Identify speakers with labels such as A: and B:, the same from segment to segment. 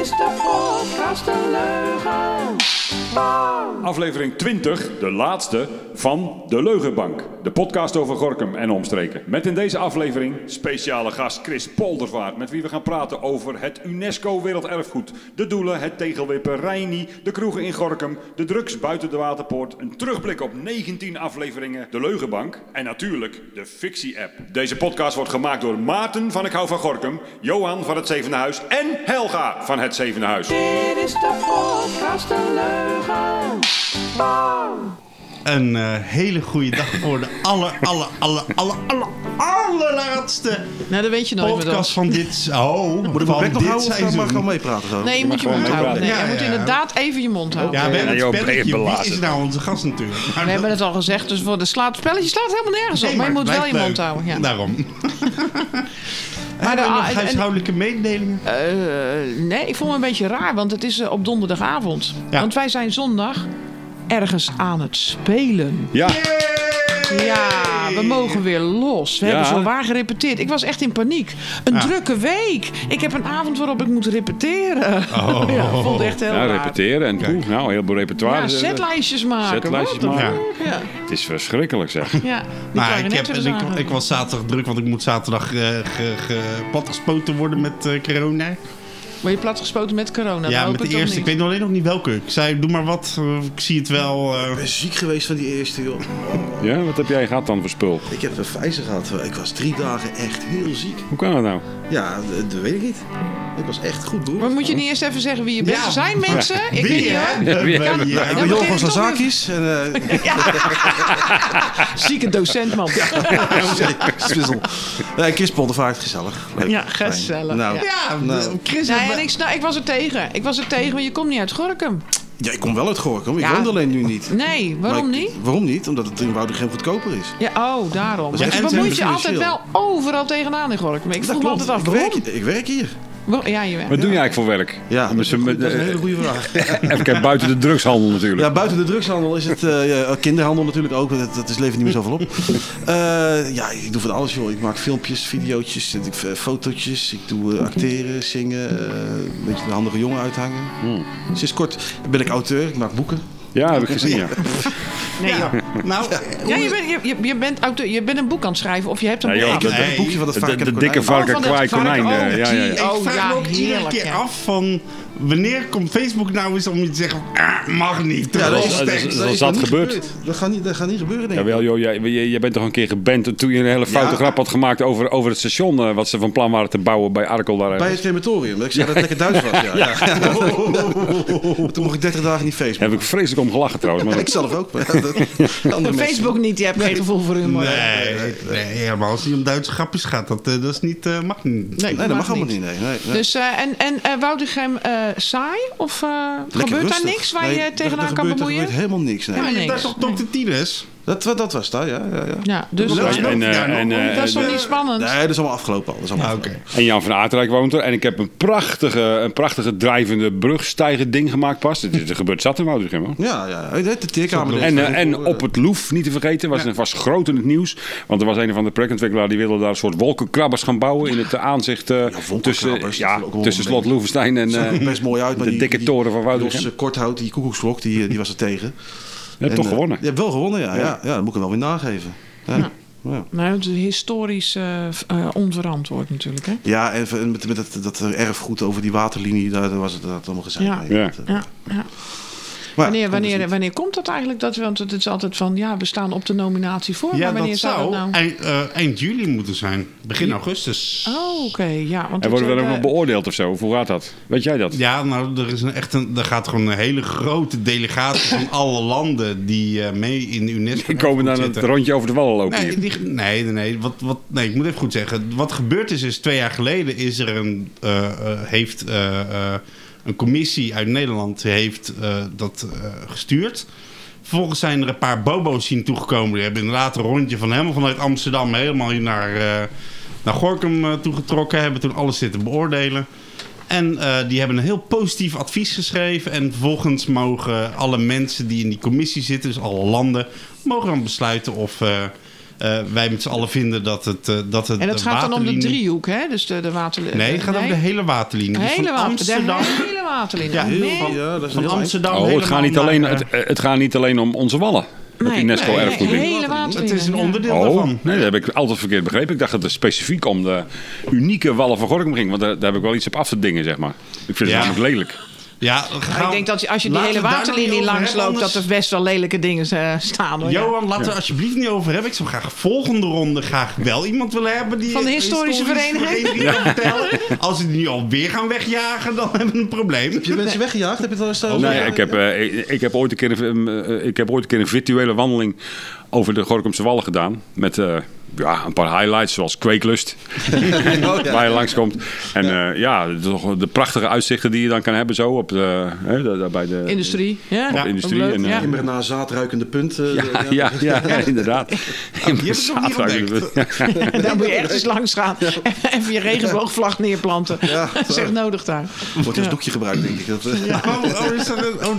A: is de podcast een leugen?
B: Aflevering 20, de laatste van De Leugenbank. De podcast over Gorkum en omstreken. Met in deze aflevering speciale gast Chris Poldervaart. Met wie we gaan praten over het UNESCO Werelderfgoed. De doelen, het tegelwippen, Rijnie, de kroegen in Gorkum, de drugs buiten de waterpoort. Een terugblik op 19 afleveringen De Leugenbank. En natuurlijk de fictie-app. Deze podcast wordt gemaakt door Maarten van Ik Hou van Gorkum, Johan van het Zevende Huis en Helga van het Zevende Huis.
A: Dit is de podcast een leugen?
C: Een eh, hele goede dag voor de aller, aller, aller, aller, aller, allerlaatste
D: Nou, dat weet je nooit meer.
C: podcast van dit... Oh,
E: Moet ik mijn
C: van
E: bek nog
C: dit
E: houden of eh, mag ik al
C: seizoen.
E: meepraten zo?
D: Nee, je moet je mond
B: gewoon
D: houden. Nee,
C: meepraten.
D: je
C: Ja,
D: moet
C: ja, ja.
D: inderdaad even je mond houden.
C: Ja, we hebben
B: joh,
C: het
B: even
C: spelletje. Wie is
B: laten.
C: nou onze gast natuurlijk? Maar
D: We
C: dat-
D: hebben het al gezegd, dus voor de slaat, het spelletje slaat helemaal nergens op.
C: Nee,
D: maar je moet
C: het
D: wel je
C: blijft
D: mond
C: leuk. Nou.
D: houden. Ja.
C: Daarom. Maar
D: de-
C: hebben we nog
D: en- en-
C: huishoudelijke mededelingen?
D: Eh, nee, ik voel me een beetje raar, want het is eh, op donderdagavond.
C: Ja.
D: Want wij zijn zondag ergens aan het spelen.
B: Ja,
D: Ja, we mogen weer los. We
B: Ja.
D: hebben zowaar gerepeteerd. Ik was echt in paniek. Een
C: Ah.
D: drukke week. Ik heb een avond waarop ik moet repeteren.
C: Oh.
D: ja, ik vond het echt heel
B: ja
D: raar.
B: repeteren en poeh, nou, heel veel repertoire.
C: eh,
D: Ja, setlijstjes maken.
B: Setlijstjes
D: Wat een
B: maken.
D: leuk, Ja.
B: Het is verschrikkelijk zeg.
D: Ja, die
C: Maar ik,
D: klarinetten
C: heb,
D: dus
C: ik,
D: aan.
C: ik was zaterdag druk, want ik moet zaterdag eh, ge, ge, platgespoten worden met eh, corona.
D: Word je platgespoten met corona? Dan
C: ja,
D: hoop
C: met de
D: ik toch
C: eerste. Ik
D: niet.
C: weet nog alleen nog niet welke. Ik zei, doe maar wat. eh, ik zie het wel. eh.
E: Ik ben ziek geweest van die eerste, joh.
B: Ja, wat heb jij gehad dan voor spul?
E: Ik heb een vijzer gehad. Ik was drie dagen echt heel ziek.
B: Hoe kan dat nou?
E: Ja, d- dat weet ik niet. Ik was echt goed door.
D: Maar moet je niet eerst even zeggen wie je bent?
C: Ja.
D: Er zijn mensen. Ik weet
C: Wie,
D: niet
C: hè?
D: hoor.
C: Wie, hè?
D: Ja,
E: ik
D: maar
E: ben Johan
D: dit
E: van
D: is toch
E: Sazakis. En, eh,
D: Zieke docent, man.
E: Swissel. Nee, Chris Poldervaart, gezellig. Leuk.
D: Ja,
E: Fijn.
D: gezellig,
E: Nou,
D: ja.
C: Ja,
E: nou,
C: Chris.
D: Nee,
C: hebben-
D: en ik, nou, ik was er tegen. Ik was er tegen, want je komt niet uit Gorkum.
E: ja, ik kom wel uit Gorkum. Ik
D: Ja.
E: woon alleen nu niet.
D: Nee, waarom
E: Maar ik-
D: niet?
E: Waarom niet? Omdat het in Woudegem goedkoper is.
D: Ja, oh, daarom.
E: Ja,
D: Ja,
E: en
D: je
E: zijn
D: bemoeit je
E: financieel.
D: altijd wel overal tegenaan in Gorkum. Ik vroeg me altijd af,
E: Ik werk,
D: waarom?
E: ik werk hier.
D: Waar- Ja, je werkt.
B: Wat doe jij eigenlijk voor werk?
E: Ja,
B: Met
E: dat is
B: z'n-
E: een
B: met-
E: goeie- dat is een
B: eh,
E: hele goede vraag.
B: Even kijken, buiten de drugshandel natuurlijk.
E: Ja, buiten de drugshandel is het eh, ja, kinderhandel natuurlijk ook. Dat, dat is levert niet meer zoveel op. Eh, ja, ik doe van alles joh. Ik maak filmpjes, videootjes, ik, eh, fotootjes. Ik doe eh, acteren, zingen, eh, een beetje de handige jongen uithangen.
B: Hmm.
E: Sinds kort ben ik auteur. Ik maak boeken.
B: Ja, heb ik gezien, ja.
D: Nee,
C: Ja,
D: joh.
C: nou,
D: ja, je, bent, je- je, je, bent auteur, je bent een boek aan het schrijven of je hebt een
B: Ah, Nee,
D: boek
B: joh,
D: af.
E: Ik heb
C: Nee.
E: het boekje van de
B: De,
E: varken
B: de,
E: en de
B: dikke
E: konijn.
B: varken,
D: van de
B: kwaai,
D: varken,
B: konijn. eh,
D: oh,
B: ja, ja,
D: die-
B: ja.
C: ik
D: Oh,
C: vraag
D: ja,
C: me ook iedere
D: heerlijk,
C: keer
D: ja.
C: af van wanneer komt Facebook nou eens om je te zeggen, ah, mag niet.
E: Ja,
C: terwijl
B: dat is-
C: het
B: dat is-
C: tekst-
B: dat is-
E: nog
B: zat
E: niet
B: gebeurd.
E: Dat gaat niet, dat gaat niet gebeuren denk ik.
B: Jawel joh, jij, jij, jij bent toch een keer geband toen je een hele foute
E: Ja.
B: grap had gemaakt over, over het station eh, wat ze van plan waren te bouwen bij Arkel daar. eh.
E: Bij het crematorium. Dat ik zei dat het lekker Duits was. Ja. Ja. Maar Toen mocht ik 30 dagen niet
B: Daar
E: Facebook.
B: heb ik vreselijk om gelachen trouwens. Maar
E: Ik zelf ook. maar dat- andere
D: Op
E: mensen.
D: Facebook niet, je hebt geen gevoel voor humor.
C: Nee, nee, ja, maar als het niet om Duitse grapjes gaat, dat, eh, dat is niet, eh, mag niet.
D: Nee,
E: Nee, dat mag allemaal niet. Nee, nee, nee.
D: Dus, eh, en en eh, Woudegem eh, saai? Of eh, gebeurt daar niks waar je je tegenaan kan
E: Er
D: bemoeien?
E: gebeurt helemaal niks. Nee.
D: Ja,
C: Je hebt daar
D: niks. Oh,
C: toch dokter Tines?
E: Dat, dat, dat was daar, ja. ja, ja.
D: Ja, dus
C: Leuk.
D: dat,
B: en, en, eh, en, eh,
D: is toch niet spannend?
E: Nee, dat is allemaal afgelopen al. Dat is allemaal
C: Ah, oké.
E: afgelopen.
B: En Jan van Aardrijk woont er. En ik heb een prachtige, een prachtige drijvende brugstijger ding gemaakt pas. Het is- Er gebeurt zat in Woudrichem hoor.
E: Ja, ja. Hey, De teerkamer.
B: En, eh, en op het Loef, niet te vergeten, was, was groot in het nieuws. Want er was een van de projectontwikkelaar die wilde daar een soort wolkenkrabbers gaan bouwen. In het eh, aanzicht eh, tussen,
E: wolkenkrabbers,
B: ja,
E: dat is ook wel
B: tussen
E: een
B: slot Loevestein en
E: Het
B: eh,
E: best mooi uit, maar
B: de
E: die-
B: dikke
E: die-
B: toren van Woudrichem.
E: Jos Korthout, die koekoeksvlok, die, eh, die was er tegen.
B: Je hebt
E: En,
B: toch
E: eh,
B: gewonnen.
E: Je hebt wel gewonnen, ja. Ja, ja. dat moet ik hem wel weer nageven. Ja. Ja.
D: Nou, het is historisch eh, f- eh, onverantwoord natuurlijk, hè?
E: Ja, en v- en met, met dat, dat erfgoed over die waterlinie, daar daar was het dat had allemaal gezegd.
D: Ja.
B: Ja.
E: eh,
D: Ja, ja. Wanneer,
C: dus
D: wanneer, wanneer komt dat eigenlijk? Dat, want het is altijd van, ja, we staan op de nominatie voor.
C: Ja,
D: maar wanneer
C: dat
D: zou
C: zou
D: dat nou?
C: eind, eh, eind juli moeten zijn. Begin augustus.
D: Oh, oké. Ja, want het,
B: En worden we
D: eh,
B: dan ook nog beoordeeld of zo? Of hoe gaat dat? Weet jij dat?
C: Ja, nou, er, is een, echt een, er gaat gewoon een hele grote delegatie van alle landen die eh, mee in de UNESCO
B: Die komen dan het
C: zitten.
B: rondje over de wallen lopen
C: Nee,
B: hier.
C: die- nee, nee, nee, wat, wat, nee, ik moet even goed zeggen. Wat gebeurd is, is twee jaar geleden is er een, eh, eh, heeft eh, eh, een commissie uit Nederland heeft, eh, dat eh, gestuurd. Vervolgens zijn er een paar bobo's zien toegekomen. Die hebben inderdaad een rondje van helemaal vanuit Amsterdam helemaal hier naar, eh, naar Gorkum toe toegetrokken. Hebben toen alles zitten beoordelen. En eh, die hebben een heel positief advies geschreven. En vervolgens mogen alle mensen die in die commissie zitten, dus alle landen, mogen dan besluiten of eh, eh, eh, wij met z'n allen vinden dat het, eh, dat het
D: En dat
C: de
D: gaat dan om de
C: waterlinie-
D: driehoek, hè? Dus de, de waterlinie.
C: Nee, het gaat over de hele waterlinie. Dus
D: hele
C: van Amsterdam,
D: De hele waterlinie.
C: Ja,
D: Nee.
C: heel-
E: Ja, dat is
C: van
E: heel
C: Amsterdam
B: Oh, het
C: helemaal
B: gaat, niet
C: naar,
B: alleen,
C: eh,
B: het, het gaat niet alleen om onze wallen. Het
D: Nee, nee, nee,
B: UNESCO-erfgoed
D: de
B: is.
D: hele
C: het
D: waterlinie.
C: is een
D: ja.
C: onderdeel
B: Oh,
C: daarvan.
B: nee, dat heb ik altijd verkeerd begrepen. Ik dacht dat het specifiek om de unieke wallen van Gorkum ging. Want daar, daar heb ik wel iets op af te dingen, zeg maar. Ik vind het
C: Ja.
B: namelijk lelijk.
C: Ja,
D: Maar
C: gaan-
D: ik denk dat als je die
C: laten
D: hele
C: we het daar nog
D: waterlinie
C: niet over
D: langs
C: hebben,
D: loopt, dat
C: anders-
D: er best wel lelijke dingen eh, staan. Hoor, ja.
C: Johan, laat er alsjeblieft niet over hebben. Ik zou graag volgende ronde graag wel iemand willen hebben die...
D: Van de historische
C: vereniging kan vertellen. Als ze die nu alweer gaan wegjagen, dan hebben we een probleem.
E: Heb je mensen weggejaagd? Heb je het al eens
C: Oh,
B: nee, ik, heb, eh, ik, ik heb ooit een keer, een, eh, ik heb ooit een keer een virtuele wandeling over de Gorkumse Wallen gedaan. Met eh, ja, een paar highlights, zoals Kweeklust,
C: Oh,
B: waar je langskomt. En eh, ja, toch de prachtige uitzichten die je dan kan hebben zo op de, hè, daar- daar bij de
D: Industrie. Ja,
B: Op
D: ook
B: industrie
D: leuk,
B: en, eh,
D: ja.
E: Immer naar zaadruikende punt. eh,
B: Ja,
E: de-
B: ja, ja, inderdaad.
C: die heb ik nog niet ontdekt.
D: Daar moet je echt eens langs gaan. En Even je regenboogvlag neerplanten.
E: Ja.
D: Dat is echt nodig daar.
E: Wordt als doekje gebruikt, denk ik. Dat, eh,
C: Ja, oh, oh, is dat een... Oh,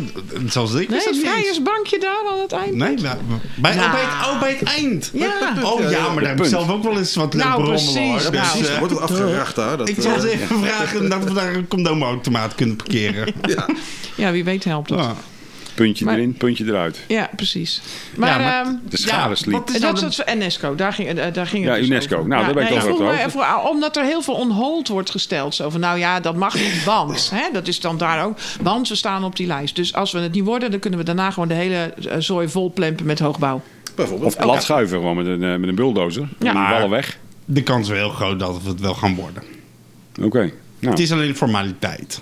C: zelfs ik
D: Nee,
C: wist dat
D: een
C: niet eens.
D: vrijersbankje daar aan het eind.
C: Nee, maar, bij,
D: Nou.
C: oh, bij het, oh, bij het eind.
D: Ja.
C: Oh ja, maar daar heb
B: Punt.
C: ik zelf ook wel eens wat leuk
D: Nou,
C: rommel
D: precies.
C: hoor.
D: Nou,
E: precies,
C: eh,
E: er wordt ook afgeracht daar. Dat,
C: ik zal
E: eh,
C: eens even vragen dat we daar een condoomautomaat kunnen parkeren.
D: Ja, wie weet helpt het.
C: Ja.
B: Puntje
D: Maar-
B: erin, puntje eruit.
D: Ja, precies. Maar,
C: Ja, maar-
D: ehm,
B: De schade sliep.
C: wat is nou
D: dat
C: de-
D: was UNESCO, daar ging, eh, daar ging het
B: Ja,
D: dus
B: UNESCO.
D: over.
B: Nou, daar ben ik
D: nee,
B: toch
D: vroeg
B: ook
D: me
B: over.
D: even- ah, Omdat er heel veel on hold wordt gesteld. Zo van, nou ja, dat mag niet, want. Hè, dat is dan daar ook. Want we staan op die lijst. Dus als we het niet worden, dan kunnen we daarna gewoon de hele eh, zooi vol plempen met hoogbouw.
E: Bijvoorbeeld.
B: Of plat schuiven gewoon met een, eh, met een bulldozer.
D: Ja.
B: Die wallen weg.
C: de kans is heel groot dat we het wel gaan worden.
B: Oké. Nou.
C: Het is alleen een formaliteit.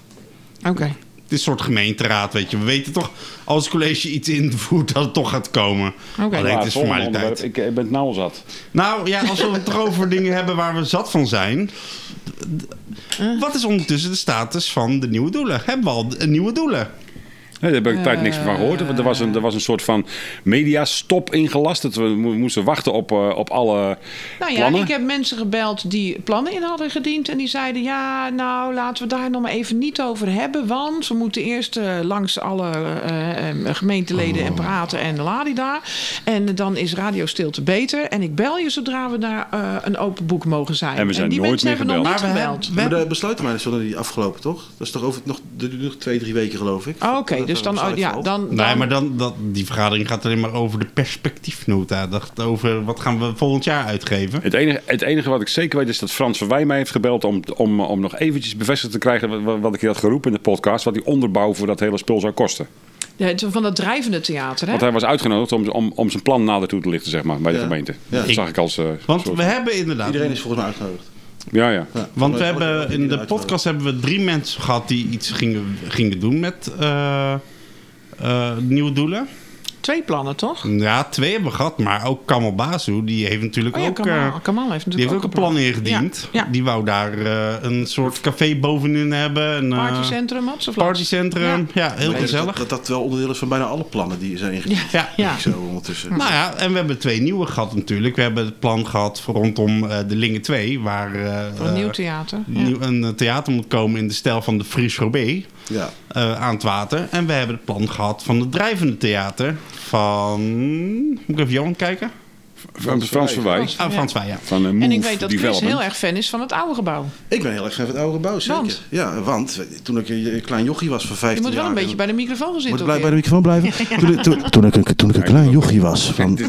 D: Oké.
C: Het is een soort gemeenteraad, weet je. We weten toch, als het college iets invoert, dat het toch gaat komen.
D: Oké.
C: Alleen
B: Ja,
C: het
B: volgende
C: is formaliteit.
B: onderwerp. Ik, ik ben het nou al zat.
C: Nou ja, als we het toch over dingen hebben waar we zat van zijn.
D: Eh.
C: Wat is ondertussen de status van de nieuwe doelen? Hebben we al de- nieuwe doelen?
B: Nee, daar heb ik tijd niks meer van gehoord. Want er was een, er was een soort van mediastop ingelast. Dat we mo- moesten wachten op, eh, op alle
D: Nou ja,
B: plannen.
D: ik heb mensen gebeld die plannen in hadden gediend. En die zeiden, ja, nou laten we daar nog maar even niet over hebben. Want we moeten eerst eh, langs alle eh, eh, gemeenteleden
B: Oh.
D: en praten en ladida. En dan is radiostilte beter. En ik bel je zodra we daar eh, een open boek mogen zijn.
B: En we zijn
D: die
B: nooit
D: mensen
B: meer
D: hebben nog
B: gebeld.
D: niet
C: Maar we
D: gebeld.
C: hebben-
E: Maar de besluitenmijnen zullen die afgelopen, toch? Dat is toch over nog, dat duurt nog twee, drie weken, geloof ik.
D: Oké,
E: Dat-
D: dus
E: dat
D: dan,
E: besluit
D: ja,
E: valt.
D: dan, dan...
C: Nee, maar dan, dat, die vergadering gaat alleen maar over de perspectiefnota. Dat, over wat gaan we volgend jaar uitgeven.
B: Het enige, het enige wat ik zeker weet is dat Frans van Wij mij heeft gebeld om, om, om nog eventjes bevestigd te krijgen wa- wa- wat, ik hier had geroepen in de podcast. Wat die onderbouw voor dat hele spul zou kosten.
D: Ja, het- van dat drijvende theater, hè?
B: Want hij was uitgenodigd om, om, om zijn plan nader toe te lichten, zeg maar, bij de
E: Ja.
B: gemeente.
E: Ja.
B: Dat zag ik als... eh,
C: Want
B: soort-
C: we hebben inderdaad...
E: Iedereen is volgens mij uitgenodigd.
B: Ja, ja.
E: Ja, volgens
C: Want we
E: mij is
C: hebben
E: iedereen
C: in de
E: uitgenodigd.
C: podcast hebben we drie mensen gehad die iets gingen, gingen doen met eh, eh, nieuwe doelen.
D: Twee plannen, toch?
C: Ja, twee hebben we gehad, maar ook Kamal Basu, die heeft natuurlijk
D: Oh ja,
C: ook, eh,
D: Kamal, Kamal heeft
C: die heeft
D: natuurlijk
C: ook een plan ingediend.
D: Ja, ja.
C: Die wou daar eh, een soort café bovenin hebben. Een, eh,
D: Partycentrum, Mats, of
C: partycentrum. Ja, heel
E: Ik denk dat-
C: gezellig.
E: Dat, dat wel onderdeel is van bijna alle plannen die zijn ingediend.
C: Ja.
D: Ja.
E: Zo ondertussen.
C: Nou ja, en we hebben twee nieuwe gehad natuurlijk. We hebben het plan gehad voor rondom eh, de Lingen 2, waar eh,
D: Voor een nieuw
C: eh,
D: theater. Ja.
C: nieuw- een eh, theater moet komen in de stijl van de Fries Roubaix.
E: Ja.
C: eh, aan het water. En we hebben het plan gehad van het drijvende theater. Van. Moet ik even Johan kijken?
B: Frans, Frans van Wij.
C: Ah, Frans Wij, ja.
B: Van eh, Move
D: En ik weet dat Chris
B: Development.
D: heel erg fan is van het oude gebouw.
E: Ik ben heel erg fan van het oude gebouw, zeker.
D: Want?
E: Ja, want toen ik een klein jochie was van 15
D: Je
E: jaar...
D: moet wel een beetje bij de microfoon gaan
E: Moet
D: zitten.
E: ik blij- bij
D: ook
E: de microfoon blijven? Toen, toen, toen, ik, een- toen ik een klein jochie was van...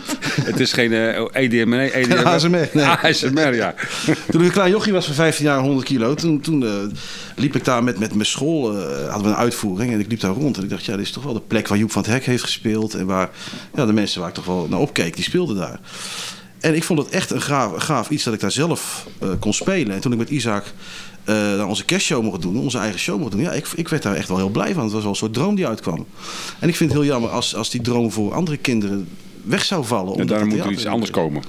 B: Het is geen eh EDM, nee, EDM.
E: ASMR, nee.
B: ASMR, ja.
E: Toen ik een klein jochie was van 15 jaar, 100 kilo, toen, toen eh, liep ik daar met, met mijn school, eh, hadden we een uitvoering en ik liep daar rond. En ik dacht, ja, dit is toch wel de plek waar Joep van het Hek heeft gespeeld en waar ja, de mensen waar ik toch wel naar opkeek, die speelden daar. En ik vond het echt een gaaf, gaaf iets dat ik daar zelf eh, kon spelen. En toen ik met Isaac eh, dan onze kerstshow mocht doen, onze eigen show mocht doen, ja, ik, ik werd daar echt wel heel blij van. Het was wel een soort droom die uitkwam. En ik vind het heel jammer als, als die droom voor andere kinderen weg zou vallen.
B: En
E: omdat
B: daarom
E: het
B: moet er
E: theater-
B: iets anders komen.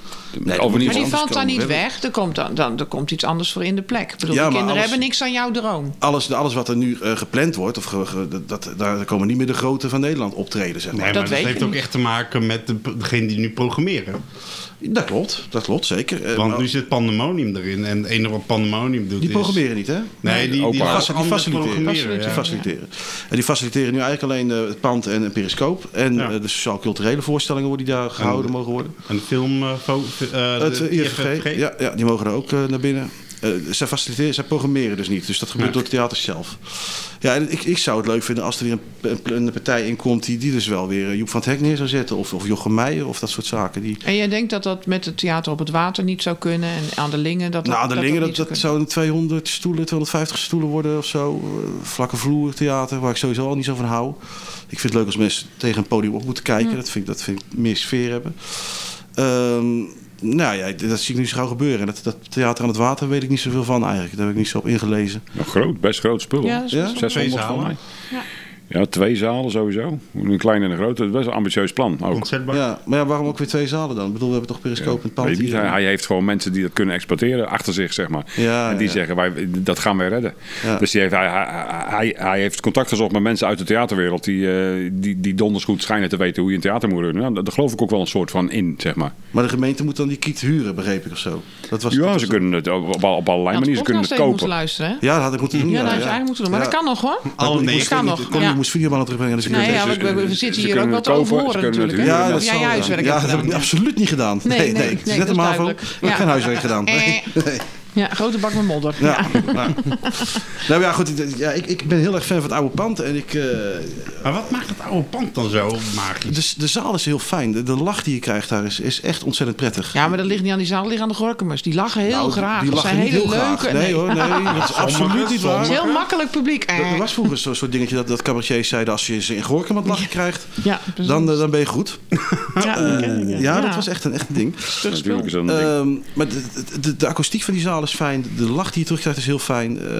E: Nee,
B: of in ieder
E: moet
D: Maar die
B: geval...
E: anders
D: valt daar
E: komen.
D: niet
E: We
D: weg. Er komt, dan, dan, er komt iets anders voor in de plek. Ik bedoel,
E: Ja,
D: de
E: maar
D: kinderen
E: alles-
D: hebben niks aan jouw droom.
E: alles, alles wat er nu eh, gepland wordt, of ge- ge- dat, daar komen niet meer de grote van Nederland optreden, zeg maar.
C: Nee, maar dat,
D: weet je
C: heeft ook
D: niet.
C: echt te maken met de, degene die nu programmeren.
E: Dat klopt, dat klopt, zeker. Eh,
C: Want
E: maar
C: nu zit pandemonium erin. En het enige wat pandemonium doet
E: die
C: is...
E: programmeren niet, hè?
C: Nee, die, die,
B: Opa.
C: laten
E: Die
C: anderen
E: faciliteren.
C: programmeren,
E: Die
C: ja.
E: faciliteren. En die faciliteren nu eigenlijk alleen eh, het pand en een periscoop. En
C: Ja.
E: eh, de sociaal-culturele voorstellingen worden die daar gehouden mogen worden.
C: Een film... eh, fo- eh,
E: Het
C: de
E: eh, IFG, ja, ja, die mogen er ook eh, naar binnen. Eh, zij faciliteren, zij programmeren dus niet. Dus dat
C: Nee.
E: gebeurt door het theater zelf. Ja, en ik, ik zou het leuk vinden als er weer een, een, een partij in komt... die, die dus wel weer eh, Joep van het Hek neer zou zetten. Of, of Jochem Meijer of dat soort zaken. Die,
D: En jij denkt dat dat met het theater op het water niet zou kunnen en aan de lingen dat
E: nou, de Lingen, dat,
D: niet zou kunnen?
E: dat zouden 200 stoelen, 250 stoelen worden of zo. Eh, Vlakke vloer, theater, waar ik sowieso al niet zo van hou. Ik vind het leuk als mensen tegen een podium op moeten kijken.
D: Mm.
E: Dat, vind ik, dat vind ik meer sfeer hebben. Ehm, nou ja, dat zie ik nu zo gauw gebeuren. En Dat, dat theater aan het water weet ik niet zoveel van eigenlijk. Daar heb ik niet zo op ingelezen.
B: Nou, groot, best groot spul.
D: Ja,
B: hoor.
D: dat is
E: Ja?
D: best wel-
B: 600
C: Twee
B: van mij.
D: Ja.
C: zalen.
B: Ja, twee zalen sowieso. Een klein en een groot. Dat is best een ambitieus plan ook.
C: Concertbank.
E: Ja, maar ja, waarom ook weer twee zalen dan? Ik bedoel, we hebben toch periscoop en het pand
B: Weet je niet,
E: hier.
B: hij, hij heeft gewoon mensen die dat kunnen exploiteren achter zich, zeg maar.
E: Ja,
B: en die
E: ja.
B: zeggen, wij, dat gaan wij redden.
E: Ja.
B: Dus die heeft, hij, hij, hij, hij heeft contact gezocht met mensen uit de theaterwereld... die, eh, die, die donders goed schijnen te weten hoe je een theater moet runnen. Nou, daar- daar geloof ik ook wel een soort van in, zeg maar.
E: Maar de gemeente moet dan die kiet huren, begreep ik of zo. Dat was dat
B: Ja,
E: was-
B: ze kunnen het op, op, op allerlei
D: Ja, de
B: manieren. Ze kunnen
D: podcast
B: het
D: even moeten
B: kopen.
D: luisteren, hè?
E: Ja, dat had ik moeten doen.
D: Ja,
E: ja,
D: dat had je
E: ja.
D: eigenlijk moeten doen. Maar
E: Ja.
D: dat kan nog, hoor.
C: Alle
E: moet-
C: Oh, nee.
D: dat kan
C: niet.
D: nog.
E: Kon,
D: Ja.
E: Je moest videobanden terugbrengen. Dus ik
D: Nee,
E: weet-
D: ja,
B: ze-
D: we, we- we
B: ze
D: zitten
B: kunnen
D: hier ook wat
B: het kopen,
D: over
B: ze
D: horen
B: kunnen het
D: natuurlijk. hè?
B: huren.
D: Dat heb
E: zal
D: jij je
E: wel.
D: huiswerk
E: Ja,
D: hebt
E: dat heb
D: gedaan.
E: ik absoluut niet gedaan. Nee, nee.
D: nee,
E: Het is
D: nee,
E: net
D: dat
E: een
D: is
E: MAVO. Ik
D: duidelijk.
E: heb
D: Ja.
E: geen huiswerk gedaan. Nee.
D: Eh. Ja, grote bak met modder. Ja.
E: Ja. ja. Nou ja, goed. ik- Ja, ik, ik ben heel erg fan van het oude pand. En ik, eh,
C: Maar wat maakt dat oude pand dan zo magisch?
E: de, de zaal is heel fijn. De, de lach die je krijgt daar is, is echt ontzettend prettig.
D: Ja, maar dat ligt niet aan die zaal, dat ligt aan de Gorkumers. Die lachen heel
E: Nou,
D: graag.
E: Die
D: dat
E: lachen
D: zijn
E: niet
D: hele
E: heel
D: leuke.
E: graag. Nee hoor, nee. Dat is absoluut niet
D: Het
E: waar.
D: is heel makkelijk publiek.
E: Er
D: Eh.
E: er was vroeger zo'n soort dingetje dat, dat cabaretiers zeiden... als je ze in Gorkum wat lachen krijgt,
D: Ja, precies.
E: dan, eh, dan ben je goed.
D: ja,
E: Eh,
D: ken ik,
E: ja, dat was echt een, echt een ding.
B: dus Natuurlijk is dat een ding.
E: Ehm, maar de, de- de, de akoestiek van die zaal is fijn. De lach die je terugkrijgt is heel fijn. Ehm,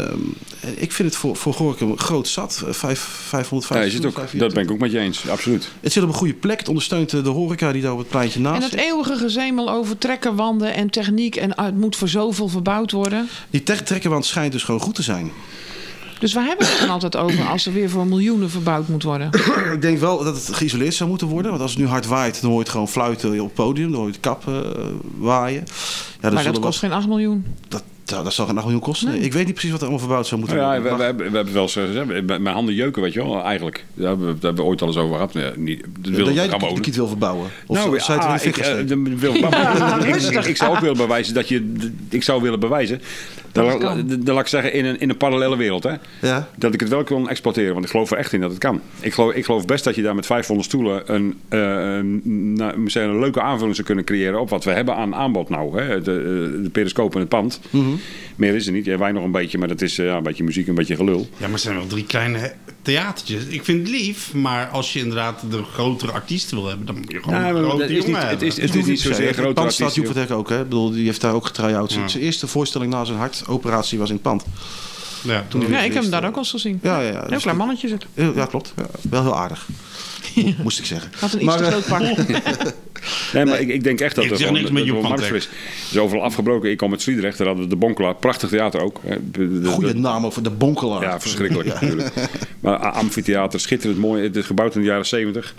E: en ik vind het voor, voor Gorkum groot zat. Eh, Vijf, 550.
B: Ja, je zit ook, dat ben ik ook met je eens, absoluut.
E: Het zit op een goede plek. Het ondersteunt eh, de horeca die daar op het pleintje
D: En
E: naast
D: dat
E: zit.
D: eeuwige gezemel over trekkerwanden en techniek en ah, het moet voor zoveel verbouwd worden.
E: Die tech trekkerwand schijnt dus gewoon goed te zijn.
D: Dus waar hebben we het dan altijd over als er weer voor miljoenen verbouwd moet worden?
E: ik denk wel dat het geïsoleerd zou moeten worden. Want als het nu hard waait, dan hoor je het gewoon fluiten op het podium. Dan hoor je het kap eh, waaien. Ja,
D: maar
E: zullen
D: dat
E: wel-
D: kost geen 8 miljoen.
E: dat, dat, dat zal geen 8 miljoen kosten. nee. Ik weet niet precies wat er allemaal verbouwd zou moeten
B: Nou ja, we,
E: worden.
B: we,
E: Maar-
B: hebben- we hebben wel eens gezegd, mijn mijn handen jeuken, weet je wel, eigenlijk. Daar hebben, we- daar hebben we ooit al eens over gehad. Ja, niet, dat wil
E: dat jij
B: ik
E: de,
B: allemaal
E: de
B: ook.
E: kiet wil verbouwen. Of
B: nou,
E: nou, zou je
B: ah,
E: het in de fik
B: ik, eh,
E: gesteken?
B: dan wil- ik, ik, ik zou ook willen bewijzen dat je... d- Ik zou willen bewijzen, dan, la-
D: kan.
B: dan laat ik zeggen, in een, in een parallele wereld, hè.
E: Ja.
B: Dat ik het wel kan exploiteren, want ik geloof er echt in dat het kan. Ik geloof, ik geloof best dat je daar met 500 stoelen een, eh, een- nou, misschien een leuke aanvulling zou kunnen creëren op wat we hebben aan aanbod nou. Hè? De, eh, de periscoop en het pand.
E: Mhm.
B: Meer is er niet. Ja, wij nog een beetje, maar dat is eh, ja, een beetje muziek, een beetje gelul.
C: Ja, maar het zijn wel drie kleine he- theatertjes. Ik vind het lief, maar als je inderdaad de grotere artiesten wil hebben, dan moet je gewoon
B: Ja, maar
C: een grote
B: Nou, dat is
C: jongen
B: niet- het
C: hebben.
B: is- het is niet zozeer
E: in het
B: grote
E: pand staat
B: artiesten.
E: Joep van het Hek ook. Hè? Ik bedoel, die heeft daar ook getry-out. Zijn- Zijn eerste voorstelling na zijn hartoperatie was in het pand.
C: Ja,
E: Toen hij
D: Ja, ik
E: weer
D: heb hem
E: verliest.
D: daar ook al eens gezien.
E: Ja, ja,
D: Heel
E: dus
D: klein
E: dat-
D: mannetje zit.
E: Heel- Ja, klopt. Ja, wel heel aardig. Mo- Moest ik zeggen.
D: Had een iets
E: Maar,
D: te
E: eh,
D: groot pak.
B: Nee, maar ik, ik denk echt dat
C: Ik
B: er
C: zeg
B: gewoon
C: niks met
B: dat er
C: Joep
B: wel
C: van
B: markt voor is. Er is overal afgebroken. Ik kwam uit Sliedrecht, daar hadden we de Bonkelaar. Prachtig theater ook. hè. De- de-
E: Goede
B: de-
E: naam over de bonkelaar.
B: Ja, verschrikkelijk natuurlijk. Maar a- amfitheater, schitterend mooi. Het is gebouwd in de jaren zeventig.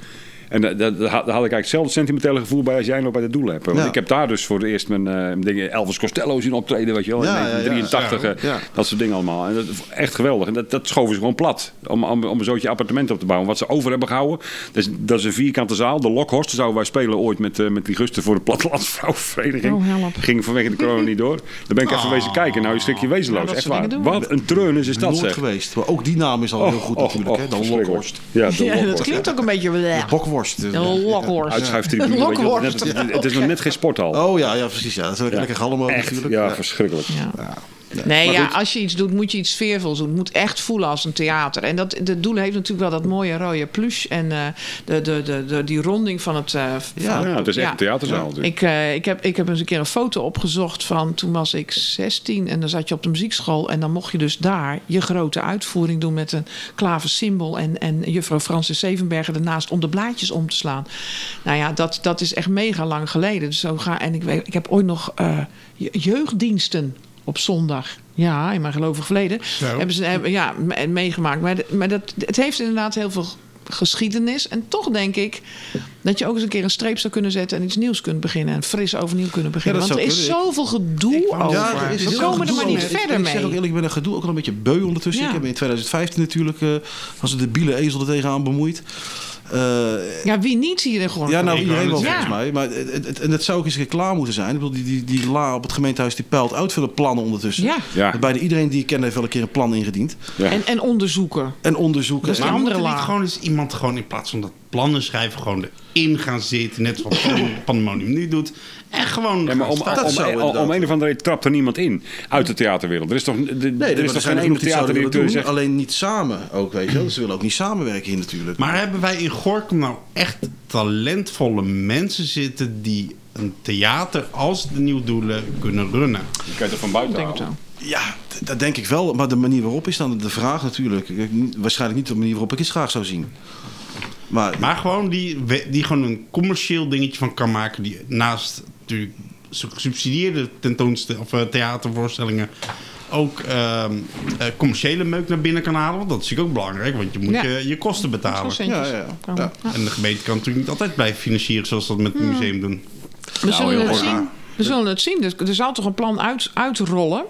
B: En da- da- daar had ik eigenlijk hetzelfde sentimentele gevoel bij als jij nou bij de doel hebt. Want
E: Ja.
B: ik heb daar dus voor het eerst mijn eh, dingen Elvis Costello zien optreden, weet je wel. in
E: Ja, ja, ja.
B: 1983, eh,
E: Ja.
B: dat soort dingen allemaal. En dat, echt geweldig. En dat, dat schoven ze gewoon plat. Om, om, om een zootje appartementen op te bouwen. Wat ze over hebben gehouden, dat is, dat is een vierkante zaal. De Lokhorst zouden wij spelen ooit met, eh, met die gusten voor de Plattelandsvrouwenvereniging.
D: Oh, help.
B: Ging vanwege de corona niet door. Daar ben ik even wezen kijken. Nou, je schrik je wezenloos.
D: Ah. Ja, dat
B: echt
D: soort
B: waar.
D: dingen doen we.
B: Wat een treun is dat,
E: Nooit
B: zeg.
E: geweest. Maar ook die naam is al heel goed
B: Och,
E: natuurlijk.
B: och,
E: hè? De
B: oh, verschrikkelijk.
E: lokworst.
B: Ja, de
D: Ja, dat
B: lokworst.
D: klinkt ook een beetje...
E: Bokworst.
D: De lokhorst.
B: Uitschuiftribune. weet je wel. Net-
D: Lokworst.
B: Het is nog net geen sporthal.
E: Oh ja, ja, precies. Ja. Dat is ook lekker galm ook
B: Echt,
E: natuurlijk.
B: ja,
E: Ja.
B: verschrikkelijk.
D: Ja. Nee, ja, als je iets doet, moet je iets sfeervols doen. Het moet echt voelen als een theater. En dat, de doel heeft natuurlijk wel dat mooie rode pluche en eh, de, de, de, de, die ronding van het... eh, van
E: Ja,
B: Ja, nou, het is echt
D: ja.
B: een theaterzaal natuurlijk.
D: Ik, eh, ik, heb, ik heb eens een keer een foto opgezocht van toen was ik 16 en dan zat je op de muziekschool. En dan mocht je dus daar je grote uitvoering doen met een klaversymbol. En, en juffrouw Francis Zevenberger ernaast om de blaadjes om te slaan. Nou ja, dat, dat is echt mega lang geleden. Dus zo ga, en ik, weet, ik heb ooit nog eh, je- jeugddiensten op zondag. Ja, in mijn gelovig verleden. Hebben ze hebben, ja, me- meegemaakt. Maar, de- maar dat, het heeft inderdaad heel veel geschiedenis. En toch denk ik dat je ook eens een keer een streep zou kunnen zetten... en iets nieuws kunt beginnen. En fris overnieuw kunnen beginnen.
E: Ja, dat
D: Want er
E: zou
D: is zoveel gedoe over.
E: Ja, er is
D: We
E: ook wel
D: komen er
E: gedoe
D: maar niet
E: over. Ik-
D: verder
E: Ik zeg ook
D: mee.
E: eerlijk, ik ben een gedoe ook al een beetje beu ondertussen.
D: Ja.
E: Ik heb in 2015 natuurlijk, eh was een debiele ezel er tegenaan bemoeid. Eh,
D: Ja, wie niet hier in Gorkum?
E: ja, nou
C: Ik
E: iedereen
C: wou
E: wel
C: net
E: volgens mij. Maar het, het- het- en dat zou ook eens een keer klaar moeten zijn. Ik bedoel, die, die, die la op het gemeentehuis die peilt uit voor de plannen ondertussen.
D: Ja.
B: Ja.
E: Want Bijna iedereen die ik ken heeft wel een keer een plan ingediend.
B: Ja.
D: En, en onderzoeken.
E: En onderzoeken.
D: Dus
E: en,
D: maar
C: Maar
D: andere
C: moet er niet
D: laag.
C: gewoon eens iemand gewoon in plaats van dat plannen schrijven... gewoon erin gaan zitten, net zoals Pan- Pandemonium nu doet. En gewoon...
B: Ja, maar om,
C: gaan
B: om,
E: Dat zou
B: om,
E: inderdaad.
B: om een of andere reden trapt er niemand in uit de theaterwereld. Er is toch, de,
E: nee,
B: er is toch geen
E: genoeg
B: ene
E: die zouden
B: theaterdirecteur
E: willen
B: die
E: doen,
B: zegt...
E: Alleen niet samen ook, weet je wel. Ze willen ook niet samenwerken hier natuurlijk.
C: Maar hebben wij in Gorkum nou echt talentvolle mensen zitten die een theater als de Nieuw Doelen kunnen runnen?
B: Je kan het er van buiten
D: Denk ik
B: halen.
D: zo.
E: Ja, d- dat denk ik wel. Maar de manier waarop is dan de vraag natuurlijk. Kijk, niet- Waarschijnlijk niet de manier waarop ik het graag zou zien. Maar,
C: Maar gewoon die, we- die gewoon een commercieel dingetje van kan maken die naast natuurlijk su- gesubsidieerde tentoonstellingen of eh, theatervoorstellingen ook ehm, eh, commerciële meuk naar binnen kan halen. Want dat is natuurlijk ook belangrijk, want je moet
D: Ja.
C: je, je kosten betalen.
E: ja, ja, ja.
D: Nou.
E: ja.
C: En de gemeente kan natuurlijk niet altijd blijven financieren zoals dat met het museum doen.
E: Nou,
D: We zullen
B: heel
D: het
E: raar.
D: zien. We zullen het zien. Er, er zal toch een plan uit, uitrollen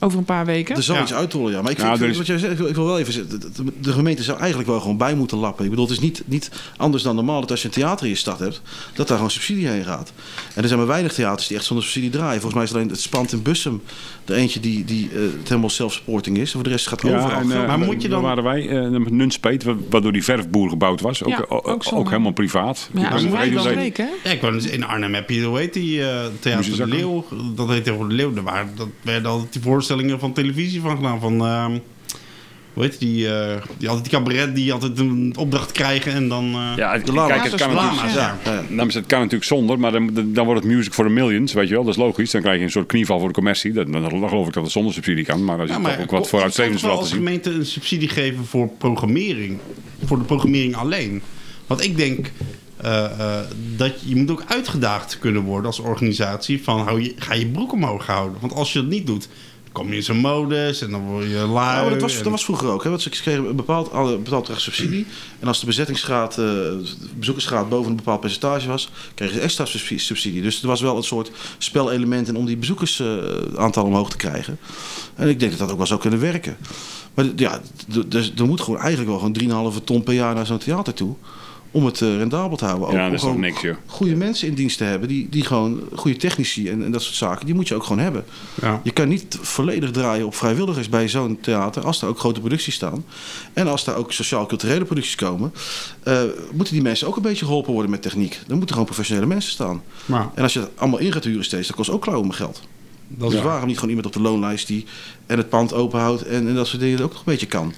D: over een paar weken.
E: Er zal
C: Ja.
E: iets uitrollen, ja. Maar ik,
B: Nou,
E: vind-
B: er is-
E: wat jij zegt, ik wil- ik wil wel even zeggen... dat- dat- De gemeente zou eigenlijk wel gewoon bij moeten lappen. Ik bedoel, het is niet, niet anders dan normaal dat als je een theater in je stad hebt... dat daar gewoon subsidie heen gaat. En er zijn maar weinig theaters die echt zonder subsidie draaien. Volgens mij is alleen het Spant in Bussum... de eentje die, die eh, het helemaal zelfsupporting is. En voor de rest gaat het overal.
B: Ja, en, eh,
C: Maar moet je dan-
B: waar waren wij, eh, met Nunspeet, wa- wat door die verfboer gebouwd was. Ook,
D: Ja,
B: eh, o-
D: ook
B: ook,
D: zonde.
B: helemaal privaat.
D: Ja,
B: Dus
D: maar
B: weet je
D: wij
B: weet-
D: dan spreken, hè?
C: Ja, ik wou net zeggen, in Arnhem heb je, hoe heet die, eh, Theater de
B: Muziekzakken.
C: Leeuw? Dat heet tegenwoordig Leeuw. Daar waren, dat werden altijd die voorstellingen van televisie van gedaan. Van, ehm, hoe heet die, eh, die altijd die cabaret die altijd een opdracht krijgen en dan... eh,
B: Ja,
E: De lama's.
B: kijk, het kan natuurlijk...
C: lama's,
E: Ja,
C: ja.
E: ja, ja.
B: Nou, maar het kan natuurlijk zonder, maar dan, dan wordt het music for the millions, weet je wel. Dat is logisch. Dan krijg je een soort knieval voor de commercie. Dat, dan, dan geloof ik dat het zonder subsidie kan. Maar als je
C: Ja,
B: toch
C: maar
B: ook wat vooruitstrevends
C: kan
B: wil
C: toch wel
B: laten
C: als
B: zien.
C: gemeente een subsidie geven voor programmering. Voor de programmering alleen. Want ik denk eh, eh, dat je, je moet ook uitgedaagd kunnen worden als organisatie. Van hou je, ga je broek omhoog houden. Want als je dat niet doet, dan kom je in zo'n modus en dan word je lui.
E: Ah, Ja, maar Oh, dat, was,
C: en-
E: dat was vroeger ook. Hè? Want ze kregen een bepaald, alle- een bepaald bedrag subsidie. En als de bezettingsgraad, eh, de bezoekersgraad boven een bepaald percentage was, kregen ze extra subsi- subsidie. Dus er was wel een soort spelelement in om die bezoekersaantal omhoog te krijgen. En ik denk dat dat ook wel zou kunnen werken. Maar d- ja, d- dus er moet gewoon eigenlijk wel gewoon 3,5 ton per jaar naar zo'n theater toe. Om het eh, rendabel te houden. Ook
B: Ja, dat
E: om
B: is toch
E: gewoon
B: niks, joh.
E: Goede mensen in dienst te hebben. Die, die gewoon goede technici en, en dat soort zaken. Die moet je ook gewoon hebben.
C: Ja.
E: Je kan niet volledig draaien op vrijwilligers bij zo'n theater als daar ook grote producties staan. En als daar ook sociaal-culturele producties komen, eh, moeten die mensen ook een beetje geholpen worden met techniek. Dan moeten gewoon professionele mensen staan.
C: Maar
E: En als je dat allemaal in gaat huren steeds, dat kost ook klauwen om geld.
C: dat
E: Dus
C: is waar.
E: waarom niet gewoon iemand op de loonlijst die en het pand openhoudt en, en dat soort dingen ook nog een beetje kan.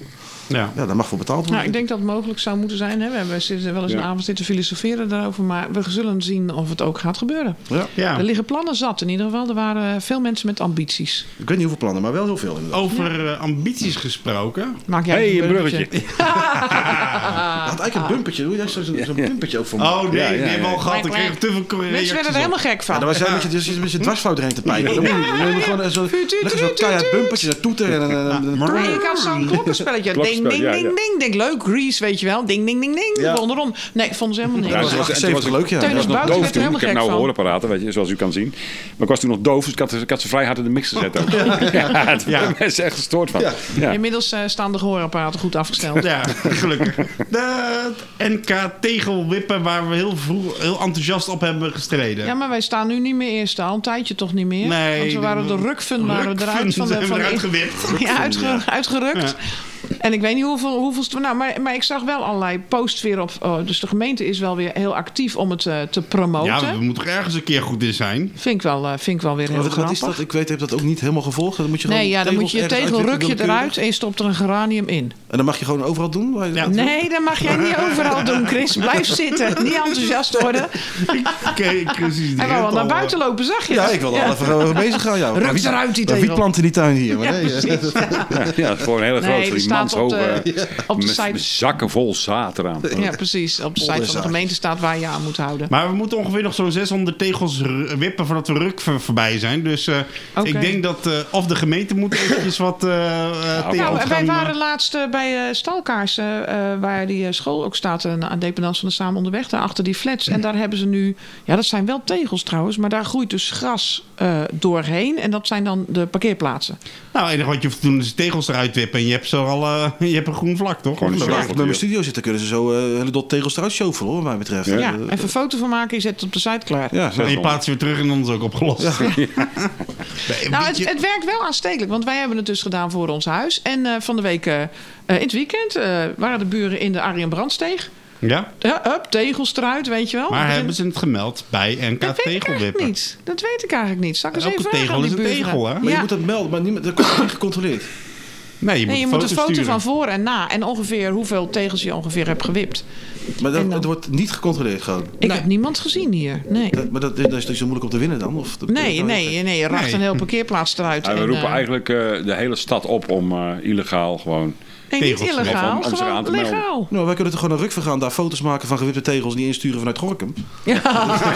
C: Ja.
E: Ja, daar mag voor betaald worden.
D: Nou, ik denk dat het mogelijk zou moeten zijn. Hè? We hebben zitten wel eens
B: Ja.
D: een avond zitten filosoferen daarover. Maar we zullen zien of het ook gaat gebeuren.
E: ja.
C: Ja.
D: Er liggen plannen zat in ieder geval. Er waren veel mensen met ambities.
E: Ik weet niet hoeveel plannen, maar wel heel veel inderdaad.
C: Over eh, ambities gesproken.
D: Maak jij
B: hey,
D: even
B: een bruggetje.
D: Ah,
E: Hij had eigenlijk een bumpertje. Doe jij zo'n zo'n bumpertje ook voor me?
C: Oh nee,
B: Ja, ja,
C: die
B: ja.
C: hebben we al gehad. Ik kreeg te veel
D: Mensen werden
C: reacties
D: er helemaal
C: op.
D: gek van.
E: Ja, dan was jij met je, dus je met je dwarsfluit erheen te pijpen. Dan moet je, dan moet je gewoon zo'n
D: Vuur, Hm? tuut,
E: leg zo'n
D: tuut,
E: keihard
D: tuut.
E: bumpertje, dat toeter en een- een- een- een-
D: Nee, ik had zo'n klokkenspelletje. ding,
B: Klokkenspel,
D: ding,
B: ja,
D: ding,
B: ja.
D: ding. Denk leuk, Grease, weet je wel. Ding, ding, ding, ding.
E: Ja.
D: Ronderom. Nee, vonden ze helemaal niks.
B: Ja,
E: Dat
B: ze
E: was
B: was- en toen was
E: 78
B: ik-
E: leuk, ja.
D: Teun
B: Ik was
D: is
B: nog
D: buiten,
B: doof
D: werd er
B: toen. Ik heb
D: helemaal
B: nou
D: gek van.
B: hoorapparaten, weet je, zoals u kan zien. Maar ik was toen nog doof, dus ik had, ik had ze vrij hard in de mix gezet ook. ja, daar werden mensen echt gestoord van. Ja.
E: Ja.
D: Inmiddels eh, staan de gehoorapparaten goed afgesteld.
C: Ja, gelukkig. De NK tegelwippen waar we heel vroeg heel enthousiast op hebben gestreden.
D: Ja, maar wij staan nu niet meer eerste. Al een tijdje toch niet meer.
C: Nee,
D: Want we waren de
C: de-
D: rukfun waren we
C: Rukfun
D: eruit van de,
C: zijn we
D: van de-
C: eruit gewipt.
D: Ja, uitge-
E: ja.
D: uitgerukt. En ik weet niet hoeveel, hoeveelste. Nou, maar, maar ik zag wel allerlei posts weer op. oh, dus de gemeente is wel weer heel actief om het eh, te promoten.
C: Ja, we moeten toch ergens een keer goed in zijn.
D: Vind ik wel, eh, vind ik wel weer heel
E: Maar wat is
D: grappig.
E: dat? Ik weet, heb dat ook niet helemaal gevolgd. Dan moet je gewoon
D: Nee, ja, dan moet
E: tegels
D: je je
E: ergens
D: tegel ruk je
E: uitwippen,
D: eruit en je stopt er een geranium in.
E: En dan mag je gewoon overal doen? waar je-
C: Ja.
D: Nee, dat mag jij niet overal doen, Chris. Blijf zitten. Niet enthousiast worden.
C: Oké, precies.
D: Hij wou wel naar buiten lopen, zag je
E: Ja,
D: dat?
E: ik wil er
D: Ja.
E: wel even eh, bezig gaan. Ja.
D: Ruk
E: Maar wie-
D: eruit die
E: maar Wie
D: tegel.
E: plant in die tuin hier? Maar
D: Ja,
E: nee, eh,
D: precies.
B: Ja, ja, voor een hele grote,
D: Nee,
B: die
D: er staat op
B: manshoge, eh,
D: de, op de
B: met- met
D: site.
B: zakken vol zaad eraan.
D: Ja, precies. Op de site van de
E: zaadjes.
D: gemeente staat waar je aan moet houden.
C: Maar we moeten ongeveer nog zo'n 600 tegels r- wippen voordat we ruk voor- voorbij zijn. Dus eh,
D: Oké.
C: ik denk dat eh, of de gemeente moet eventjes wat eh eh, tegels
D: Nou, wij
C: gaan,
D: waren
C: eh,
D: laatst eh, bij eh, Stalkaars, eh, eh, waar die eh, school ook staat, eh, aan dependance van de Samen Onderweg, daar achter die flats. En daar hebben ze nu, ja dat zijn wel tegels trouwens, maar daar groeit dus gras eh, doorheen. En dat zijn dan de parkeerplaatsen.
C: Nou, het enige wat je hoeft te doen is de tegels eruit wippen. En je hebt ze er al eh, eh, je hebt een groen vlak, toch?
B: Gewoon een
C: Of
E: Als
B: zwart.
E: ik bij mijn studio zit, dan kunnen ze zo eh, een hele dot tegels eruit shovelen, hoor, wat mij betreft.
D: Ja,
E: Eh,
D: even een foto van maken, je zet het op de site klaar.
E: ja, zo.
C: En je plaatst weer terug en dan is het ook opgelost. Nee, een
D: Nou,
C: beetje-
D: het, het werkt wel aanstekelijk, want wij hebben het dus gedaan voor ons huis. En eh, van de week, eh, eh, in het weekend, eh, waren de buren in de Arjen Brandsteeg.
C: ja,
D: Ja, up, tegels eruit, weet je wel.
C: maar
D: Begin-
C: hebben ze het gemeld bij
D: Oh,
C: NK
D: dat weet ik eigenlijk
C: Tegelwippen?
D: niet. Dat weet ik eigenlijk niet. Zal ik eens
C: Elke
D: even vragen aan
C: tegel
D: die
C: is een
D: buren?
C: tegel, hè?
E: Maar
D: ja.
E: je moet dat melden, maar niemand, dat wordt niet gecontroleerd.
C: Nee, je moet,
D: Nee, je
C: een
D: moet
C: foto
D: een foto
C: sturen.
D: van voor en na. En ongeveer hoeveel tegels je ongeveer hebt gewipt.
E: Maar dat,
D: En dan?
E: het wordt niet gecontroleerd gewoon.
D: Ik heb niemand gezien hier. Nee,
E: Dat, maar dat, dat is toch zo moeilijk om te winnen dan? Of, dat-
D: nee,
E: dat-
D: nee, nee je racht
C: Nee.
D: een heel parkeerplaats eruit.
B: Ja, we
D: en,
B: roepen
D: eh,
B: eigenlijk eh, de hele stad op om eh, illegaal gewoon...
D: nee, niet
C: tegels.
D: illegaal,
B: Om- om zich
D: gewoon
B: aan te melden.
D: legaal.
E: Nou, wij kunnen toch gewoon een ruk vergaan, daar foto's maken van gewipte tegels en die insturen vanuit Gorkum. We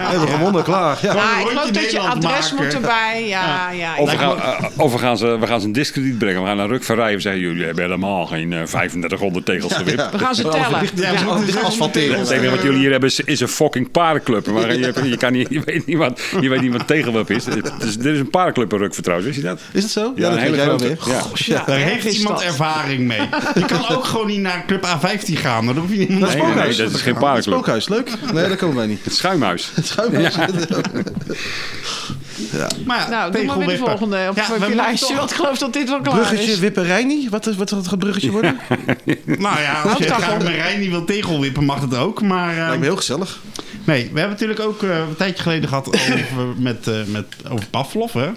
E: hebben gewonnen, klaar. Ja.
D: Ja, ik
C: rondje
D: geloof dat je
C: Nederland
D: adres
C: maken.
D: moet erbij. Ja, ja, ja.
B: Of, we gaan, eh, of we, gaan ze, we gaan ze een discrediet brengen. We gaan naar Ruk van Rijen zeggen... jullie hebben helemaal geen eh, 3500 tegels gewipt.
D: We gaan ze tellen.
C: Ja, we
E: dus
C: moeten zelf
B: Het enige wat jullie hier hebben is, is een fucking paardenclub. Maar je, hebt- je, kan niet, je, weet niet wat, je weet niet wat tegenweb is. Het is- Er is een paardenclub in Rukver trouwens, wist je dat?
E: Is dat zo?
B: een hele
E: wel
B: grote. Ja.
E: Goh,
D: Ja,
C: Daar
D: erg
C: heeft
D: is
C: iemand
D: dat.
C: ervaring mee. Je kan ook gewoon niet naar Club A15 gaan. maar Dan hoef je niet
E: Dat is
B: Nee, nee,
E: spookhuis.
B: nee, dat is geen
E: Dat is
B: paardenclub.
E: spookhuis, leuk. Nee, daar komen wij niet.
B: Het schuimhuis.
E: Het schuimhuis.
C: Maar ja,
D: Nou, doe maar weer de
C: tegelwippen.
D: volgende op
C: Ja,
D: op
C: we
D: je
C: moeten
D: lijstje.
C: toch-
D: Want ik geloof dat dit wel klaar
E: Bruggetje
D: is.
E: Wipperijni? Wat is wat zal het bruggetje worden?
C: Nou ja, als je
D: Houttegel.
C: graag met Rijn niet wil tegelwippen, mag dat ook. Maar eh,
E: Lijkt me heel gezellig.
C: nee, we hebben natuurlijk ook eh, een tijdje geleden gehad over, met, eh, met, over Pavlov, hè?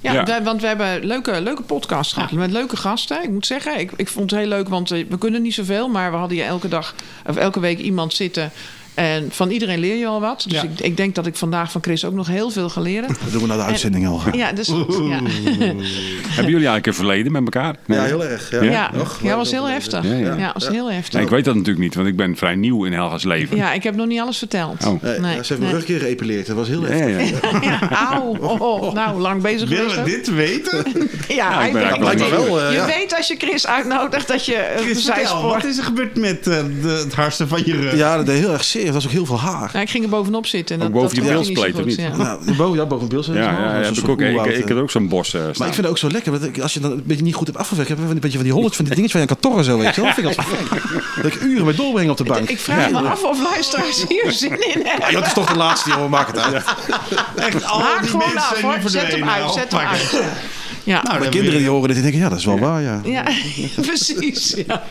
D: Ja,
B: Ja.
D: wij- want we hebben leuke, leuke podcasts gehad. Met leuke gasten. Ik moet zeggen, ik, ik vond het heel leuk. Want eh, we kunnen niet zoveel. Maar we hadden hier elke dag of elke week iemand zitten. En van iedereen leer je al wat. Dus
C: Ja.
D: ik, ik denk dat ik vandaag van Chris ook nog heel veel ga leren.
E: Dat doen we na de uitzending al.
D: Ja, dus... Ja,
B: Hebben jullie eigenlijk een verleden met elkaar? Nee.
E: Ja, heel erg. Ja,
D: ja.
E: Nog?
D: ja was heel heftig.
B: Ja,
D: Ja,
B: ja.
D: was heel heftig.
B: Nee, ik weet dat natuurlijk niet, want ik ben vrij nieuw in Helga's leven.
D: Ja, ik heb nog niet alles verteld.
B: Oh.
E: Nee,
D: Nee,
E: ze heeft mijn
D: nee.
E: rugje geëpileerd. Dat was heel
B: Ja,
E: heftig.
B: ja, ja.
D: Ja, auw. Oh, oh. Nou, lang bezig
C: Willen
D: geweest
C: we
D: ook.
C: dit weten?
D: Ja,
B: Ja, Nou, ik ben
D: hij-
B: eigenlijk nog
E: Lijkt me
B: niet-
E: wel. eh,
D: Je
E: ja.
D: weet als je Chris uitnodigt dat je eh,
C: Chris, vertel,
D: zijspoor...
C: wat is er gebeurd met eh, de, het harsen van je rug?
B: eh,
E: ja, dat deed heel erg zeer. Dat was ook heel veel haar.
D: Nou, ik ging er bovenop zitten. En
B: Ook
D: dat,
B: boven
D: dat
B: je
D: ging niet zo
B: bilspleet, of
D: goed,
B: niet?
D: ja.
E: Nou, boven, ja, boven Bils.
B: Ja, ja, ja, heb ik, ook, ik, ik had ook zo'n bos eh,
E: Maar
B: staan.
E: ik vind het ook zo lekker, want ik- als je dan een beetje niet goed hebt afgewerkt, heb je een beetje van die hollets, van die dingetjes van je kantoor en zo, weet je wel. Dat vind ik altijd fijn. Dat ik uren mee doorbreng op de bank.
D: Ik vraag me af of luisteraars hier zin in hebben.
E: Ja, dat is toch de laatste, jongen, maak het uit.
C: Echt, al
D: Haak
C: die
D: gewoon
C: mensen
D: af,
C: zijn nu
D: hoor. Zet hem
C: verdwenen.
D: uit, zet hem
C: Alpakken.
D: uit. Ja,
C: Nou,
E: Maar
C: dan
E: kinderen
C: weer-
E: die horen dit, die denken, ja, dat is wel waar, ja. Oh,
D: ja precies. Ja.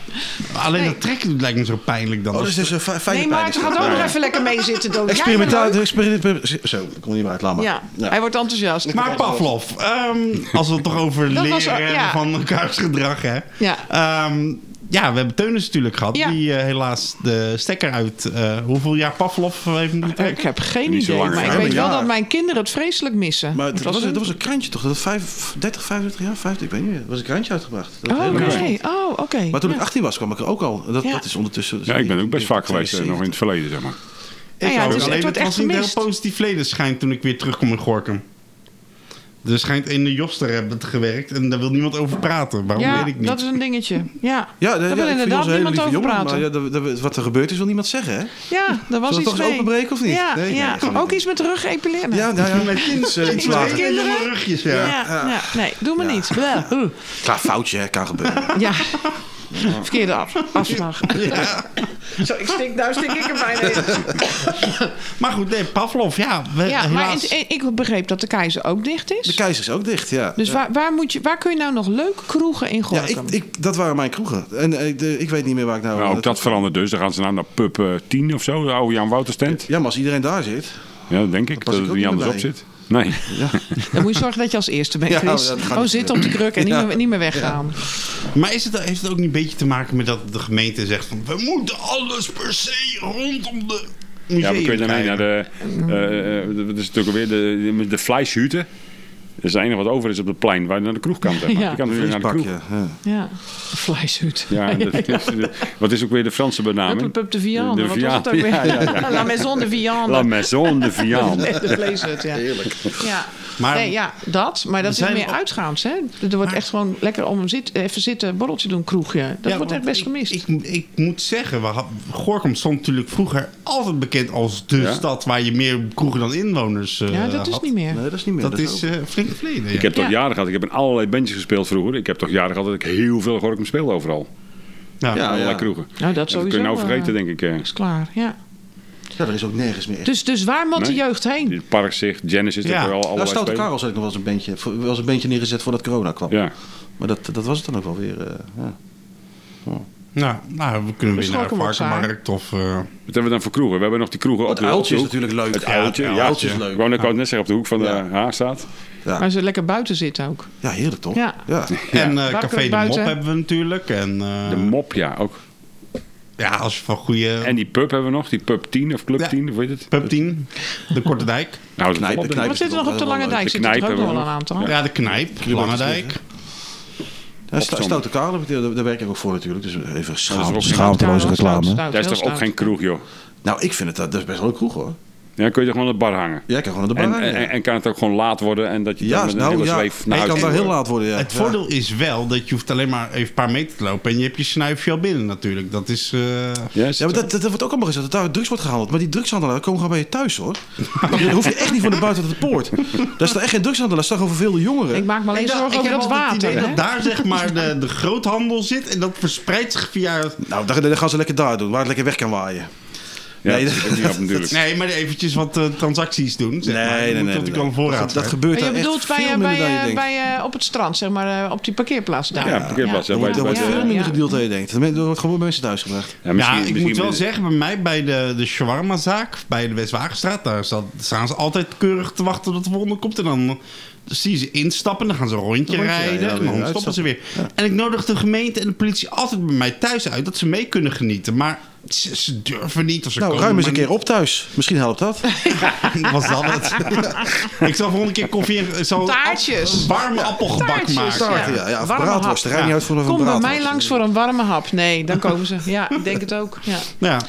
C: Alleen
D: Nee.
C: dat trekken lijkt me zo pijnlijk dan.
E: Oh, dus het is een fi- fijne
D: Nee, maar
E: pijn.
D: het gaat ook nog even lekker mee zitten doen.
E: Experimentaal, experiment. Zo, ik kom er niet meer uit, laat maar.
D: Ja,
E: Ja.
D: hij wordt enthousiast.
C: Maar Pavlov, ehm, als we het toch over
D: Dat
C: leren
D: was al- ja.
C: van elkaars gedrag, hè?
D: Ja.
C: Ehm, ja, we hebben Teunis natuurlijk gehad,
D: Ja.
C: die eh, helaas de stekker uit. eh, hoeveel jaar Pavlov heeft moeten
D: Ik
C: trekken?
D: heb geen
B: Niet zo
D: idee,
B: lang,
D: maar ik
B: hè?
D: weet wel
E: Ja.
D: dat mijn kinderen het vreselijk missen.
E: Maar dat
D: Wat
E: was,
D: het?
E: dat was een krantje toch? Dat was vijf- 30, 35 jaar, 50, ik weet niet meer. Er was een krantje uitgebracht. Dat
D: Oh,
E: hele
D: oké.
E: krantje.
D: Oh, oké.
E: Maar toen ik
D: Ja.
E: 18 was, kwam ik er ook al. Dat,
D: Ja.
E: dat is ondertussen...
B: Ja, ik ben ook best vaak geweest, eh,
E: 72.
B: nog in het verleden, zeg maar.
D: Nou ja,
C: Ook,
D: het, is,
C: alleen
D: het wordt
C: het
D: echt
C: was niet heel
D: gemist.
C: positief leden schijnt toen ik weer terugkom in Gorkum. Er schijnt in de Joster hebben het gewerkt en daar wil niemand over praten.
E: Oh,
C: Waarom
D: Ja,
C: weet ik niet.
D: dat is een dingetje. Ja,
E: Ja,
D: daar
E: de-
D: wil
E: ja, ik vind
D: inderdaad
E: ons een hele
D: niemand
E: lieve
D: over
E: jongen,
D: praten.
E: Maar ja, dat- dat- wat er gebeurd is, wil niemand zeggen, hè?
D: Ja, daar was
E: we
D: iets
E: toch eens
D: mee.
E: openbreken of niet?
D: Ja,
E: Nee, nee,
D: ja.
E: gaan we
D: ook
E: niet
D: iets met rug epileren.
E: Ja, nou ja.
C: Met kind-
E: Iets, eh, iets
C: met
E: later.
C: twee
D: kinderen?
C: jonge rugjes, ja.
D: Ja, ja. nee, doe me niet. Bleh. Oeh.
E: Klaar, foutje, hè, kan gebeuren.
D: Ja. Verkeerde af- afslag. Zo, ik stink, nou stink ik er bijna in.
C: Maar goed, nee, Pavlov, ja, we-
D: Ja, maar
C: helaas.
D: in- in- ik begreep dat de keizer ook dicht
E: De
D: is.
E: keizer is ook dicht, ja.
D: dus waar, waar, moet je, waar kun je nou nog leuk kroegen in
E: ja,
D: gooien?
E: ik, ik, dat waren mijn kroegen. En eh, de- ik weet niet meer waar ik nou...
B: Nou, ook dat verandert dus. Dan gaan ze nou naar pub eh, 10 of zo, de oude Jan Wouters tent.
E: Ja, maar als iedereen daar zit...
B: Ja, dat denk ik, dat
E: pas ik
B: het
E: ook
B: niet
E: niet
B: anders op
E: bij.
B: zit. Nee.
D: Dan moet je zorgen dat je als eerste bent,
E: Ja,
D: Chris.
E: dat gaat
D: Gewoon
E: niet
D: zitten op de kruk en
E: Ja.
D: niet, meer, niet meer weggaan.
C: Maar is het, heeft het ook niet een beetje te maken met dat de gemeente zegt van... we moeten alles per se rondom de
B: Ja,
C: museum
B: we kunnen daarmee naar
C: krijgen?
B: de. eh, eh, Dat is natuurlijk alweer de, de, de vleeshuten. Dat is het enige wat over is op het plein waar je naar de kroeg kan. zeg maar.
D: Ja.
B: Je kan natuurlijk naar de kroeg.
E: Vleespakje, ja.
D: Ja, een vleeshut.
B: Ja, dat is, wat is ook weer de Franse benaming?
D: Hup, hup, hup, de viande.
B: De
D: Wat was het ook weer?
B: viande,
D: Nou,
B: ja, ja,
D: La maison de viande.
B: La maison de viande.
D: Nee, de vleeshut, ja. Heerlijk. Ja.
C: Maar
D: nee, ja, dat. Maar dat
C: We zijn
D: is meer
C: op-
D: uitgaans, hè? Er wordt
C: Maar-
D: echt gewoon lekker om een zit, even zitten, borreltje doen, kroegje. Dat
C: Ja,
D: wordt echt
C: want
D: best
C: ik-
D: gemist.
C: Ik, ik, moet zeggen, we had- Gorinchem stond natuurlijk vroeger altijd bekend als de
B: Ja.
C: stad waar je meer kroegen dan inwoners eh
D: ja, dat is
C: had.
D: niet meer.
E: Nee, dat is niet meer.
C: Dat is
E: ook-
C: eh, flink verleden.
B: Ik
C: ja.
B: heb toch
D: Ja.
B: jaren gehad. Ik heb in allerlei bandjes gespeeld vroeger. Ik heb toch jaren gehad dat ik heel veel Gorkum speelde overal.
C: Ja.
E: ja,
B: allerlei
E: ja.
B: kroegen. En
D: Nou, dat
B: Dat kun
D: sowieso.
B: je nou
D: eh,
B: vergeten, denk ik. eh.
D: Is klaar, ja.
E: eh, ja, er is ook nergens meer. echt.
D: Dus, dus waar moet de
B: Nee.
D: jeugd heen?
B: Dit Parkzicht, Genesis,
C: Ja.
B: dat er al
E: Daar
B: allerlei
E: Stoute
B: spelen.
E: Karel zei ik nog wel eens een bandje. voor- wel eens een bandje neergezet voordat corona kwam.
B: Ja.
E: Maar dat, dat was het dan ook wel weer. eh, ja.
C: Nou, nou, we kunnen
D: Dus
C: weer naar de
D: Gorinchem wordt saai.
C: varkenmarkt of... eh,
B: Wat hebben we dan voor kroegen? We hebben nog die kroegen op
E: Het
B: de, op de
E: uiltje is
B: hoek.
E: natuurlijk leuk.
B: Het uiltje, ja.
E: het uiltje is
B: Ik
E: leuk.
B: wou, ik wou het net zeggen, op de hoek van
E: Ja.
B: de Haarstraat.
D: Waar ze lekker buiten zitten ook.
E: Ja, heerlijk toch?
D: Ja.
C: En eh,
D: Bakker
C: Café de
D: buiten.
C: Mop hebben we natuurlijk. En, eh,
B: De mop, ja, ook.
C: Ja, als je van goede...
B: En die pub hebben we nog. Die pub 10 of club
C: Ja.
B: 10, of weet het?
C: Pub 10, de Korte Dijk.
B: Nou, dat is
E: Knijpen,
B: wel-
E: knijpen.
D: Wat zit er nog op de
E: wel
D: Lange
E: leuk.
D: Dijk?
B: De
D: Zit er
B: knijpen
D: ook nog wel
B: hebben
D: een
B: we
D: aantal.
C: Ja, de Knijp, Lange Dijk.
E: Ja, Sto- Stoute Karel, heb ik- daar daar werk ik ook voor natuurlijk. Dus even
B: ook
E: schaam,
B: geen-
E: schaamteloze
D: Stout,
E: reclame.
D: stout,
B: Dat is
D: heel
B: toch ook
D: stout.
B: geen kroeg, joh?
E: Nou, ik vind het dat, dat is best wel een kroeg hoor.
B: Ja, kun je toch gewoon aan de bar hangen?
E: Jij kan gewoon naar de
B: En,
E: bar.
B: en,
E: ja.
B: en- en kan het ook gewoon laat worden en dat je dan
E: ja,
B: met een
E: nou
B: hele
E: ja,
B: zweef naar
E: ik
B: huis
E: kan daar
B: moet.
E: heel laat worden. Ja.
C: Het
E: Ja.
C: voordeel is wel dat je hoeft alleen maar even een paar meter te lopen... en je hebt je snuifje al binnen natuurlijk. Dat is... eh,
B: Ja, is
E: Ja, maar
B: het-
E: dat, dat, dat wordt ook allemaal gezegd dat daar drugs wordt gehandeld. Maar die drugshandelaar komen gewoon bij je thuis hoor. Daar hoef je echt niet van de buiten tot de poort. Daar is toch echt geen drugshandelaar, daar is toch verveelde jongeren.
D: Ik maak me alleen
C: Ik dacht-
D: zorgen
C: ik
D: over
C: heb
D: dat
C: altijd het
D: water.
C: idee
D: hè?
C: dat daar zeg maar de, de groothandel zit en dat verspreidt zich via...
E: Nou, dan, dan gaan ze lekker daar doen, waar het lekker weg kan waaien.
B: ja,
E: nee,
B: dat is ook niet op natuurlijk.
C: Nee, maar eventjes wat eh, transacties doen. Zeg
E: Nee,
C: maar. Je
E: nee,
C: moet
E: nee.
C: tot
E: nee.
C: ik aan voorraad.
E: dat, dat
C: zijn.
E: gebeurt
D: Maar je
E: daar
D: bedoelt
E: echt
D: bij,
E: veel
D: eh,
E: minder
D: bij,
E: dan je
D: eh,
E: denkt.
D: bij, eh, op het strand, zeg maar, eh, op die parkeerplaats daar.
B: Ja, parkeerplaats, ja, bij
E: Er
B: de-
E: wordt
B: bij de-
E: veel minder
D: ja.
E: gedeeld dan je denkt. Er wordt gewoon mensen thuis gebracht.
B: Ja,
C: ja,
B: misschien-
C: ik
B: misschien-
C: moet wel zeggen, bij mij bij de, de shawarma-zaak, bij de Westwagenstraat, daar zat- staan ze altijd keurig te wachten tot de volgende komt. En dan zie je ze instappen, dan gaan ze een rondje, rijden
E: rijden,
C: en
E: weer
C: dan stoppen ze
E: uitstappen.
C: weer. En ik nodig de gemeente en de politie altijd bij mij thuis uit dat ze mee kunnen genieten. Maar ze, ze durven niet of ze
E: Nou,
C: komen
E: ruim eens een
C: maar
E: keer op thuis. Misschien helpt dat.
C: niet. Was dat het? ik zal volgende keer koffie en ik zal
D: Taartjes.
C: een warme appelgebak
D: Taartjes,
C: maken.
D: ja.
E: Ja, ja, of
D: Warme
E: braadworst.
D: hap.
E: Er rijdt niet
C: Ja.
E: uit voor een
D: Kom bij
E: braadworst.
D: mij langs voor een warme hap. Nee, dan komen ze. Ja, ik denk het ook. Ja.
C: Ja.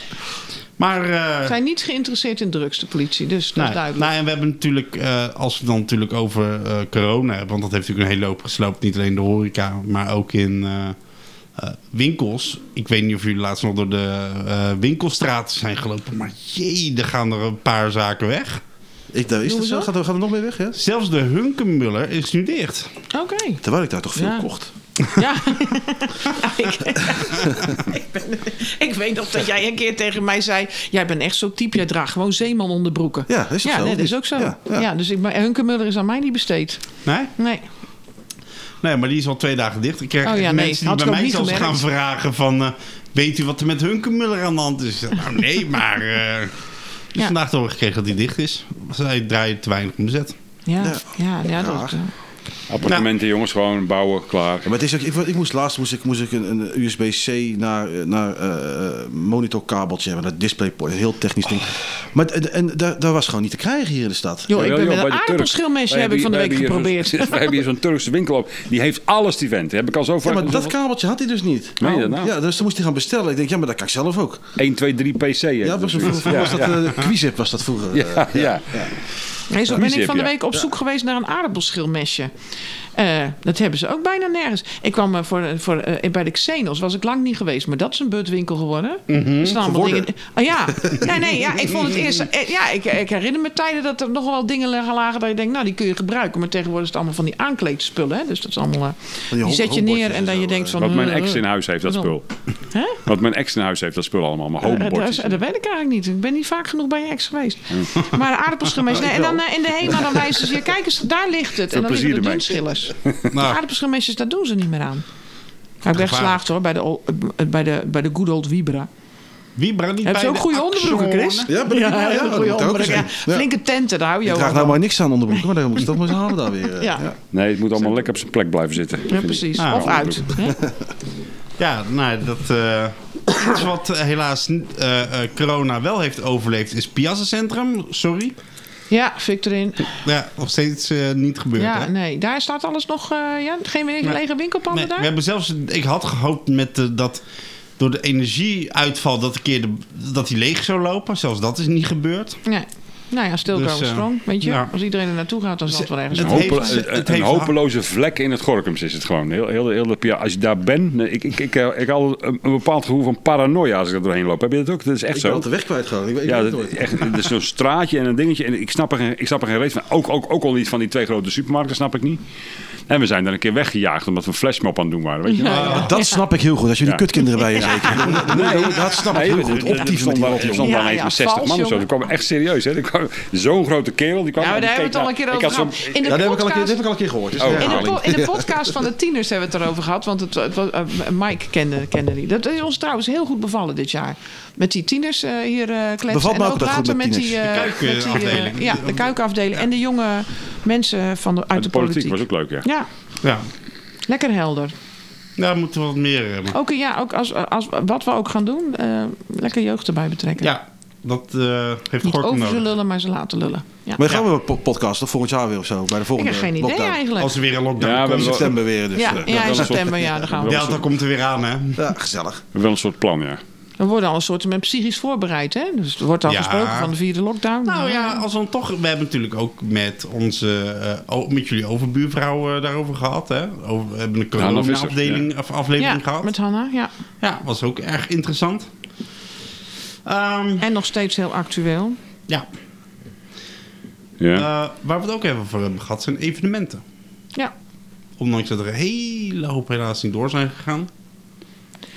C: Maar eh,
D: Zijn niet geïnteresseerd in drugs, de politie. Dus dat is
C: Nou,
D: duidelijk.
C: nou, en we hebben natuurlijk, eh, als we het dan natuurlijk over eh, corona hebben, want dat heeft natuurlijk een hele hoop gesloopt, niet alleen de horeca, maar ook in eh, eh, winkels. Ik weet niet of jullie laatst nog door de eh, winkelstraat zijn gelopen, maar jee, er gaan er een paar zaken weg.
E: Ik, daar is
D: Doen
E: dat
D: we
E: zo?
D: zo?
E: Gaat er, gaat er nog meer weg, ja?
C: Zelfs de Hunkenmuller is nu dicht.
D: Oké.
E: Terwijl ik daar toch veel
D: Ja.
E: kocht.
D: Ja. ik, ik, ben- ik weet nog dat jij een keer tegen mij zei... Jij bent echt zo'n type, jij draagt gewoon zeeman onderbroeken.
E: Ja, is dat
D: ja,
E: zo?
D: nee, dat is
E: Of
D: ook zo.
E: niet?
D: Ja,
E: Ja, ja.
D: dus ik, maar Hunkemuller is aan mij niet besteed.
C: Nee?
D: Nee.
C: nee, maar die is al twee dagen dicht. Ik krijg
D: Oh ja,
C: echt
D: nee,
C: mensen
D: had
C: die
D: ik
C: bij
D: ook
C: mij
D: niet
C: zelfs
D: gemerkt.
C: gaan vragen van, eh, weet u wat er met Hunkenmuller aan de hand is? Nou nee, maar... eh, dus
D: Ja.
C: vandaag te horen gekregen dat hij dicht is. Zij draaien te weinig omzet.
D: Ja,
E: Ja.
D: ja. ja, dat eh, is...
E: Ja.
B: Appartementen, jongens, gewoon bouwen, klaar.
E: Maar het is ook, ik, ik moest laatst moest ik, moest ik een, een USB-C naar, eh, naar eh, monitorkabeltje hebben, naar DisplayPort. Een heel technisch ding. Maar d- en, daar, daar was gewoon niet te krijgen hier in de stad.
D: Joh, ik
B: Jawel,
D: ben met
B: joh,
D: een
B: bij de Turk.
D: aardappelschilmesje
B: Wij
D: heb ik van de
B: hebben
D: week
B: hier- wij hebben hier
D: geprobeerd.
B: zo'n- We hebben hier zo'n Turkse winkel op. Die heeft alles die vent. Heb ik al zo
E: Ja,
B: vaak.
E: maar dat kabeltje had hij dus niet.
B: Meen je dat nou?
E: Ja, dus toen moest hij gaan bestellen. Ik denk, ja, maar dat kan ik zelf ook.
B: 1, 2, 3 PC. heet
E: Ja,
B: het
E: was,
B: natuurlijk.
E: vroeger was dat eh, Quizip was dat vroeger. eh.
B: Ja, ja.
D: Nee, zo ben
B: Ruzie
D: ik van de
B: heb je.
D: week op zoek geweest naar een aardappelschilmesje. Eh, dat hebben ze ook bijna nergens. Ik kwam eh, voor, voor, eh, bij de Xenos, was ik lang niet geweest. Maar dat is een butwinkel geworden.
B: Mhm,
D: Er staan allemaal
E: Geworden.
D: dingen- Oh, ja. nee, nee, ja, ik vond het eerst... eh, ja, ik, ik herinner me tijden dat er nog wel dingen lagen, lagen dat je denkt, nou, die kun je gebruiken. Maar tegenwoordig is het allemaal van die aankleedspullen. Hè? Dus dat is allemaal... eh,
E: die
D: die,
E: ho-
D: zet je
E: hobotjes
D: neer
E: en
D: en dan
E: zo,
D: je
E: eh.
D: denkt van...
B: Wat mijn
D: eh,
B: ex in huis heeft, dat
D: Wat dan?
B: spul.
D: Hè?
B: Wat mijn ex in huis heeft, dat spul allemaal. Mijn
D: Eh, dat, is-
B: homebordjes.
D: dat weet ik eigenlijk niet. Ik ben niet vaak genoeg bij je ex geweest. Maar aardappelschilmesje. Nee, en dan eh, in de HEMA dan wijzen ze je. Kijk eens, daar ligt het. En dan
B: plezier
D: liggen de
B: ermee.
D: dunschillers.
C: Nou,
D: Aardappelschilmesjes, daar doen ze niet meer aan. Maar ik ben geslaagd hoor, bij de, ol- eh, bij de, bij de good old Vibra.
C: wie brandt niet
D: Hebben
C: bij
D: ze ook
C: de
D: goede
C: Axon?
D: onderbroeken, Chris?
E: Ja, ben ik- ja,
D: hele
E: ja, dat
D: goede
E: moet ook
D: onderbroeken. Ja,
E: eens zijn. Ja.
D: Flinke tenten, daar hou je
E: Ik
D: ook
E: draag
D: wel
E: nou maar
D: van.
E: niks aan onderbroeken, maar daar moet je toch maar eens halen daar weer. eh.
D: Ja.
B: Nee, het moet allemaal lekker op zijn plek blijven zitten.
D: Ja, precies.
C: Ah,
D: of uit. hè?
C: Ja, nou, dat eh, iets wat eh, helaas niet, eh, eh, corona wel heeft overleefd is Piazza Centrum. Sorry.
D: Ja, Victorin.
C: Ja, nog steeds eh, niet gebeurd.
D: Ja,
C: hè?
D: nee. Daar staat alles nog... eh, ja, geen lege winkelpanden
C: Nee, we
D: daar?
C: hebben zelfs, ik had gehoopt met de- dat door de energieuitval dat, een keer de, dat die leeg zou lopen. Zelfs dat is niet gebeurd.
D: Nee. Nou ja, stil
C: Dus,
D: komen
C: eh,
D: strong, weet je.
C: ja. Dus, eh,
D: Als iedereen er naartoe gaat, dan zal het wel ergens
B: Een,
C: Het heeft-
B: hope-
C: het
B: een-
C: heeft
B: een
C: ha-
B: hopeloze vlek in het Gorkums is het gewoon. Heel, heel, heel, de pia- als je daar bent, nee, ik, ik, ik, eh, ik had een, een bepaald gevoel van paranoia als ik er doorheen loop. Heb je dat ook? Dat is echt
E: Ik ben
B: zo.
E: altijd weg kwijt gegaan. Ik weet
B: Ja,
E: het
B: dat,
E: nooit.
B: echt, dat is zo'n straatje en een dingetje. En ik snap er geen, ik snap er geen reet van. Ook, ook, ook al niet van die twee grote supermarkten, snap ik niet. En we zijn daar een keer weggejaagd omdat we een flashmob aan het doen waren. Weet je? wel.
E: Dat snap ik heel goed. Als jullie
B: Ja.
E: kutkinderen bij je zeker. Nee, dat snap ik
B: Nee,
E: heel
B: er-
E: goed.
B: er- er
E: Optieven met
B: stond
E: die
B: daar- Er
E: rotjoch.
B: stond daar
D: Ja,
B: ineens
D: ja,
B: met 60
D: vals,
B: man of zo.
D: jongen.
B: Die kwamen echt serieus. Hè? Die kwamen- Zo'n grote kerel. Die kwam
D: Ja, maar
B: en Oh, die
D: daar hebben we het al een
B: keek
D: keer
B: naar-
D: over
B: ik had
D: gehad. In
B: zo'n-
D: de
E: Ja, dat heb ik al een keer, dat
D: podcast-
E: heb ik al een keer gehoord. Dus
B: Oh.
E: ja.
D: In de,
B: herhaling.
D: po- in de podcast van de tieners hebben we het erover gehad. Want het, het was- eh, Mike kende, kende die. Dat is ons trouwens heel goed bevallen dit jaar. Met die tieners eh, hier eh kletsen.
E: Bevalt me
D: en
E: ook dat goed met
D: die... eh,
C: De kuikafdeling.
D: met die, eh, ja, de kuikafdeling. En de jonge mensen van de, uit
B: uit
D: de,
B: de
D: politiek.
B: politiek was ook leuk, ja.
D: Ja,
C: Ja,
D: lekker helder.
C: daar moeten we wat meer hebben.
D: Ook, eh, ja, ook als, als, wat we ook gaan doen, eh, lekker jeugd erbij betrekken.
C: Ja, dat eh, heeft
D: Niet
C: Gorkum
D: over ze
C: nodig.
D: lullen, maar ze laten lullen. Ja.
E: Maar gaan we een po- podcast of volgend jaar weer of zo? Bij de
D: Ik
E: volgende
D: heb geen idee
E: lockdown.
D: eigenlijk.
C: Als er weer een lockdown
B: Ja, we
E: In
C: komt.
B: hebben-
E: september weer. Dus,
D: ja,
E: eh,
D: ja, in
B: een soort-
D: september, ja, daar gaan we.
B: Ja.
C: Delta komt er weer aan, hè?
E: ja, gezellig.
B: Wel een soort plan, ja.
D: We worden al een soort met psychisch voorbereid, hè? Dus er wordt al
C: Ja.
D: gesproken van de vierde lockdown.
C: Nou ja, als we dan toch. We hebben natuurlijk ook met onze. eh, o- met jullie overbuurvrouw eh, daarover gehad. Hè? Over, we hebben een
B: Hanna Visser,
C: corona-afdeling of aflevering
D: ja,
C: gehad.
D: met Hanna, ja.
C: Ja, was ook erg interessant. Ehm,
D: En nog steeds heel actueel.
C: ja,
B: ja.
C: eh, waar we het ook even voor hebben gehad zijn evenementen.
D: Ja.
C: Ondanks dat er een hele hoop helaas niet door zijn gegaan.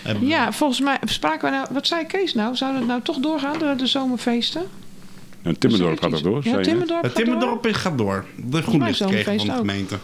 C: Hebben we-
D: ja, volgens mij spraken we nou... Wat zei Kees nou? Zou dat nou toch doorgaan, de, de zomerfeesten?
B: Ja, Timmerdorp gaat dat door. zei
D: Ja,
B: je, hè?
D: Timmerdorp
C: Het
D: gaat door.
C: Timmerdorp is- gaat door. De
D: mij
C: groenlicht
D: zo'n
C: kregen
D: feest
C: van de
D: ook.
C: gemeente.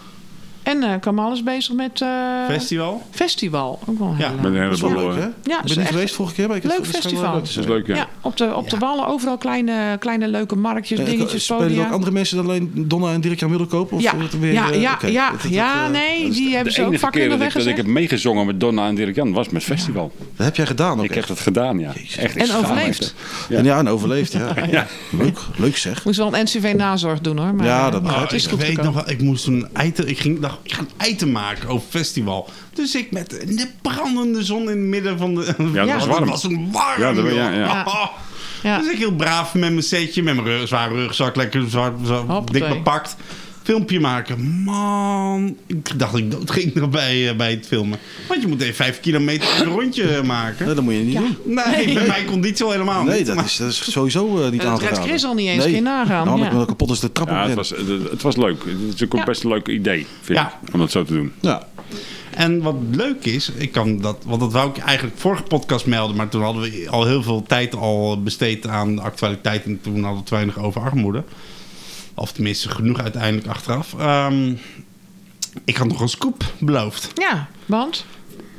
D: En eh Kamal is bezig met... eh,
C: Festival.
D: Festival. Ook wel
C: Ja,
D: heel
B: Met een
D: leuk.
E: Dat is wel
B: heleboel.
E: leuk,
B: eh,
E: hè?
B: Dat
D: Ja,
E: Ik
D: is
E: ben niet
D: echt
E: geweest vorige keer, maar ik
D: Leuk
E: het schijnt wel
D: festival.
E: leuk te zijn.
B: is leuk, ja.
D: Ja, op de, op de wallen overal kleine, kleine leuke marktjes,
E: Eh,
D: dingetjes,
E: Spelen er ook
D: podia.
E: andere mensen dan alleen Donna en Dirk-Jan Middelkoop? Of
D: Ja,
E: wordt het weer,
D: ja,
E: eh,
D: ja,
E: oké,
D: ja,
E: dat het,
D: ja,
E: eh,
D: nee, die hebben
B: De
D: ze ook
B: enige keer
D: vakkundig
B: dat ik, dat ik
D: weggezet.
B: heb meegezongen met Donna en Dirk-Jan was met festival.
E: Dat heb jij gedaan ook
B: Ik heb
E: echt.
B: dat gedaan, ja.
E: Jezus.
B: Echt, ik
D: En
B: schaam me
D: overleefd.
B: echt.
E: En ja, en overleefd, ja. Leuk, leuk zeg.
D: Moest wel een NCV-nazorg doen hoor. Maar,
E: Ja, dat
D: maar
E: mag.
D: Oh, het is
C: ik
D: goed
C: weet
D: gekomen.
C: nog wel, ik moest een item, ik ging, dacht, ik ga een item maken over festival. Dus ik met de brandende zon in het midden van de...
B: dat was
C: Het
B: warm.
C: was een warm,
B: Ja, dat-
C: joh.
B: ja, ja.
C: Oh.
D: Ja.
C: Dus ik heel braaf met mijn setje, met mijn rug- zware rugzak, lekker zwaar, zo
D: Hoppatee.
C: dik bepakt. Filmpje maken. Man, ik dacht dat ik dood ging nog bij, eh, bij het filmen. Want je moet even vijf kilometer een rondje eh, maken.
E: Nee, dat moet je niet doen.
C: Nee, bij mijn conditie al helemaal
E: Nee,
C: niet.
E: dat
C: maar-
E: is, dat is sowieso eh, niet
D: Dat
E: aangedaan.
D: redt Chris al niet eens, kun je nagaan,
E: Nou,
D: ja.
E: ik ben kapot als de trap op
B: Ja, het
E: rennen.
B: was, het, het was leuk. Het is natuurlijk ook
D: Ja.
B: best een leuk idee, vind
C: Ja.
B: ik, om dat zo te doen.
E: Ja.
C: En wat leuk is, ik kan dat, want dat wou ik eigenlijk vorige podcast melden, maar toen hadden we al heel veel tijd al besteed aan de actualiteit en toen hadden we te weinig over armoede. Of tenminste, genoeg uiteindelijk achteraf. Ehm, ik had nog een scoop beloofd.
D: Ja, want?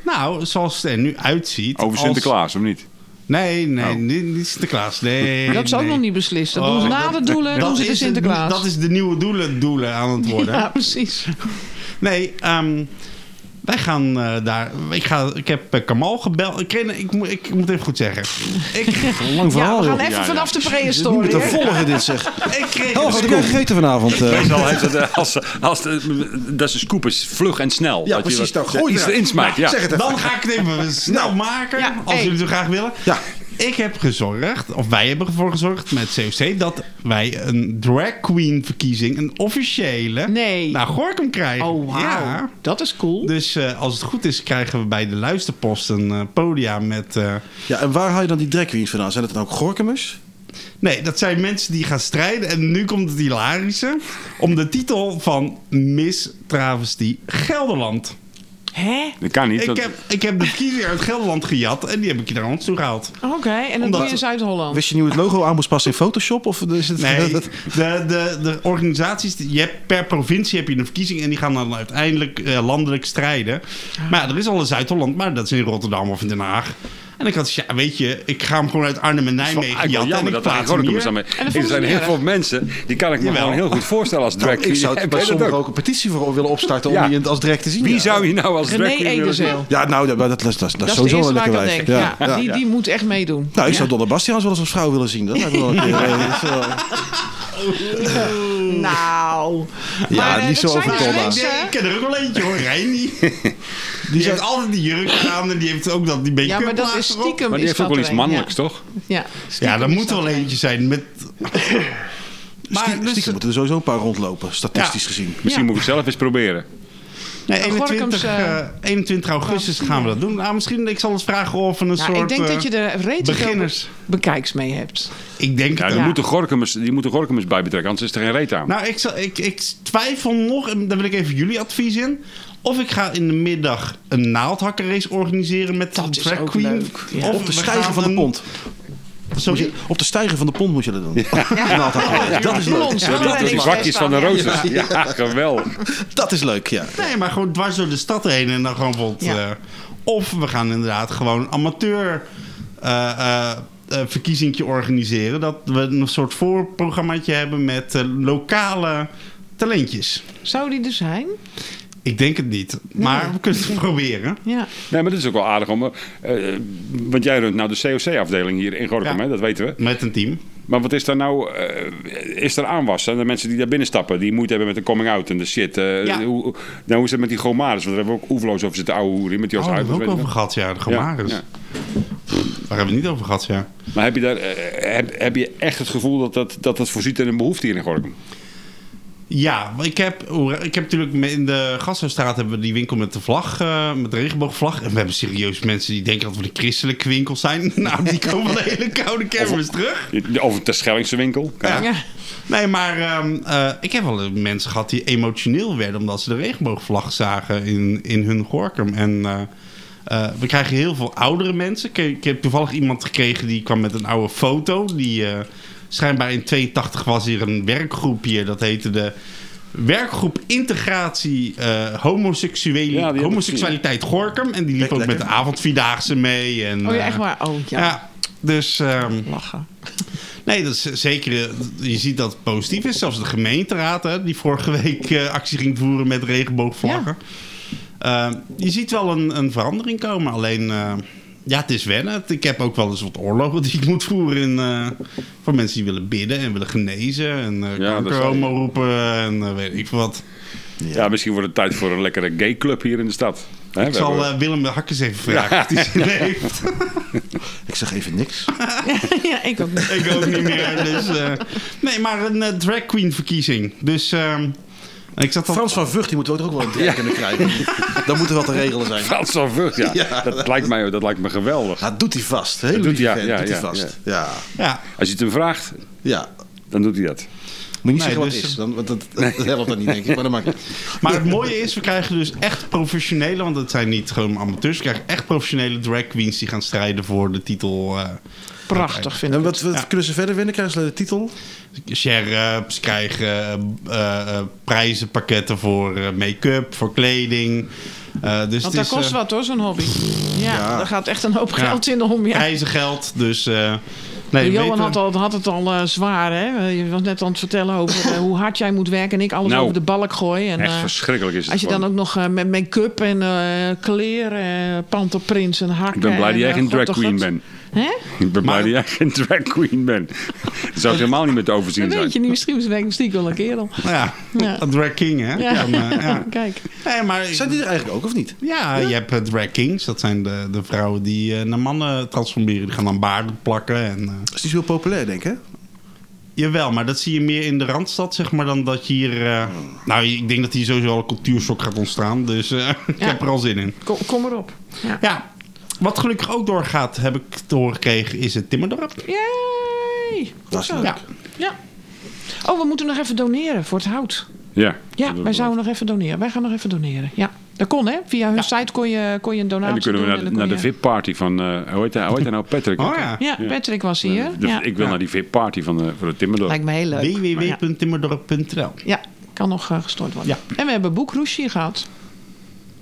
C: Nou, zoals het er nu uitziet.
B: Over
C: als-
B: Sinterklaas, of niet?
C: Nee, nee,
B: Oh.
C: niet, niet Sinterklaas. Nee,
D: dat is ook
C: nee.
D: nog niet beslist. Dat doen ze
C: Oh,
D: na de doelen,
C: dat
D: doen ze de
C: is
D: Sinterklaas.
C: Dat is de nieuwe doelen, doelen aan het worden.
D: ja, precies.
C: Nee, ehm, wij gaan eh, daar. Ik, ga, ik heb eh, Kamal gebeld. Ik, kreeg- ik, moet- ik moet even goed zeggen. Ik,
E: Een lang
D: Ja,
E: verhaal,
D: we
E: joh.
D: gaan
E: Je
D: even
B: ja.
D: vanaf de
E: moet
D: prehistorie.
E: het
D: hè?
E: volgen, dit zeg.
C: ik kreeg
E: Oh,
C: een
E: wat heb jij
C: scoop.
E: gegeten vanavond? eh?
B: Meestal heeft het, eh, als, als de, dat is een scoop is vlug en snel.
E: Ja,
B: Dat je
E: precies,
B: wat-
E: dan gooi je
B: iets
E: eruit.
B: erin smijt, ja.
E: zeg het even.
C: Dan ga ik het even snel maken.
D: Ja,
C: als
D: hey.
C: jullie het zo graag willen.
E: Nou, Ja.
C: Ik heb gezorgd, of wij hebben ervoor gezorgd met COC... dat wij een drag queen verkiezing, een officiële...
D: Nee.
C: naar Gorkum krijgen.
D: Oh, wauw.
C: Ja.
D: Dat is cool.
C: Dus eh, als het goed is, krijgen we bij de luisterpost een eh, podia met... eh,
E: Ja, en waar haal je dan die drag queens vandaan? Zijn dat dan ook Gorkumers?
C: Nee, dat zijn mensen die gaan strijden. En nu komt het hilarische. Om de titel van Miss Travesty Gelderland.
D: Hè?
B: Dat kan niet.
C: Ik
B: dat-
C: heb, ik heb de verkiezing uit Gelderland gejat. En die heb ik hier naar ons toe gehaald.
D: Oké, en dat
C: Omdat-
D: doe je in Zuid-Holland.
E: Wist je niet hoe het logo aan moest passen in Photoshop? Of is het,
C: Nee,
E: dat-
C: de, de, de organisaties, die- je hebt, per provincie heb je een verkiezing en die gaan dan uiteindelijk eh, landelijk strijden. Maar ja, er is al in Zuid-Holland, maar dat is in Rotterdam of in Den Haag. En ik had dus, ja, weet je, ik ga hem gewoon uit Arnhem en
B: Van,
C: Nijmegen
B: eigenlijk wel
C: jatten.
B: jammer
C: en ik
B: dat er geen
C: plaats hem
B: Gorkumers
C: hier.
B: aan mee.
D: En dat
B: Er
D: vonden ze
B: zijn heel
D: niet
B: veel mensen, die kan ik me
C: Jawel.
B: gewoon heel goed voorstellen als drag
E: Nou,
B: queen.
E: ik zou het
B: Heb jij dat
E: bij sommigen
B: ook?
E: ook een petitie voor willen opstarten om
B: Ja.
E: je het als drag te zien.
B: Wie
E: ja.
B: zou je nou als drag
D: René
B: queen willen zien?
D: Edenzeel.
E: Ja, nou, dat, dat, dat, dat,
D: Dat
E: is
D: is de
E: sowieso
D: eerste
E: een
D: waar
E: lekker
D: ik aan
E: wijf.
D: denk.
E: Ja,
D: Ja,
E: ja.
D: die, die moet echt meedoen.
E: Nou, ik
D: Ja.
E: zou Donna Bastiaans wel eens als vrouw willen zien. Dat lijkt me wel een keer, eh, dat is wel-
D: Nou. Maar, eh,
E: niet zo
D: dat zijn dus
E: overkomen.
D: mensen-
C: Ik ken er ook wel eentje hoor, Reini. Die,
E: zou-
C: heeft altijd die jurk aan en die heeft ook dat die beetje
D: Ja, maar dat is stiekem. is
B: Maar die heeft ook wel
D: dat
B: iets
D: er een, ja.
B: mannelijks, toch?
D: Ja,
C: Ja,
D: stiekem
C: er
D: is
C: moet
D: dat
C: wel
D: er een.
C: eentje zijn met...
D: Maar
E: Stie-
D: dus-
E: stiekem moeten er sowieso een paar rondlopen, statistisch
C: Ja.
E: gezien.
B: Misschien
D: Ja.
B: moet ik zelf eens proberen.
C: Nee,
D: Gorkums,
C: 21,
D: eh,
C: eh, 21 augustus gaan we dat doen. Nou, misschien, ik zal eens vragen of we een
D: Nou,
C: soort...
D: ik denk
C: eh,
D: dat je er redelijk
C: beginners.
D: veel bekijks mee hebt.
C: Ik denk
B: Ja,
C: het
B: die,
C: ook.
B: moeten Gorkumers, die moeten Gorkumers bij betrekken, anders is er geen reet aan.
C: Nou, ik, zal, ik, ik twijfel nog, en daar wil ik even jullie advies in. Of ik ga in de middag een naaldhakkerrace organiseren met
D: Dat
C: de
D: is
C: drag
D: ook
C: queen.
D: leuk, ja.
C: Of
E: Op de
C: we
E: stijger
C: gaan
E: van de
C: een-
E: pond. Moet
C: Sorry?
E: je- Op de stijger van de pond moet je dat doen. Nou, dat- dat, is leuk.
D: Ons,
B: dat is die zwakjes van de roosters. Ja, geweldig.
E: dat is leuk, ja.
C: Nee, maar gewoon dwars door de stad heen en dan gewoon bijvoorbeeld...
D: Ja.
C: eh, of we gaan inderdaad gewoon amateur eh, eh, eh, verkiezingje organiseren. Dat we een soort voorprogrammaatje hebben met eh, lokale talentjes.
D: Zou die er zijn?
C: Ik denk het niet, maar we kunnen het proberen.
D: Ja.
B: Nee, maar dat is ook wel aardig om. eh, eh, want jij runt nou de COC-afdeling hier in Gorkum,
C: Ja.
B: hè, dat weten we.
C: Met een team. Oh,
B: Maar wat is daar nou. eh, is er aanwas? Zijn er mensen die daar binnen stappen die moeite hebben met de coming out en de shit? eh,
C: Ja.
B: hoe, hoe- nou, hoe is het met die Gomaris? Want daar hebben we ook oeverloos over zitten ouwe hoeren met Jos
C: Oh, daar hebben
B: Huypers,
C: we
B: weet
C: ook
B: je wel.
C: over gehad, ja. De Gomaris.
B: Ja, ja.
C: Waar hebben we het niet over gehad, ja.
B: Maar heb je, daar, eh, heb, heb je echt het gevoel dat dat, dat dat voorziet in een behoefte hier in Gorkum?
C: Ja, maar ik heb, hoe- ik heb natuurlijk me- in de Gasthuisstraat hebben we die winkel met de vlag, eh, met de regenboogvlag. En we hebben serieus mensen die denken dat we de christelijke winkel zijn. Nou, die komen van de hele koude kermis terug.
B: Over de Schellingse winkel.
C: Ja.
D: Ja.
C: Nee, maar ehm, eh, ik heb wel mensen gehad die emotioneel werden omdat ze de regenboogvlag zagen in, in hun Gorkum. En eh, eh, we krijgen heel veel oudere mensen. Ik, ik heb toevallig iemand gekregen die kwam met een oude foto. Die eh, schijnbaar in 82 was hier een werkgroep hier. Dat heette de werkgroep integratie eh homoseksuele,
B: Ja, die heb ik
C: homoseksualiteit Gorkum. En die liep
E: Lekker,
C: ook met de
E: lekker.
C: avondvierdaagse mee. En,
D: Oh ja,
C: eh,
D: echt waar. Oh ja.
C: Ja. dus... ehm,
D: Lachen.
C: Nee, dat is zeker. eh, Je ziet dat het positief is. Zelfs de gemeenteraad, hè, die vorige week eh, actie ging voeren met regenboogvlaggen. Eh, je ziet wel een, een verandering komen. Alleen, eh, ja, het is wennen. Ik heb ook wel eens wat oorlogen die ik moet voeren. In, eh, voor mensen die willen bidden en willen genezen. En
B: Ja,
C: eh
B: dat is wel-
C: kankerhomo roepen en eh, weet ik veel wat.
B: Ja, misschien wordt het tijd voor een lekkere gay club hier in de stad. Hè,
C: Ik
B: we
C: zal
B: hebben-
C: eh, Willem de Hakkers even vragen of die zin heeft.
E: Ik zeg even niks.
D: ja, ik ook niet.
C: Ik ook niet meer. Dus, eh, nee, maar een eh, drag queen verkiezing. Dus ehm, ik zat al...
E: Frans van Vught, die moeten we ook wel een trek kunnen krijgen. Dan moeten wat te regelen zijn.
B: Frans van Vught, ja.
E: Ja.
B: Dat, lijkt mij, dat lijkt me geweldig.
E: Dat doet hij vast. Heel
B: doet
E: lief
B: hij, ja,
E: vent,
B: ja,
E: doet hij
B: ja,
E: vast. Ja.
C: Ja,
B: Als je het hem vraagt,
E: ja.
B: dan doet hij dat.
E: Moet je niet
C: Nee, dus-
E: zeggen wat het is, dan, want dat, dat helpt dan niet, denk ik. Maar dat maakt niet.
C: Maar het mooie is, we krijgen dus echt professionele, want het zijn niet gewoon amateurs. We krijgen echt professionele drag queens die gaan strijden voor de titel. eh
D: Prachtig vind
E: En
D: ik.
E: wat, wat
C: Ja.
E: kunnen ze verder winnen? Krijgen ze de titel?
C: Sherps krijgen eh, eh, eh, prijzenpakketten voor eh, make-up, voor kleding. Eh, dus
D: Want dat
C: het is,
D: kost
C: eh,
D: wat hoor, zo'n hobby. Ja, daar gaat echt een hoop
C: Ja.
D: geld in om. Ja.
C: prijzengeld. Dus eh, nee,
D: Johan
C: weten-
D: had, al, had het al eh, zwaar, hè? Je was net aan het vertellen over eh, hoe hard jij moet werken en ik alles
B: Nou,
D: over de balk gooi. En,
B: Echt
D: eh,
B: verschrikkelijk is het
D: als je dan
B: gewoon.
D: ook nog eh, met make-up en eh, kleren, eh, panterprins en hakken.
B: Ik ben blij
D: en,
B: dat jij
D: eh,
B: geen
D: god,
B: drag
D: toch
B: queen
D: god.
B: bent.
D: Hè?
B: Ik ben blij
C: Maar-
B: dat jij geen drag queen bent. Daar zou ik helemaal niet meer te overzien
D: Dat
B: zijn.
D: weet je niet, misschien ben ik misschien wel een kerel.
C: Ja,
D: Ja.
C: een drag king, hè?
D: Ja.
C: Dan, eh, ja.
D: Kijk,
C: Nee, maar,
E: Zijn die er eigenlijk ook, of niet?
C: Ja, je hebt eh, drag kings. Dat zijn de, de vrouwen die eh, naar mannen transformeren. Die gaan dan baarden plakken en... eh,
E: Dat is niet zo heel populair, denk ik. hè?
C: Jawel, maar dat zie je meer in de Randstad, zeg maar, dan dat je hier... eh, nou, ik denk dat hier sowieso al een cultuurshock gaat ontstaan. Dus eh, ik
D: Ja.
C: heb er al zin in.
D: kom, kom erop. Ja.
C: Ja, wat gelukkig ook doorgaat, heb ik te horen gekregen, is het Timmerdorp.
D: Yay!
E: Dat is
D: Zo.
E: leuk.
C: Ja,
D: Ja. Oh, we moeten nog even doneren voor het hout.
B: Ja.
D: Ja, wij zouden nog even doneren. Wij gaan nog even doneren. Ja, dat kon hè. Via hun site kon je, kon je een donatie
B: En dan kunnen we
D: doen
B: naar,
D: en
B: naar
D: kon
B: de
D: je-
B: VIP-party van... eh, hoe, heet hij, hoe heet hij nou? Patrick.
C: oh ja.
D: Ja, Patrick was hier.
B: Dus
D: ja.
B: Ik wil naar die VIP-party van de, voor de Timmerdorp.
D: Lijkt me heel leuk. Maar Oh, ja.
C: www.timmerdorp.nl
D: Ja, kan nog eh, gestort worden.
C: Ja.
D: En we hebben Boekroesje gehad.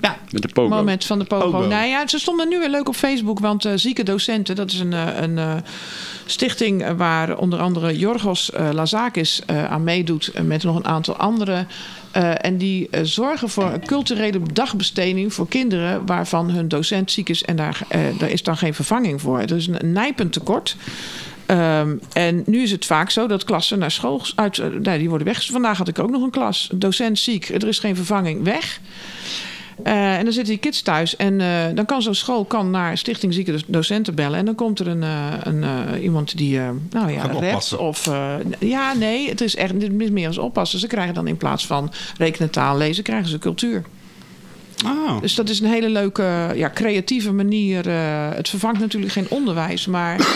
C: Ja,
B: Met de pogo.
D: Moment van de Pogo.
C: Pogo.
D: Nou ja, ze stonden nu weer leuk op Facebook. Want eh, Zieke Docenten, dat is een, eh, een eh, stichting eh, waar onder andere Jorgos eh, Lazakis eh, aan meedoet. eh, Met nog een aantal anderen. Eh, en die eh, zorgen voor een culturele dagbesteding voor kinderen waarvan hun docent ziek is. En daar, eh, daar is dan geen vervanging voor. Het is een nijpend tekort. Ehm, en nu is het vaak zo dat klassen naar school uit. eh, nee, die worden weg. Vandaag had ik ook nog een klas. Docent ziek, er is geen vervanging. Weg. Eh, en dan zitten die kids thuis. En eh, dan kan zo'n school kan naar Stichting Zieke Docenten bellen. En dan komt er een, eh, een, eh, iemand die eh, nou ja,
C: Gaat
D: rept.
C: oppassen.
D: Of, eh, ja, nee, het is echt dit is meer als oppassen. Ze krijgen dan in plaats van rekenen, taal, lezen, krijgen ze cultuur.
C: Ah,
D: Dus dat is een hele leuke, ja, creatieve manier. eh, het vervangt natuurlijk geen onderwijs, maar...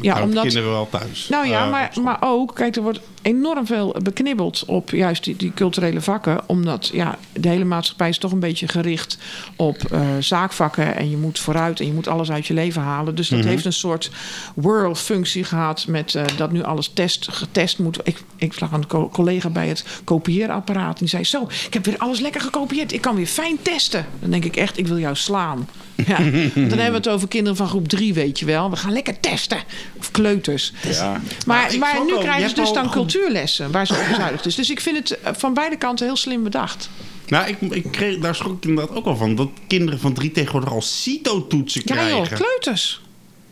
D: Ja,
C: houden de
D: omdat
C: Nou, kinderen wel thuis.
D: nou ja,
C: Eh,
D: maar, maar ook, kijk, er wordt enorm veel beknibbeld op juist die, die culturele vakken. Omdat ja, de hele maatschappij is toch een beetje gericht op eh, zaakvakken. En je moet vooruit en je moet alles uit je leven halen. Dus dat heeft een soort whirl-functie gehad met eh, dat nu alles test, getest moet. Ik, ik zag een co- collega bij het kopieerapparaat. Die zei, zo, ik heb weer alles lekker gekopieerd. Ik kan weer fijn testen. Dan denk ik echt, ik wil jou slaan. Ja, want dan hebben we het over kinderen van groep 3, weet je wel. We gaan lekker testen. Of kleuters.
B: Ja.
D: Maar,
C: ik
D: maar
C: snap
D: nu
C: wel, je
D: krijgen ze
C: hebt
D: dus
C: al
D: dan
C: goed-
D: cultuurlessen waar ze op bezuinigd is. Dus ik vind het eh, van beide kanten heel slim bedacht.
C: Nou, ik, ik kreeg, daar schrok ik inderdaad ook wel van. Dat kinderen van drie tegenwoordig al CITO-toetsen
D: Ja
C: krijgen.
D: joh,
E: eh,
D: kleuters.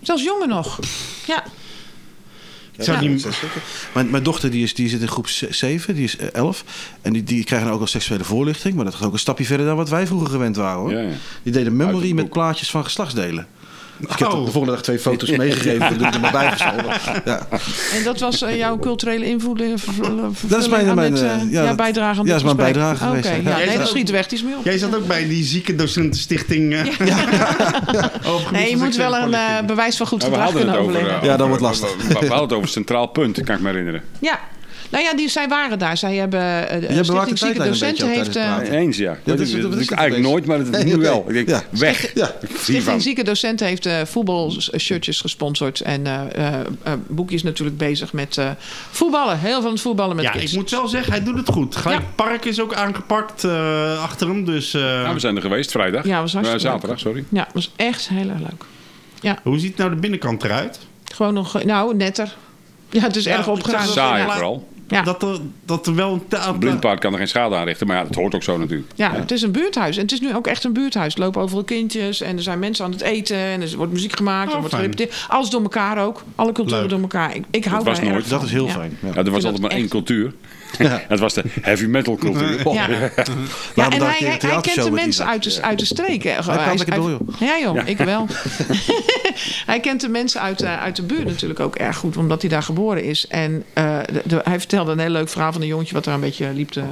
D: Zelfs jongen nog. Ja,
C: Ik zou
D: Ja.
C: niet-
E: Mijn, mijn dochter die is, die zit in groep 7, die is 11. En die, die krijgen dan ook al seksuele voorlichting. Maar dat gaat ook een stapje verder dan wat wij vroeger gewend waren hoor.
B: Ja, ja.
E: Die deden
B: Uit
E: memory
B: het
E: met
B: boek.
E: plaatjes van geslachtsdelen. Dus ik heb
C: Oh.
E: de volgende dag twee foto's meegegeven. Dat doe ik er maar bij of zo. Ja.
D: en dat was eh, jouw culturele invloeding.
E: Dat is mijn- mijn, eh, ja, dat-
D: bijdrage aan dit
E: ja, is
D: gesprek.
E: mijn bijdrage
D: Oké,
E: geweest, ja.
D: ja,
E: Jij
D: nee,
C: zat
D: dat
C: ook-
D: schiet weg iets meer op.
C: Jij zat ook bij die zieke docentenstichting. eh, over
D: Nee, je moet wel een eh,
C: voorlichting.
D: bewijs van goed
B: Nou, we
D: gedrag kunnen
B: hadden het over...
D: overleggen.
B: eh,
E: Ja, dan wordt
B: over-
E: lastig.
B: We, we- we hadden het over Centraal Punt, kan ik me herinneren.
D: Ja. Nou ja, die, zij waren daar. Zij hebben. eh, de
E: bewaakt de
D: Stichting
E: tijdlijn
D: Zieke
E: een
D: Docenten
E: beetje ook
D: heeft.
E: tijdens
D: eh,
E: het
B: Eens, ja.
E: dat
B: dat
E: is-
B: is,
E: dat
B: dat
E: is
B: ik
E: het
B: eigenlijk
E: opeens.
B: nooit, maar dat is
E: Nee,
B: nu
E: oké.
B: wel. Ik denk,
E: Ja.
B: weg.
E: Ja.
B: Hiervan.
D: Stichting Zieke Docenten heeft eh voetbalshirtjes gesponsord. En eh, eh, eh, Boekie is natuurlijk bezig met eh, voetballen. Heel veel aan het voetballen met
C: Ja,
D: kids.
C: ik moet wel zeggen, hij doet het goed. Gelijk
D: Ja.
C: Park is ook aangepakt eh, achter hem. Dus eh,
B: Ja,
D: Nou,
B: we zijn er geweest, vrijdag.
D: Ja, was
B: Eh,
D: hartstikke
B: Zaterdag, sorry.
D: Ja, was echt heel erg leuk.
C: hoe ziet nou de binnenkant eruit?
D: Gewoon nog, eh, nou, netter. Ja, het is
C: Ja,
D: erg
C: ik
D: opgeruimd.
C: zag
B: Saai
C: Ja.
B: vooral.
D: Ja.
C: Dat, er, dat er wel een ta-
B: Een blindpaard kan er geen schade aan richten, maar ja, dat hoort ook zo natuurlijk.
D: Ja, het is een buurthuis. En het is nu ook echt een buurthuis. Er lopen overal kindjes en er zijn mensen aan het eten. En er wordt muziek gemaakt.
C: Oh,
D: er wordt
C: fijn.
D: gerepeteerd. Alles door elkaar ook. Alle culturen
C: Leuk.
D: door elkaar. Ik, ik hou
B: was
D: daar erg
B: nooit.
E: Dat is heel
D: Ja.
E: fijn. Ja.
B: Ja, Nou, er was
D: dat
B: altijd maar één
D: echt-
B: cultuur. Dat was de heavy metal cultuur.
D: Ja. Ja,
E: daar
D: en
E: een
D: hij,
E: keer
D: hij,
E: een
D: hij
E: theatershow
D: kent de
E: met
D: mensen
E: Isaac.
D: uit de, uit de streek. Hij
E: praat lekker door,
D: Ja joh, ik wel. hij kent de mensen uit de, uit de buurt natuurlijk ook erg goed. Omdat hij daar geboren is. En eh, de- de- hij vertelde een heel leuk verhaal van een jongetje... wat daar een beetje liep te,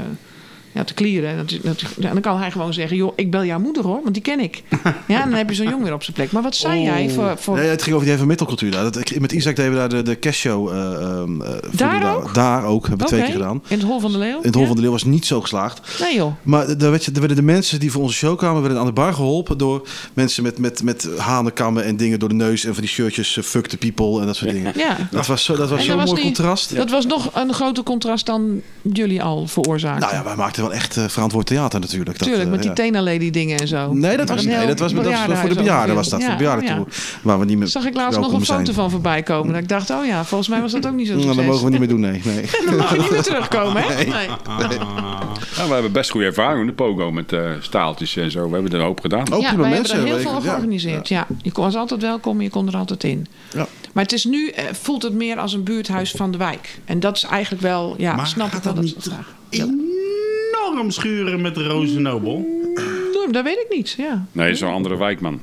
D: ja, te klieren. En, dat, is- dat, is- en dan kan hij gewoon zeggen... joh, ik bel jouw moeder hoor, want die ken ik. Ja, en dan heb je zo'n jongen weer op zijn plek. Maar wat zei
E: Oh.
D: jij voor... voor
E: Nee, het ging over die even middelcultuur daar. Dat, ik- met Isaac deden we daar de, de cashow. eh, ehm, eh, voerden
D: Daar ook?
E: Daar ook. Hebben we twee
D: Oké,
E: keer gedaan.
D: In het Hol van de Leeuw?
E: In het Hol van de Leeuw was niet zo geslaagd.
D: Nee joh.
E: Maar daar werd je- daar werden de mensen die voor onze show kwamen, werden aan de bar geholpen door mensen met, met, met hanenkammen en dingen door de neus en van die shirtjes eh, fuck the people en dat soort dingen.
D: Ja.
E: Dat was zo- dat was
D: En
E: zo'n
D: dat was
E: mooi
D: die-
E: contrast.
D: Dat was nog een groter contrast dan jullie al veroorzaakten.
E: Nou ja, wij maakten wel echt eh, verantwoord theater natuurlijk. Dat,
D: Tuurlijk,
E: eh,
D: met die
E: ja.
D: Tena Lady dingen en zo.
E: Nee, dat was,
D: een
E: nee,
D: heel
E: dat was, dat was voor de
D: bejaardenhuis
E: bejaarden was
D: ongeveer.
E: dat. Voor de
D: Ja,
E: bejaarden toe. Waar we niet meer
D: Zag ik laatst nog
E: welkom
D: een foto
E: zijn.
D: van voorbij komen. Dat ik dacht, oh ja, volgens mij was dat ook niet zo
E: Nou,
D: succes.
E: dat mogen we niet meer doen, nee. nee.
D: Dan mag je niet meer terugkomen, hè? Nee.
B: Ja, we hebben best goede ervaring met de pogo, met eh, staaltjes en zo. We hebben er een hoop gedaan.
E: Oh,
D: Ja,
E: prima
D: wij
E: mensen.
D: hebben er heel
E: weet
D: veel
E: ik. Ja.
D: georganiseerd. Ja. Je kon- was altijd welkom, je kon er altijd in.
E: Ja.
D: Maar het is nu, eh, voelt het meer als een buurthuis van de wijk. En dat is eigenlijk wel, ja,
C: Maar
D: snap ik
C: gaat
D: wel
C: dat
D: dat ze
C: niet-
D: dat vragen.
C: enorm schuren met Rozenobel.
D: Nou, Dat weet ik niet, ja.
B: Nee, zo'n andere wijkman.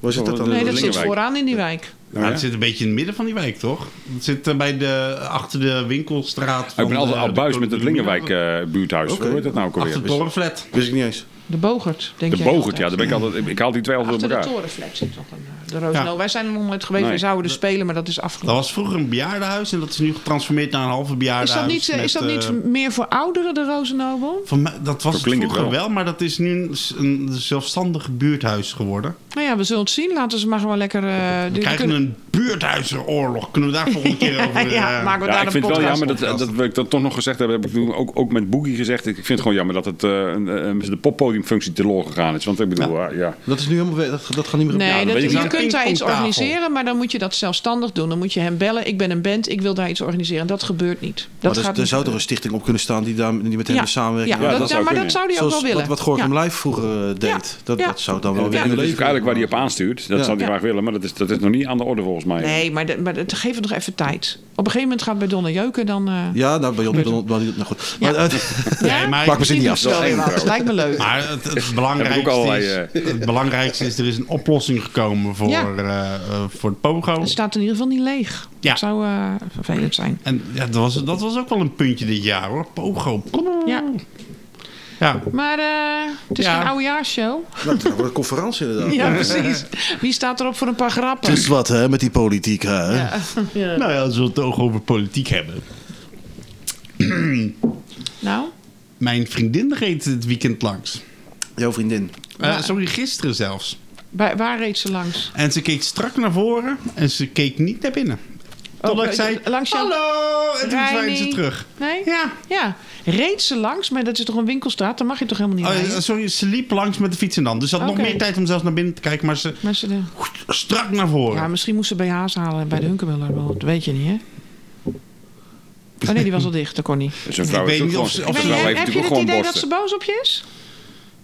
E: Waar zit dat dan?
D: Nee, dat
B: Lingenwijk.
D: zit vooraan in die wijk.
C: Nou, dat zit een beetje in het midden van die wijk, toch? Dat zit eh, bij de, achter de winkelstraat.
B: ik ben
C: van
B: altijd
C: de-
B: al buis met het
C: de-
B: Lingenwijk eh, buurthuis. Hoe heet dat nou ook alweer?
C: Achter de
D: dus-
C: torenflat.
E: Wist ik niet eens.
D: De Bogert, denk
B: De
D: jij
B: Bogert,
D: altijd.
B: ja. Daar ben ik, altijd, ik, ik haal die twee altijd
D: Achter
B: door
D: de
B: elkaar.
D: torenflat zit nog een... eh, De Roos
C: Ja.
D: Nou, Wij zijn er nog nooit geweest.
B: Nee.
D: Wij zouden er spelen, maar dat is
C: Dat
D: afgelopen.
C: was vroeger een bejaardenhuis en dat is nu getransformeerd naar een halve
D: Is dat
C: bejaardenhuis.
D: niet, eh, is dat
C: met,
D: niet
C: eh,
D: meer voor ouderen, de Rozenobel?
C: Van mij- dat was
B: Zo
C: het
B: klinkt
C: vroeger
B: het
C: wel.
B: wel.
C: maar dat is nu een, een zelfstandig buurthuis geworden.
D: Nou ja, we zullen het zien. Laten ze maar gewoon lekker... eh, die-
C: We krijgen
D: kunnen-
C: een buurthuizeroorlog. Kunnen we daar volgende keer over...
D: Ja,
C: eh,
D: maken we
B: Ja,
D: daar
B: ik
D: een
B: vind het wel
D: podcast
B: jammer dat, dat we dat toch nog gezegd hebben. Heb ik toen ook, ook met Boogie gezegd. Ik vind het gewoon jammer dat het, eh, een- een- de poppodiumfunctie teloor gegaan is. Want ik bedoel, eh, ja. ja.
E: Dat is nu helemaal... we- Dat, dat gaat niet meer...
D: Nee,
B: dat
D: dat,
B: weet ik
D: je
B: niet.
D: kunt kunt daar iets
C: pingpongtafel.
D: organiseren, maar dan moet je dat zelfstandig doen. Dan moet je hem bellen. Ik ben een band, ik wil daar iets organiseren. Dat gebeurt niet. Dat
E: Maar
D: gaat
E: dus, er
D: niet
E: zou toch
D: gebeuren.
E: een stichting op kunnen staan die, daar, die met hen
D: ja.
E: samenwerkt.
D: Ja,
B: Ja,
D: dat,
B: dat
D: ja,
B: zou
D: maar dat
B: kunnen,
D: zou die ook
E: Zoals
D: wel willen.
E: wat, wat Gorkum
D: Ja.
E: Live vroeger eh, deed. Dat,
D: Ja.
E: dat zou dan wel
B: Dat
E: weer
B: is
E: in
B: natuurlijk
E: de leven
B: eigenlijk waar hij op
E: komen.
B: aanstuurt. Dat
E: Ja.
B: zou hij
D: Ja.
B: graag willen, maar dat is, dat is nog niet aan de orde volgens mij.
D: Nee, maar, dat- maar dat, geef het nog even tijd. Op een gegeven moment gaat bij Donna Jeuken dan... eh,
E: Ja, nou, bij ons... Nou goed.
D: Ja.
E: Maar, eh,
D: ja?
C: Nee, maar,
E: Maakt me zin niet
D: Ik
E: af.
D: doe wel weer wat. Lijkt me leuk.
C: maar het, het
B: Heb ik
C: belangrijkste
B: ook eh, allerlei,
C: is, het belangrijkste is, er is een oplossing gekomen voor,
D: Ja. Dus-
C: eh, eh, voor het pogo.
D: Het staat in ieder geval niet leeg.
C: Ja.
D: Dat zou eh, vervelend zijn.
C: En ja, dat, was, dat was ook wel een puntje dit jaar hoor. Pogo.
D: Ja.
C: Ja,
D: Maar eh, het is
C: Ja.
D: geen oudejaarsshow.
E: nou, het wordt een conferentie inderdaad.
D: Ja, precies. Wie staat erop voor een paar grappen?
C: Dus-
E: Het is wat hè, met die politiek. Hè?
D: Eh.
C: nou ja, als we het toch over politiek hebben.
D: Nou,
C: Mijn vriendin reed het weekend langs.
E: Jouw vriendin.
C: Eh, sorry, gisteren zelfs.
D: bij, waar reed ze langs?
C: En ze keek strak naar voren en ze keek niet naar binnen. Totdat
D: Oh,
C: ik zei,
D: eh, langs jou-
C: hallo! En toen
D: Reinie.
C: zwaaide ze terug.
D: Nee?
C: Ja.
D: Ja. Reed ze langs, maar dat is toch een winkelstraat? Dan mag je toch helemaal niet
C: Oh, eh,
D: rijden?
C: sorry, ze liep langs met de fiets en dan. Dus ze had
D: Oké.
C: nog meer tijd om zelfs naar binnen te kijken, maar ze
D: Maar ze de-
C: strak naar voren.
D: ja, misschien moest ze BH's halen bij de Hunkemuller. wel. Dat weet je niet, hè? Oh nee, die was al dicht. Dat kon niet.
B: Zijn vrouw
C: Ik
B: heeft
C: weet
B: ook
C: niet
B: gewoon,
C: of ze-
B: zijn
C: of
D: Ik
C: ze
D: weet
B: vrouw
D: niet,
C: nou
D: heb
B: heeft
D: heb je
B: natuurlijk
D: het
B: gewoon
D: idee dat ze
B: borsten.
D: boos op je is?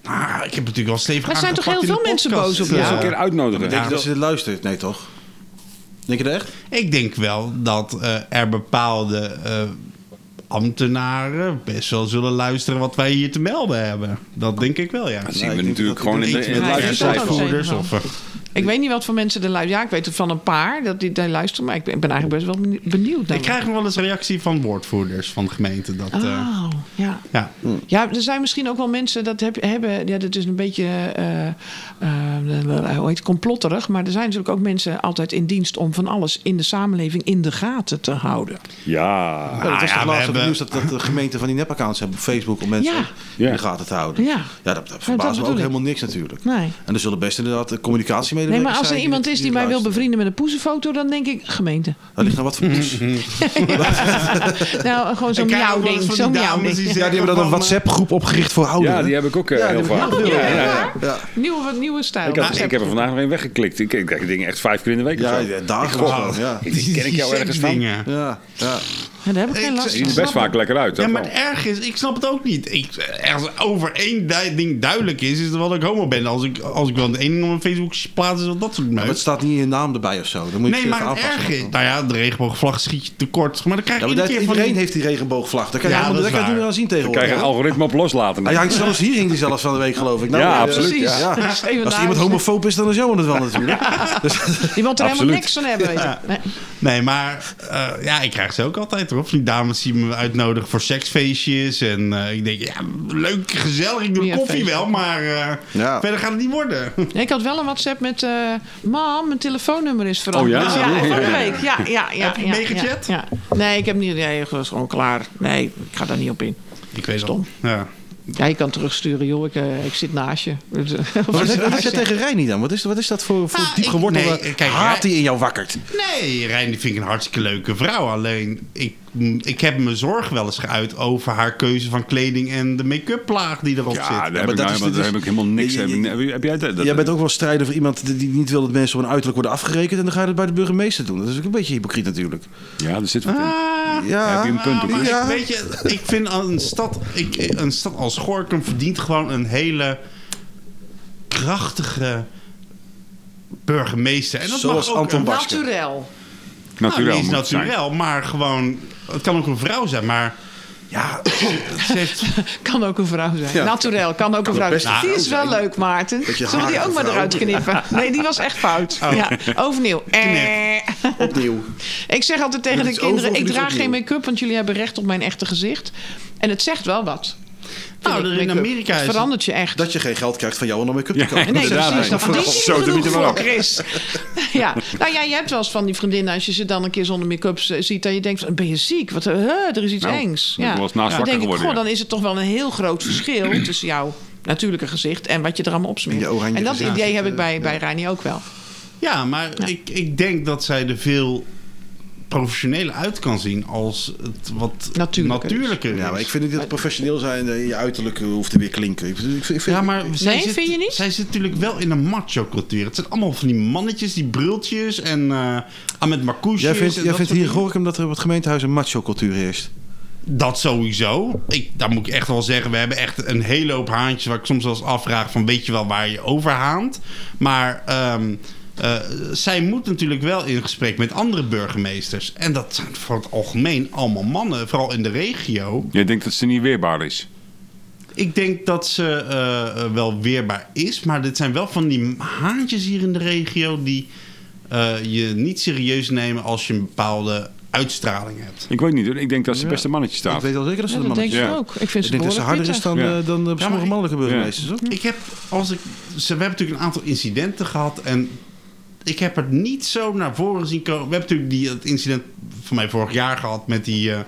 C: Ah, ik heb natuurlijk wel stevig
D: Maar er zijn toch
C: aangepakt
D: heel
C: in de
D: veel mensen
C: podcast. eh.
D: boos op
B: Dat is
D: Ja.
B: een keer uitnodigen.
E: Denk
B: Ja.
E: je dat ze dit luistert? Nee, toch? Denk je dat echt?
C: Ik denk wel dat eh, er bepaalde eh, ambtenaren best wel zullen luisteren wat wij hier te melden hebben. Dat denk ik wel, ja.
B: Dat
E: Nee,
B: zien
E: ik
B: we
E: denk
B: natuurlijk
E: dat-
B: gewoon
E: ik
B: in,
E: denk
B: de, in het
D: dat- ik denk dat-
B: luistercijfer.
C: Voeders
D: wel.
C: of... eh,
D: Ik weet niet wat voor mensen er luisteren. Ja, ik weet er van een paar dat die daar luisteren. Maar ik ben, ik ben eigenlijk best wel benie- benieuwd. naar
C: Ik krijg nog wel eens reactie van woordvoerders van de gemeente. Dat, eh,
D: Oh, ja.
C: ja.
D: Ja, er zijn misschien ook wel mensen dat heb, hebben. Ja, dat is een beetje. eh, eh, eh, hoe heet het? Complotterig. Maar er zijn natuurlijk ook mensen altijd in dienst om van alles in de samenleving in de gaten te houden.
B: Ja.
E: Ja,
C: Ah,
E: Nou, dat was
C: ja,
E: toch
C: we
E: laatst op het
C: hebben-
E: nieuws dat, dat de gemeenten van die nepaccounts hebben op Facebook om mensen
D: Ja.
E: in
B: Ja.
E: de gaten te houden.
D: Ja.
E: ja dat, dat verbaast me
D: bedoel
E: ook
D: ik.
E: helemaal niks natuurlijk.
D: Nee.
E: En er zullen best inderdaad eh,
D: Nee,
E: communicatiemedewerkers
D: maar als er
E: zijn
D: iemand
E: dit-
D: is die mij wil
E: luisteren.
D: bevrienden met een poezenfoto, dan denk ik gemeente.
E: Dat ligt aan wat voor poes.
D: Nou, gewoon zo'n
C: Ik krijg
D: miauw
C: ook wel eens
D: ding.
C: van die
D: Zo'n miauw
C: dames die
D: ding.
C: zeggen
E: Ja, die hebben dan een
C: van, eh,
E: WhatsApp-groep opgericht voor
B: ja,
E: ouderen.
B: die heb ik ook eh,
E: Ja,
B: heel
E: die
B: vaak.
E: heb ik ook.
B: Ja, ja, ja.
D: Nieuwe, nieuwe stijl.
B: Ik, had- ik heb er vandaag nog één weggeklikt. Ik, ik krijg die dingen echt vijf keer in de week.
E: Ja,
B: of zo.
E: ja, dagen
B: Ik gok-
E: gewoon, ja.
B: Ik denk, ken ik jou
C: die
B: ergens van?
C: seksdingen.
E: Ja, ja.
D: Ja, daar heb ik
C: Ik-
D: geen last
B: Die zien er
D: van.
B: best vaak lekker uit. dat
C: Ja, maar
B: wel.
C: het erg is, ik snap het ook niet. Ik, eh, als over één du- ding duidelijk is, is dat wel dat ik homo ben. Als ik, als ik wel een één ding op mijn Facebook plaats, is dat dat soort
E: Maar
C: meuk.
E: het staat niet in je naam erbij of zo. Dan moet je
C: Nee,
E: het
C: maar het
E: aanpassen.
C: erg is... Nou ja, de regenboogvlag schiet je tekort. Maar dan krijg
E: Ja,
C: je
E: maar
C: iedere
E: dat,
C: keer van...
E: iedereen
C: die-
E: heeft die regenboogvlag. Daar kan je,
C: Ja, dat
E: helemaal, daar
C: is
E: kan je niet
C: waar.
E: meer aan zien tegenwoordig.
B: krijg je een
E: hè?
B: algoritme op loslaten.
E: Hij hangt zelfs hier hing die zelfs van de week geloof ik. Nou,
B: Ja,
E: eh,
B: absoluut,
D: Precies.
E: ja.
D: Dat is even
E: Als
D: daar-
E: iemand homofoob is, dan is jou het wel natuurlijk.
D: Die wil er helemaal
B: Absoluut.
D: niks van hebben. weet je. Nee.
C: Nee, maar eh, ja, ik krijg ze ook altijd hoor. Van die dames die me uitnodigen voor seksfeestjes. En eh, ik denk, ja, leuk, gezellig. Ik doe de
D: Ja,
C: koffie
D: feestje.
C: wel, maar eh,
E: Ja.
C: verder gaat het niet worden.
D: Ja, ik had wel een WhatsApp met... eh mam, mijn telefoonnummer is veranderd.
B: Oh ja?
D: Dus
B: Ja, ja,
D: van de
B: ja.
D: week. Ja, ja, ja.
C: Heb je
D: ja,
C: meegechat?
D: Ja, ja. Nee, ik heb niet... Nee, het was gewoon klaar. Nee, ik ga daar niet op in.
C: Ik weet
D: Stom.
C: Ja.
D: Ja, je kan terugsturen, joh. Ik, eh, ik zit naast je.
E: Wat is, wat is dat tegen Reini dan? Wat is, wat is dat voor, voor
C: Ah,
E: diep
C: ik-
E: gewortelde
C: nee, kijk,
E: haat
C: Rijn-
E: die in jou wakkert?
C: Nee, Rijn die vind ik een hartstikke leuke vrouw. Alleen, ik, ik heb mijn zorg wel eens geuit over haar keuze van kleding en de make-up plaag die erop
B: Ja,
C: zit.
B: daar heb
E: maar
B: ik
E: dat
B: nou
E: is-
B: helemaal- daar
E: dat
B: heb
E: is-
B: ik helemaal niks.
E: Je- je-
B: heb ik- Heb jij dat? dat-
E: Jij bent ook wel strijder voor iemand die- die niet wil dat mensen op een uiterlijk worden afgerekend. En dan ga je dat bij de burgemeester doen. Dat is ook een beetje hypocriet natuurlijk.
B: Ja, er zit wat in.
C: Ah,
E: Ja,
B: heb je een punt op,
C: maar
B: hè?
E: Ja.
C: ik- weet je, ik vind een stad, ik, een stad als Gorkum verdient gewoon een hele krachtige burgemeester. En dat
E: Zoals
C: mag ook
E: Anton
C: een-
E: Bak.
D: Naturel.
C: Nou,
B: Natuurlijk.
C: die is
B: moet het zijn.
C: natuurlijk, maar gewoon, het kan ook een vrouw zijn, maar ja, ze heeft,
D: Kan ook een vrouw zijn.
E: Ja.
D: Naturel, kan ook een vrouw
E: best
D: zijn.
E: een
D: Die
E: vrouw
D: is wel
E: zijn.
D: leuk, Maarten.
E: Dat je
D: Zullen we die
E: haar
D: ook maar
E: vrouw-
D: eruit knippen? Nee, die was echt fout. Ja, overnieuw. Eh.
E: Opnieuw.
D: Ik zeg altijd tegen
E: Met
D: de
E: iets
D: kinderen...
E: over
D: ik
E: of iets
D: draag geen
E: opnieuw?
D: make-up, want jullie hebben recht op mijn echte gezicht. En het zegt wel wat. vind
C: Nou,
D: ik,
C: er in
D: make-up.
C: Amerika
D: Het
C: is-
D: verandert je echt.
E: Dat je geen geld krijgt van jou om een make-up te kopen.
D: Nee,
B: Inderdaad,
D: precies. Dan
B: nee.
D: verdien je
B: Zo,
D: niet
B: doe
D: genoeg
B: niet maar
D: voor,
B: op.
D: Chris. ja. Nou ja, je hebt wel eens van die vriendinnen... als je ze dan een keer zonder make-up z- ziet... dat je denkt, van, ben je ziek? Wat, eh, huh, er is iets
B: Nou,
D: engs.
B: ben ik wel eens naast
D: Dan
B: wakker
D: denk ik,
B: geworden,
D: goh,
B: ja.
D: dan is het toch wel een heel groot verschil... tussen jouw natuurlijke gezicht en wat je er allemaal opsmeert.
E: Je oranje
D: en dat
E: gezicht,
D: idee heb
E: eh,
D: ik bij, bij Reini ook wel.
C: ja, maar Ik, ik denk dat zij er veel professionele uit kan zien als het wat
D: Natuurlijker is.
C: natuurlijker is.
E: Ja, maar ik vind niet dat professioneel zijn eh, je uiterlijk hoeft te weer klinken. Ik vind, ik vind,
C: Ja, maar zij
D: Nee,
C: zit,
D: vind je niet?
C: Zij zit natuurlijk wel in een macho-cultuur. Het zijn allemaal van die mannetjes, die brultjes en eh Ahmed Marcouche.
E: Jij vindt, jij vindt hier in Gorkum dat er op het gemeentehuis een macho-cultuur heerst?
C: Dat sowieso. Ik, daar moet ik echt wel zeggen, we hebben echt een hele hoop haantjes... waar ik soms wel eens afvraag van weet je wel waar je over haant. Maar ehm, eh, zij moet natuurlijk wel in gesprek met andere burgemeesters. En dat zijn voor het algemeen allemaal mannen, vooral in de regio.
F: Jij denkt dat ze niet weerbaar is.
C: Ik denk dat ze eh, eh, wel weerbaar is. Maar dit zijn wel van die haantjes hier in de regio... die eh, je niet serieus nemen als je een bepaalde uitstraling hebt.
F: Ik weet niet hoor. Ik denk dat ze best een mannetje
E: Ik
F: staat.
E: weet al zeker dat ze
D: Ja,
E: een
D: dat denk
E: mannetje
D: ik
F: Ja.
D: ook. Ik vind
E: Ik
D: ze
E: denk dat ze
D: behoorlijk
E: harder is
D: pittig.
E: dan,
F: Ja.
E: eh, dan eh, sommige
C: ik-
E: mannelijke burgemeesters,
D: Hm.
E: hoor.
C: Ik heb, als ik, ze, we hebben natuurlijk een aantal incidenten gehad. En ik heb het niet zo naar voren zien komen. We hebben natuurlijk die, het incident van mij vorig jaar gehad met die eh,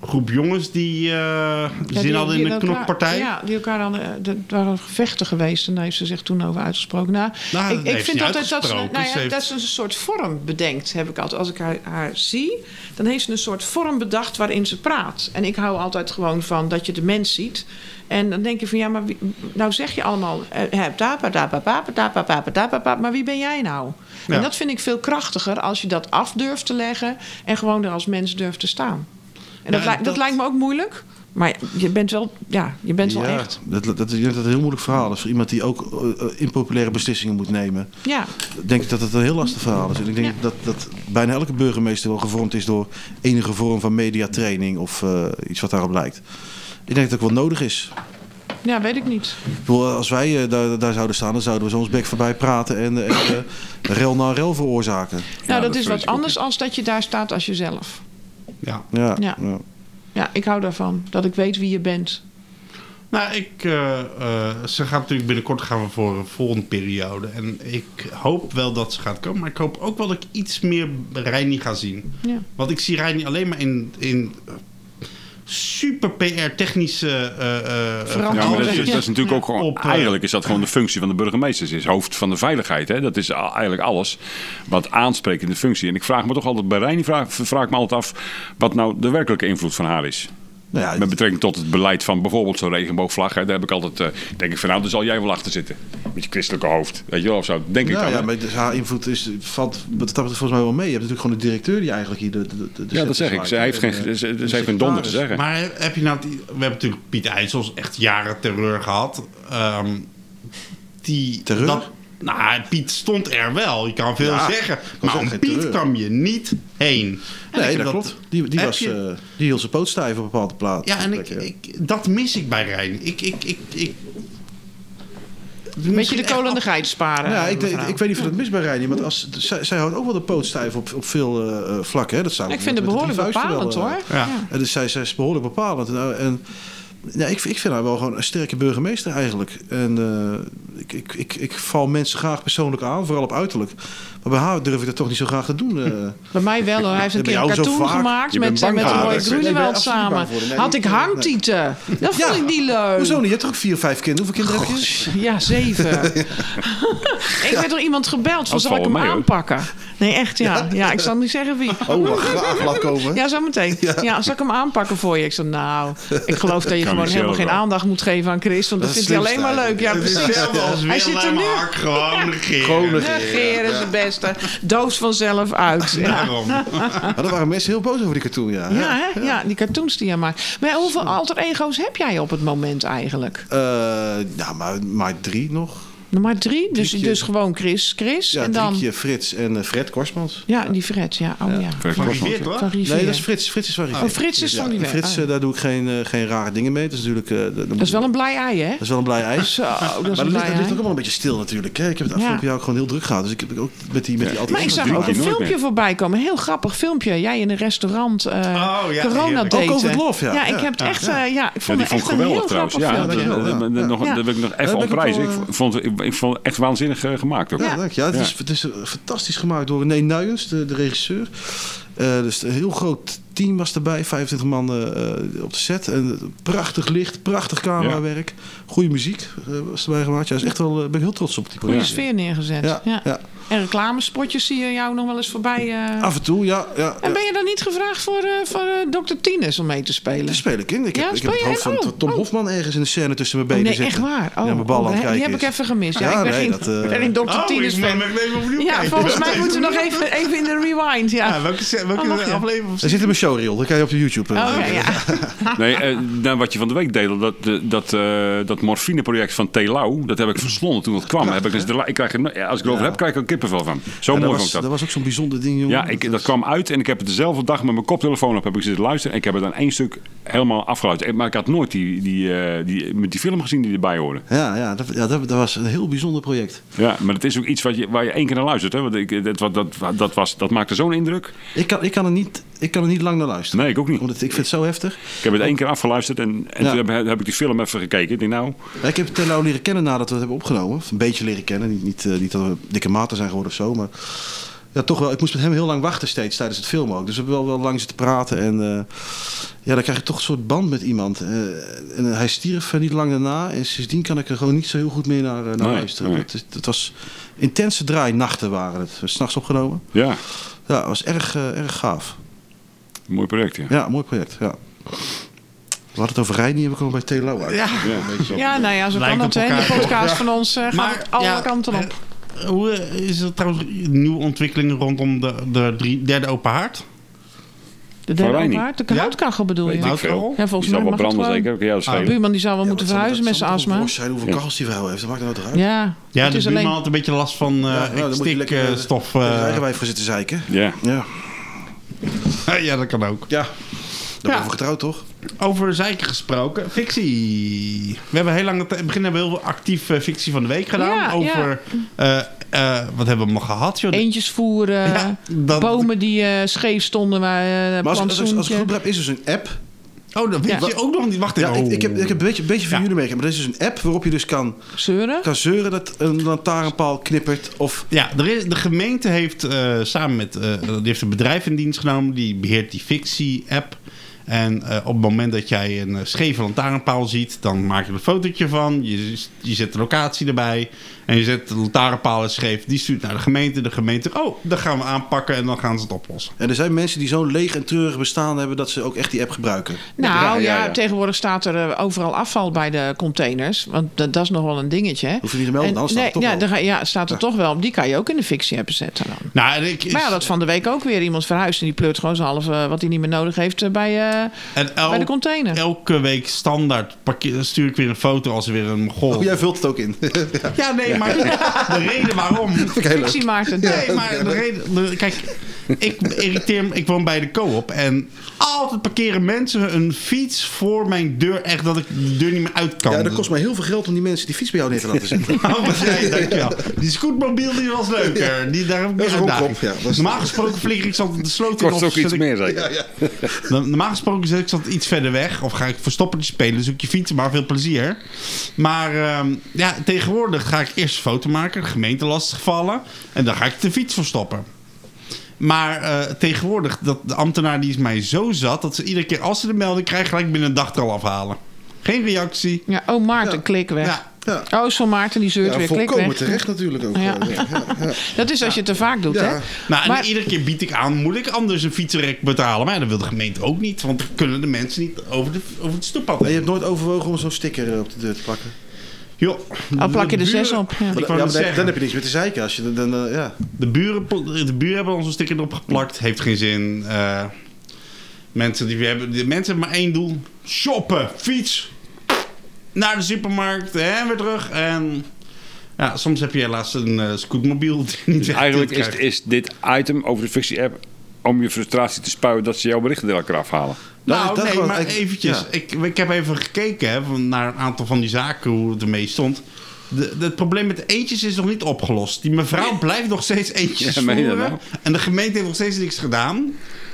C: groep jongens die eh,
D: Ja,
C: zin
D: die-
C: hadden
D: die
C: in een
D: elkaar-
C: knokpartij.
D: Ja, die elkaar dan. eh, Er waren gevechten geweest en daar heeft ze zich toen over uitgesproken. Nou,
C: Nou,
D: ik,
C: dat
D: ik
C: heeft ze
D: vind
C: niet
D: altijd dat ze, nou
C: uitgesproken.
D: ja,
C: Ze heeft-
D: dat ze een soort vorm bedenkt, heb ik altijd. Als ik haar, haar zie, dan heeft ze een soort vorm bedacht waarin ze praat. En ik hou altijd gewoon van dat je de mens ziet. En dan denk je van ja, maar wie, nou zeg je allemaal. eh, Maar wie ben jij nou?
C: Ja.
D: En dat vind ik veel krachtiger als je dat af durft te leggen en gewoon er als mens durft te staan. En dat,
C: Ja,
D: lijkt-
C: dat-
D: dat lijkt me ook moeilijk. Maar je bent wel, ja, je bent wel
E: Ja,
D: echt.
E: Dat, dat, dat is dat is een heel moeilijk verhaal. Als voor iemand die ook eh, eh, impopulaire beslissingen moet nemen,
D: Ja,
E: denk ik dat het een heel lastig verhaal is. En ik denk dat, dat bijna elke burgemeester wel gevormd is door enige vorm van mediatraining of eh, iets wat daarop lijkt. Ik denk dat het ook wel nodig is.
D: ja, weet ik niet.
E: Ik bedoel, als wij eh, daar, daar zouden staan, dan zouden we zo ons bek voorbij praten en eh, echt, eh, rel na rel veroorzaken.
D: nou, dat,
F: dat
D: is
F: vrees
D: wat
F: ik ook,
D: anders als dat je daar staat als jezelf.
C: Ja.
E: Ja,
D: Ja.
E: ja.
D: Ja, ik hou daarvan. Dat ik weet wie je bent.
C: Nou, ik, eh, eh, ze gaat natuurlijk binnenkort gaan we voor een volgende periode. En ik hoop wel dat ze gaat komen. Maar ik hoop ook wel dat ik iets meer Reini ga zien.
D: Ja.
C: Want ik zie Reini alleen maar in, in eh, super PR-technische eh, eh
D: Veranderen.
F: Ja, maar dat is,
C: verhaaltjes.
F: dat is natuurlijk ook gewoon...
C: Op, eh,
F: eigenlijk is dat gewoon de functie van de burgemeesters. is hoofd van de veiligheid. Hè? Dat is a- eigenlijk alles wat aanspreekt in de functie. En ik vraag me toch altijd... Bij Reini vraag, vraag ik me altijd af... wat nou de werkelijke invloed van haar is.
E: Nou ja,
F: Met betrekking tot het beleid van bijvoorbeeld zo'n regenboogvlag. Hè, daar heb ik altijd, eh, denk ik van nou, daar zal jij wel achter zitten. Met je christelijke hoofd. Weet je wel, of zo. Denk ik
E: Ja,
F: dan.
E: ja,
F: hè.
E: maar dus haar invloed is, valt wat dat betreft volgens mij wel mee. Je hebt natuurlijk gewoon de directeur die eigenlijk hier de, de, de- de
F: ja,
E: zetten
F: dat zeg ik.
E: zwaait.
F: Ze heeft, geen,
E: En, eh,
F: ze, ze heeft geen donder te zeggen.
C: Maar heb je nou... het- We hebben natuurlijk Piet IJssels echt jaren terreur gehad. Ehm, die,
E: Terreur?
C: nou, Piet stond er wel. Je kan veel
E: Ja,
C: zeggen.
E: kan
C: Maar
E: zeggen,
C: om
E: geen
C: Piet
E: terreur.
C: kwam je niet heen. En ik
E: Nee,
C: heb
E: dat, klopt. Die, die,
C: heb
E: was,
C: je-
E: eh, die hield zijn poot stijf op een bepaalde plaats.
C: Ja, en ik, ik, dat mis ik bij Rijn. Ik, ik, ik, ik,
D: Een beetje de kool en de geit sparen.
E: Ja, ik, ik,
D: mevrouw.
E: ik weet niet of je dat mis bij Reinier, want als, zij, zij houdt ook wel de poot stijf op, op veel eh, eh, vlakken. Hè. Dat zou
D: Ik vind het
E: met- met die
D: behoorlijk
E: vuisten wel,
D: bepalend
E: eh,
D: hoor.
C: Ja.
E: En dus zij, zij is behoorlijk bepalend. Nou, en, nou, ik, ik vind haar wel gewoon een sterke burgemeester eigenlijk. En eh, ik, ik, ik, ik val mensen graag persoonlijk aan, vooral op uiterlijk. Maar bij haar durf ik dat toch niet zo graag te doen. eh.
D: Bij mij wel hoor. Hij heeft een
E: Ja, bij
D: keer een
E: jou zo
D: cartoon
E: vaak.
D: gemaakt
F: Je
D: met,
F: bent bang
D: met
F: voor haar,
D: Roy
F: dat ze-
E: Nee, ik ben
D: Groenewald
E: absoluut niet
D: samen.
E: bang voor haar. Nee,
D: Had
E: nee,
D: ik
E: nee.
D: hangtieten. Dat
E: Ja.
D: vond ik niet leuk.
E: Hoezo niet? Je hebt toch ook vier of vijf kinderen? Hoeveel kinderen heb je?
D: Ja, zeven. ik werd door iemand gebeld van
F: Dat
D: zal ik
F: valt
D: hem
F: wel mee, hoor.
D: aanpakken? Nee, echt ja. Ja, ik zal niet zeggen wie.
E: Oh, wacht, graag laat komen.
D: Ja, zo meteen. Ja. zal ik hem aanpakken voor je? Ik zei, nou, ik geloof dat je gewoon
F: Kan ik
D: helemaal
F: zelf
D: geen
F: wel.
D: aandacht moet geven aan Chris. Want dat,
E: Dat is
D: vindt hij alleen
E: slimste
D: maar leuk. Ja, precies. Hij zit er nu.
C: Gewoon
E: Gewoon
C: negeren.
E: negeren.
D: Negeren is de beste. Doos vanzelf uit. Ja.
C: Daarom.
E: Maar Nou, daar waren mensen heel boos over die cartoon, ja.
D: Ja, hè? ja, die cartoons die je maakt. Maar hoeveel alter ego's heb jij op het moment eigenlijk?
E: Eh, nou, maar, maar drie nog.
D: Nog maar drie? Dus,
E: Drietje.
D: dus gewoon Chris, Chris
E: Ja,
D: en dan...
E: Driekje, Frits en eh, Fred Korsmans.
D: Ja, die Fred, ja. Oh ja.
F: Ver-
C: Maar wie
F: klopt, want-
C: weet, hoor.
D: Van Rivier.
E: Nee, dat is Frits. Frits is waar ik
D: Oh, Frits is van die weg.
E: Frits,
D: Ah.
E: eh, daar doe ik geen, eh, geen rare dingen mee. Dat is natuurlijk... eh, dat-
D: Dat is wel een blij ei, hè?
E: dat is wel een blij ijs.
D: Zo, dat is
E: Maar
D: een
E: dat ligt,
D: blij
E: dat ligt ook
D: ei.
E: allemaal een beetje stil natuurlijk. Hè? Ik heb het
D: Ja.
E: afgelopen jaar ook gewoon heel druk gehad. Dus ik heb ook met die, met die altijd-
D: Maar ik
F: dat
D: zag
F: doe
D: ook
F: je
D: een
F: nooit
D: filmpje
F: meer.
D: voorbij komen. Een heel grappig filmpje. Jij in een restaurant. eh
C: ja,
D: corona
C: heerlijk.
D: daten.
E: Oh, Covid Love, ja.
D: Ja, ik
E: Ja.
D: heb het echt... eh, ja, ik
F: Ja,
D: vond
F: die
D: het
F: vond
D: echt
F: ik
D: een
F: geweldig
D: heel
F: trouwens.
D: grappig
F: Ja, dat,
D: filmpje.
E: dankjewel.
F: dat- dat- dat- nog-
D: Ja.
F: dat wil ik nog
E: Ja,
F: even
E: dat heb ik
F: oprijzen.
E: ook
F: Ik
E: wel,
F: vond, ik, ik vond het echt waanzinnig eh, gemaakt ook.
E: Ja, dank je. Ja, het,
F: Ja.
E: Is, het is eh, fantastisch gemaakt door René Nuyens, de, de regisseur. Eh, dus een heel groot team was erbij. 25 man eh, op de set. En prachtig licht, prachtig camerawerk. Goede muziek eh, was erbij gemaakt. Ja, is echt wel, eh, ben ik heel trots op die
D: Goede
E: productie.
D: sfeer neergezet. Ja.
E: Ja, ja.
D: En reclamespotjes zie je jou nog wel eens voorbij. eh.
E: Af en toe, ja. ja,
D: En
E: ja.
D: ben je dan niet gevraagd voor, eh, voor eh, Dr. Tines om mee te spelen?
E: Daar speel ik in. Ik heb,
D: Ja,
E: ik
D: speel
E: heb het
D: je
E: hoofd
D: in?
E: van
D: Oh,
E: Tom
D: oh.
E: Hofman ergens in de scène tussen mijn
D: Oh,
E: benen
D: nee,
E: zitten.
D: echt waar. Oh,
E: ja, mijn bal
D: oh,
E: aan het
D: die- die
E: kijken
D: heb ik
E: is.
D: even gemist. Ja,
E: Ja,
D: ik ben,
E: nee,
D: geen,
E: dat, eh,
D: ik ben geen Dr.
C: Oh,
D: Tines
C: ik moet
D: fan.
C: hem even opnieuw
D: Ja,
C: kijken.
D: volgens mij
C: Dat
D: moeten we
C: is-
D: nog even, even in de rewind. Ja.
C: Ja, welke, se- welke
D: Oh, mag je?
C: aflevering? of
E: Daar zit in mijn showreel. Dat kan je op de YouTube. eh,
D: Oh, ja, ja.
F: Nee, eh, nou, wat je van de week deed, dat, eh, dat, eh, dat morfineproject van Telau, dat heb ik verslonden toen dat kwam. Heb ik dus de, la- ik krijg er, no- ja, als ik erover heb, krijg ik er kippenvel van. Zo
E: Ja,
F: mooi
E: dat,
F: vond
E: was,
F: ik dat.
E: dat was ook zo'n bijzonder ding, jongen.
F: Ja, ik, dat kwam uit en ik heb het dezelfde dag met mijn koptelefoon op heb ik zitten luisteren. En ik heb het aan één stuk helemaal afgeluisterd. Maar ik had nooit die, die, eh, die, met die film gezien die erbij hoorde.
E: Ja, ja, dat, ja dat, dat was een heel bijzonder project.
F: Ja, maar het is ook iets wat je, waar je één keer naar luistert. Hè? Want ik, dat, wat- dat, dat, was, dat maakte zo'n indruk.
E: Ik kan, ik, kan er niet, ik kan er niet lang naar luisteren.
F: Nee, ik ook niet.
E: Omdat ik vind het zo heftig.
F: Ik heb het één keer afgeluisterd en, en
E: Ja.
F: toen heb, heb ik die film even gekeken. Ik denk nou,
E: Ja, ik heb Tellau leren kennen nadat we het hebben opgenomen. Of een beetje leren kennen. Niet, niet, eh, niet dat we dikke maten zijn geworden of zo. Maar ja, toch wel. Ik moest met hem heel lang wachten steeds tijdens het filmen ook. Dus we hebben wel, wel lang zitten praten. En eh, ja, dan krijg je toch een soort band met iemand. Eh, en hij stierf eh, niet lang daarna. En sindsdien kan ik er gewoon niet zo heel goed meer naar, eh, naar
F: Nee,
E: luisteren.
F: nee.
E: Het, is- het was intense draainachten waren het. eh, S'nachts opgenomen.
F: ja,
E: Ja, het was erg, eh, erg gaaf.
F: mooi project. Ja.
E: Ja, mooi project. Ja. We hadden het over Rijn, die hebben we gewoon bij Telau uit.
C: Ja.
D: Ja, nou ja, zo
C: Lijkt
D: kan dat.
C: op
D: hè. De
C: elkaar.
D: podcast van ons eh, gaat alle
C: ja,
D: kanten op.
C: eh, Hoe eh, is er trouwens nieuwe ontwikkelingen rondom de, de drie, derde open haard?
D: De
F: Van
D: derde
F: Reinie.
D: openhaard, de kanoutkachel bedoel
F: Weet
D: je?
F: ik veel.
D: Ja, volgens
F: die zal
D: mij mag
F: wel
D: het
F: branden
D: gewoon. Ah,
F: zeker. Ja, dat
D: De
F: schelen.
D: buurman die zou wel moeten verhuizen met zijn astma.
E: zijn hoeveel kachels die verhouden heeft. Dat maakt er nou toch uit.
D: Ja,
C: Ja,
D: het
C: de
D: is
C: buurman
D: alleen...
C: had een beetje last van
E: Ja, nou,
C: eh
E: dan moet je lekker, eh,
C: stikstof.
E: Daar is
C: eh,
E: eigenwijf voor zitten zeiken.
F: Ja.
E: Ja.
C: ja, dat kan ook.
E: Ja. Daar ben
C: Ja.
E: ik voor getrouwd, toch?
C: Over zeiken gesproken, fictie. We hebben heel lang, in het begin hebben we heel veel actief eh, fictie van de week gedaan.
D: Ja,
C: over, eh, eh, wat hebben we allemaal gehad? Joh?
D: Eentjes voeren, eh,
C: Ja, dat-
D: bomen die eh, scheef stonden. Maar, eh,
E: Maar als, als, als, als ik
D: plantsoentje.
E: het goed begrijp, is dus een app.
C: Oh, dat weet
D: Ja.
C: je ook nog niet. Wacht
E: Ja,
C: even.
E: ik, ik, heb, ik heb een beetje, een beetje van
C: Ja.
E: jullie meegekregen. Maar er is dus een app waarop je dus kan,
D: zeuren.
E: kan zeuren dat een lantaarnpaal knippert. Of
C: Ja, er is, de gemeente heeft eh, samen met eh, die heeft een bedrijf in dienst genomen. Die beheert die fictie-app. En eh, op het moment dat jij een eh, scheve lantaarnpaal ziet, dan maak je er een fotootje van. Je, je zet de locatie erbij. En je zet de lantaarnpaal is scheef. Die stuurt naar de gemeente. De gemeente, oh, dat gaan we aanpakken en dan gaan ze het oplossen.
E: en er zijn mensen die zo'n leeg en treurig bestaan hebben dat ze ook echt die app gebruiken.
D: Nou ja,
F: Ja, ja, ja.
D: tegenwoordig staat er eh, overal afval bij de containers. Want dat, dat is nog wel een dingetje. hè.
E: Hoef je niet te melden,
D: En-
E: anders staat
D: nee,
E: het toch
D: ja,
E: wel.
D: daar ga- ja, staat er toch wel. Die kan je ook in de fictie hebben zetten dan.
C: Nou, en ik, is,
D: Maar ja, dat van de week ook weer. Iemand verhuist en die pleurt gewoon zijn halve eh, wat hij niet meer nodig heeft eh, bij, eh,
C: en el-
D: bij de container.
C: elke week standaard parkeer, stuur ik weer een foto als er weer een
E: Oh,
C: Mongool...
E: jij vult het ook in.
C: Ja, nee, maar de reden waarom
D: Fictie maakt het.
C: Nee, maar de reden... de- kijk, ik irriteer me... Ik woon bij de co-op en altijd parkeren mensen een fiets voor mijn deur. Echt dat ik de deur niet meer uit kan.
E: Ja, dat kost mij heel veel geld om die mensen die fiets bij jou neer te laten zetten.
C: Oh, wat zei je? dankjewel. Die scootmobiel die was leuker. Die, daar heb ik meer
E: Dat is een romcom,
C: uitdaging.
E: ja, dat is-
C: Normaal gesproken flikker ik ze altijd de sloot in.
F: Kost
C: of
F: ook
C: zet
F: iets
C: ik-
F: meer zeker.
C: No- Normaal gesproken zet ik ze altijd iets verder weg. Of ga ik verstoppertje spelen. Zoek je fietsen, maar veel plezier. Maar ehm, ja, tegenwoordig ga ik eerst een foto maken. De gemeente lastigvallen. En dan ga ik de fiets verstoppen. Maar eh, tegenwoordig, dat, de ambtenaar die is mij zo zat... dat ze iedere keer als ze de melding krijgen... gelijk binnen een dag er al afhalen. Geen reactie.
D: Ja, oh, Maarten,
E: Ja.
D: klik weg.
C: Ja,
E: Ja,
D: Oh, zo Maarten, die zeurt
E: ja
D: weer, klik
E: volkomen
D: weg.
E: terecht natuurlijk ook.
D: Ja.
E: eh, ja.
D: Dat is als je het te vaak doet,
E: Ja.
D: hè?
C: Nou, en
D: Maar-
C: iedere keer bied ik aan, moet ik anders een fietsenrek betalen? Maar ja, dat wil de gemeente ook niet, want dan kunnen de mensen niet over, de, over het stoeppad.
E: En je hebt nooit overwogen om zo'n sticker eh, op de deur te plakken.
C: Joh,
D: Dan plak je de
C: buren-
D: zes op. Ja.
C: Ik
E: Ja,
C: wou
E: maar
C: net
E: dan,
C: zeggen.
E: dan heb je niks meer te zeiken. Als je, dan, dan, eh, ja.
C: De buren, de buren hebben onze sticker erop geplakt. Heeft geen zin. Eh, mensen, die hebben, de mensen hebben maar één doel. Shoppen. Fiets. Naar de supermarkt. En weer terug. En ja, soms heb je helaas een eh, scootmobiel. Die niet
F: Dus
C: weggedeeld
F: eigenlijk is,
C: krijgt.
F: is dit item over de fictie-app om je frustratie te spuien dat ze jouw berichten er elke keer afhalen.
C: Nou,
E: Nou, dat
C: nee,
E: gewoon-
C: maar
E: ik-
C: eventjes.
E: ja.
C: Ik, ik heb even gekeken hè, van- naar een aantal van die zaken, hoe het ermee stond. De, de- het probleem met de eentjes is nog niet opgelost. Die mevrouw blijft nog steeds eentjes
F: Ja, meen je dat
C: voeren.
F: nou?
C: En de gemeente heeft nog steeds niks gedaan.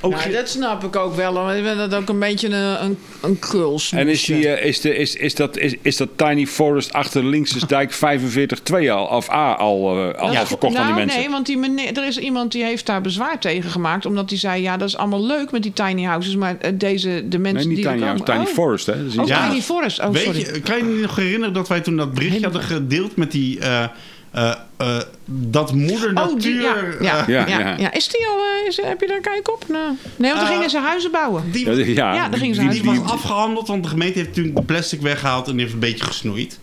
C: Ook
D: Nou,
C: geen-
D: dat snap ik ook wel. Maar ik vind dat ook een beetje een, een, een kuls.
F: En is, die, eh, is, de, is, is, dat, is, is dat Tiny Forest achter Linksdijk 45-2 al, of A al, eh, al, al verkocht
D: nou,
F: aan die mensen?
D: Nee, want die meneer, er is iemand die heeft daar bezwaar tegen gemaakt. Omdat hij zei, ja, dat is allemaal leuk met die tiny houses. Maar eh, deze, de mensen
F: Nee, niet
D: die er
F: Tiny House,
D: komen-
F: Tiny
D: oh.
F: Forest. Hè? Dat is
D: Oh,
F: iets-
C: Ja.
D: Tiny Forest. Oh,
C: Weet
D: sorry.
C: je, kan je je nog herinneren dat wij toen dat berichtje hadden gedeeld met die eh, eh, eh, dat moeder
D: Oh, die,
C: natuur...
D: ja, ja,
C: eh,
D: ja,
B: ja,
D: ja,
B: ja.
D: Is die al, eh, is, heb je daar een kijk op? Nou, nee, want
C: Eh,
D: dan gingen ze huizen bouwen.
C: die,
B: Ja, die- ja,
D: Ja, daar gingen ze
C: die
D: huizen
C: was
D: bouwen. Oké,
C: afgehandeld, want de gemeente heeft natuurlijk de plastic weggehaald en heeft een beetje gesnoeid.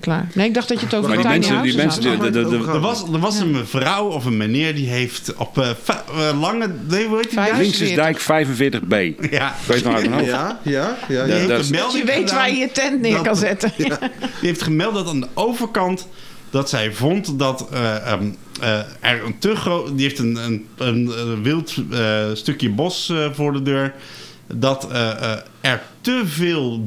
D: klaar. Nee, ik dacht dat je het over
B: Maar die
D: tiny
B: mensen, die
D: houses
B: mensen,
D: had.
B: die- de- de- de-
C: Er was, er was een mevrouw of een meneer die heeft op eh, fa- eh, lange... Nee, hoe heet die nou?
D: Vijf-
C: daar?
B: Linksdijk 45B. Ik
C: Ja.
B: weet het nou uit mijn hoofd.
E: Ja, ja, ja.
C: Die
E: ja.
C: heeft
B: dat-
C: een
D: Dat je
C: melding
D: weet
C: gedaan.
D: waar je je tent neer
C: Dat-
D: kan zetten.
C: Die heeft gemeld dat aan de overkant dat zij vond dat eh, ehm, eh, er een te groot. Die heeft een, een, een, eh, wild eh, stukje bos eh, voor de deur. Dat eh, eh, er te veel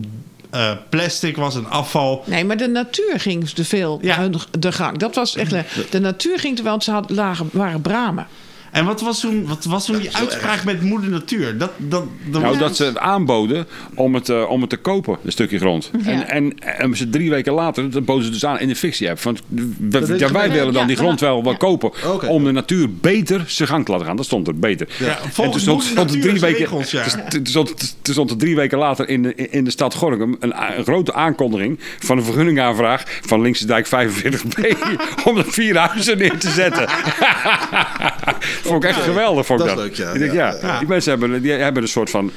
C: eh, plastic was en afval.
D: Nee, maar de natuur ging te veel
C: Ja.
D: hun- de gang. Dat was echt. eh, De natuur ging te wel, want ze had, lagen, waren bramen.
C: En wat was toen, wat was toen die uitspraak met moeder natuur? Dat, dat, dat,
B: Nou, dat ze het aanboden om het, eh, om het te kopen, een stukje grond. En, en, en ze drie weken later, dat boden ze dus aan in de fictie-app. Van, we- ja,
E: is
B: wij
E: gebeurd.
B: willen dan
D: Ja,
B: die grond wel, wel kopen.
E: Oké.
B: Om de natuur beter zijn gang te laten gaan. Dat stond er, beter.
C: Ja, volgens Moeder
B: er
C: Natuur's
B: weken,
C: regels, ja.
B: het st- het stond, het stond er drie weken later in, de- in de stad Gorinchem een, a- een grote aankondiging van een vergunningaanvraag van Linkse Dijk 45B. om er vier huizen neer te zetten. vond ik echt geweldig. Vond ik
E: Dat
B: dat
E: is leuk, ja.
B: Ik denk,
E: Ja,
B: ja, die mensen hebben, die hebben een soort van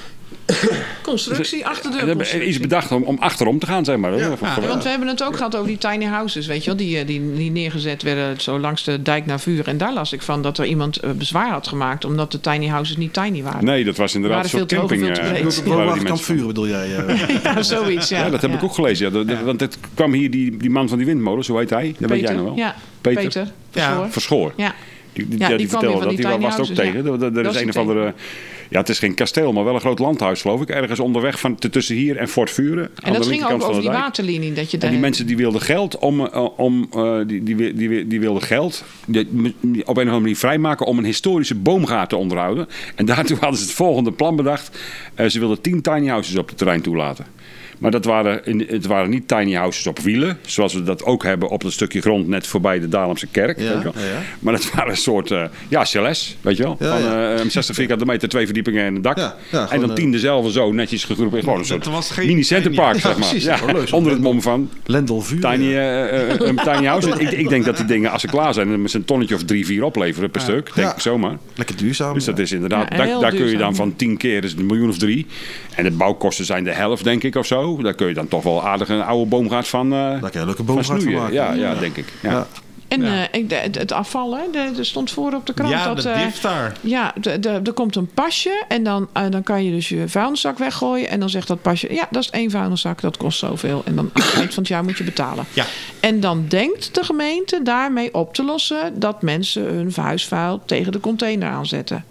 D: Constructie achter de
B: we hebben iets bedacht om, om achterom te gaan, zeg maar. Ja,
D: Ja, want we hebben het ook gehad over die tiny houses, weet je wel. Die, eh, die, die neergezet werden zo langs de dijk naar vuur. En daar las ik van dat er iemand eh, bezwaar had gemaakt... omdat de tiny houses niet tiny waren.
B: Nee, dat was inderdaad
D: Waren
B: een soort
D: veel te hoog en
B: camping.
D: veel te
B: eh,
D: breed.
B: waren
D: Ook
B: die
E: Woonwagen
B: mensen.
E: kampvuren bedoel jij? eh?
D: Ja, zoiets, ja.
B: Ja, dat heb ik ook gelezen. Ja. Dat- dat- Want het kwam hier die, die man van die windmolens, hoe heet hij? Dat weet jij nog wel.
D: Ja,
B: Peter.
D: Peter.
C: Ja.
D: Verschoor.
B: Verschoor.
D: Ja.
B: Die, die,
D: Ja,
B: ja,
D: die
B: die,
D: kwam
B: vertelde
D: weer
B: dat.
D: van die
B: Die was
D: tiny
B: er ook
D: houses, ja.
B: tegen. Er- Er, er
D: Dat
B: is
D: is
B: een of
D: er tegen.
B: andere... Ja, het is geen kasteel, maar wel een groot landhuis, geloof ik. Ergens onderweg van, t- tussen hier en Fort Vuren. aan
D: En dat ging
B: de linkerkant
D: ook
B: van
D: over
B: de
D: die
B: dijk.
D: waterlinie. Dat je
B: En die
D: daar-
B: mensen die wilden geld om, eh, om eh, die, die, wi- die, wi- die wilden geld die- die op een of andere manier vrijmaken om een historische boomgaard te onderhouden. En daartoe hadden ze het volgende plan bedacht. Eh, ze wilden tien tiny houses op het terrein toelaten. Maar dat waren, in- het waren niet tiny houses op wielen, zoals we dat ook hebben op dat stukje grond net voorbij de Dalemse kerk.
E: Ja,
B: weet je wel.
E: ja, ja.
B: Maar dat waren een soort, eh, ja, chalets, weet je wel.
E: Ja,
B: van
E: ja.
B: eh, 60 vierkante meter, twee verdiepingen en een dak.
E: Ja, ja,
B: en
E: gewoon,
B: dan
E: eh,
B: tien dezelfde zo, netjes gegroepeerd. Gewoon een
C: Dat
B: soort
C: was geen-
B: mini-centerpark,
C: Ja,
B: zeg maar.
E: precies, gewoon leuk, zo'n
B: onder het mom van
E: Lendelvuur.
B: Tiny, eh, eh, een tiny house. ik, ik denk dat die dingen, als ze klaar zijn, met een tonnetje of drie, vier opleveren per stuk. Denk
E: Ja.
B: ik zomaar.
E: Lekker duurzaam.
B: Dus dat is inderdaad,
D: Ja,
B: daar,
D: heel
B: daar kun je
D: duurzaam.
B: dan van tien keer is het een miljoen of drie. En de bouwkosten zijn de helft, denk ik, of zo. Daar kun je dan toch wel aardig een oude boomgaard van, eh,
E: Daar kan je een leuke
B: van
E: boomgaard van
B: snoeien.
E: maken.
B: Ja, ja, denk ik. Ja.
E: Ja.
D: En eh, ik- de- het, het afval, hè, de- er stond voor op de krant.
C: ja,
D: dat,
C: de
D: eh,
C: diff daar.
D: Ja, de- de- er komt een pasje en dan, eh, dan kan je dus je vuilniszak weggooien. En dan zegt dat pasje, ja, dat is één vuilniszak, dat kost zoveel. En dan aan het eind van het jaar moet je betalen.
C: Ja.
D: En dan denkt de gemeente daarmee op te lossen... dat mensen hun huisvuil tegen de container aanzetten.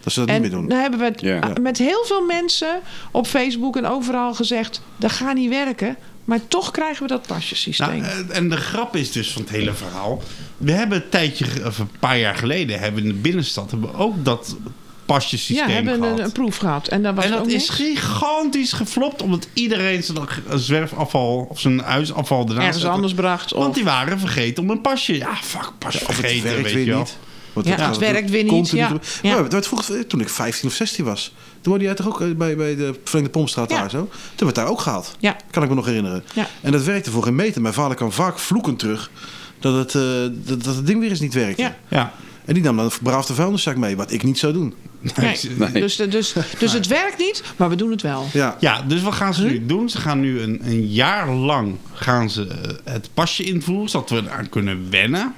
E: Dat ze dat
D: en
E: niet meer doen.
D: dan hebben we het,
B: Ja.
D: ah, met heel veel mensen op Facebook en overal gezegd... dat gaat niet werken, maar toch krijgen we dat pasjesysteem.
C: Nou, eh, en de grap is dus van het hele verhaal. We hebben een tijdje, ge- of een paar jaar geleden, hebben we in de binnenstad hebben we ook dat
D: ja,
C: pasjesysteem
D: hebben
C: gehad.
D: een, een proef gehad. En, daar was
C: En
D: ook
C: dat is
D: niks.
C: gigantisch geflopt, omdat iedereen zijn zwerfafval of zijn huisafval ernaast
D: ergens
C: zette.
D: anders bracht. Of,
C: Want die waren vergeten om een pasje. Ja, fuck, pas
E: Of het
C: vergeten,
E: werkt
C: weet je
E: weer
C: wel.
E: niet. Want
D: Ja,
E: dat-
D: het
E: dat-
D: werkt weer niet,
E: continu
D: ja.
E: gebe-
D: Ja.
E: Maar dat werd vroeger, eh, toen ik 15 of 16 was, toen woonde jij toch ook eh, bij, bij de Verlengde Pompstraat
D: Ja.
E: daar zo? Toen werd daar ook gehaald.
D: Ja.
E: Kan ik me nog herinneren.
D: Ja.
E: En dat werkte voor geen meter. Mijn vader kwam vaak vloeken terug dat het, eh, dat, dat het ding weer eens niet werkte.
D: Ja.
C: Ja.
E: En die nam dan braaf de vuilniszak mee, wat ik niet zou doen.
D: Nee.
C: Nee.
D: Dus, dus, dus het werkt niet, maar we doen het wel.
E: Ja.
C: Ja, dus wat gaan ze nu doen? Ze gaan nu een, een jaar lang gaan ze eh, het pasje invoeren, zodat we eraan kunnen wennen.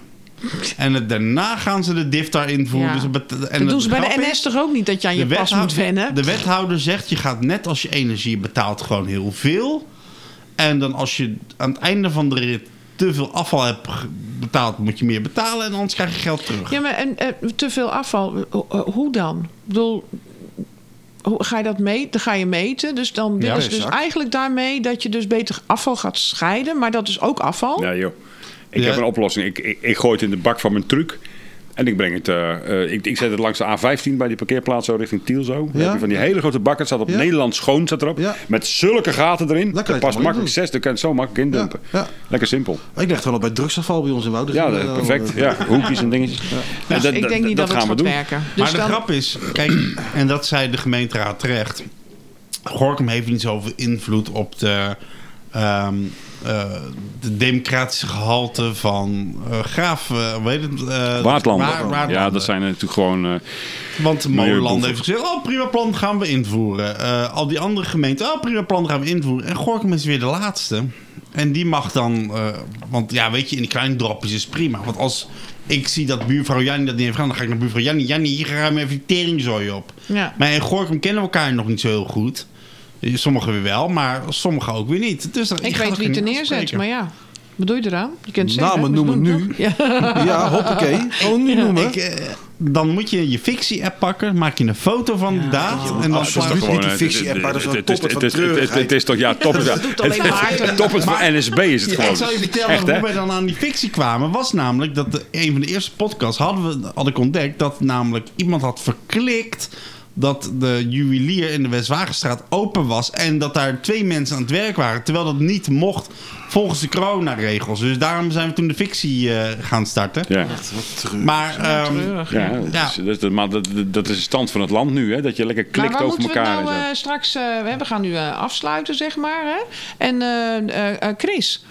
C: En het- daarna gaan ze de diff daar invoeren.
D: Ja.
C: Dus het bet- en
D: dat
C: het
D: doen ze bij
C: grap
D: de
C: is-
D: NS toch ook niet dat je aan je pas moet
C: wethouder-
D: wennen?
C: De wethouder zegt, je gaat net als je energie betaalt gewoon heel veel. En dan als je aan het einde van de rit te veel afval hebt ge- betaald, moet je meer betalen. En anders krijg je geld terug.
D: Ja, maar en, eh, te veel afval, eh, eh, hoe dan? Ik bedoel, hoe, ga je dat meten? Dan ga je meten. Dus dan
C: Ja,
D: dit is dus
E: exact.
D: eigenlijk daarmee dat je dus beter afval gaat scheiden. Maar dat is ook afval.
B: Nee joh. Ik
C: Ja.
B: heb een oplossing. Ik, ik, ik gooi het in de bak van mijn truck. En ik breng het, eh, eh, ik, ik zet het langs de A15 bij die parkeerplaats zo richting Tiel zo. Dan
E: Ja.
B: heb je Van die hele grote bakken staat op
E: Ja.
B: Nederland schoon staat erop.
E: Ja.
B: Met zulke gaten erin.
E: kan je
B: Dat
E: het
B: past
E: mooi
B: makkelijk
E: doen.
B: zes. Dan kan je het zo makkelijk indumpen.
E: Ja, Dus eh, ja.
B: Lekker simpel.
E: Ik dacht wel op bij drugsafval bij ons in dus Wouden.
B: Ja, dat- perfect. Ja, hoekjes en dingetjes. En
D: Dus ik denk niet dat, het gaat werken. Dus
C: maar de
D: dan,
C: grap is, kijk, en dat zei de gemeenteraad terecht. Gorkum heeft niet zoveel invloed op de, ehm, het de democratische gehalte van eh, Graaf, eh, hoe heet het? eh,
F: Waardlanden.
C: Wa- Waardlanden.
F: Ja, dat zijn natuurlijk gewoon... eh,
C: Want Molenland
F: Milieuboeven.
C: heeft gezegd, oh prima plan gaan we invoeren. Eh, al die andere gemeenten, oh prima plan gaan we invoeren. En Gorkum is weer de laatste. En die mag dan, eh, want ja weet je, in die kleine dorpjes is prima. Want als ik zie dat buurvrouw Jannie dat niet heeft gedaan, dan ga ik naar buurvrouw Jannie. Jannie, hier ruim even die teringzooi op.
D: Ja.
C: Maar in Gorkum kennen we elkaar nog niet zo heel goed. Eh, Sommigen weer wel, maar sommigen ook weer niet. Dus dan- je
D: Ik
C: gaat
D: weet
C: elkaar
D: wie het er
C: niet
D: neerzet,
C: aanspreken.
D: maar ja. Wat doe je eraan? Je kunt het zeggen.
E: Namen
D: hè? We
E: noemen
D: doen het
E: nu.
D: toch? Ja.
E: Ja, hoppakee. Gewoon nu noemen.
C: Ik, eh, dan moet je je fictie-app pakken, maak je een foto van de daad. en dan
E: absoluut.
C: sla-
E: Niet die
F: eh,
E: fictie,
F: het-
E: maar dat is
F: het-
E: een
F: het-
E: toppunt
F: het-
E: dus van
F: het- het- het- Het is toch, ja, toppen.
D: Dat doet alleen maar
F: Toppen van NSB is het
C: Ja,
F: gewoon.
C: ik zal je vertellen
F: Echt,
C: hoe
F: hè?
C: wij dan aan die fictie kwamen. Was namelijk dat de, een van de eerste podcasts hadden we, had ik ontdekt dat namelijk iemand had verklikt dat de juwelier in de Westwagenstraat open was en dat daar twee mensen aan het werk waren, terwijl dat niet mocht volgens de coronaregels. Dus daarom zijn we toen de fictie eh, gaan starten.
F: Ja.
C: Maar ehm,
F: Ja, dat,
C: Ja.
F: Is, dat, is- maar dat, dat is de stand van het land nu, hè? Dat je lekker
D: Maar
F: klikt
D: waar
F: over
D: moeten we het
F: elkaar.
D: nou
F: en zo.
D: eh, straks... eh, we gaan nu eh, afsluiten, zeg maar. Hè? En eh, eh, eh, Chris,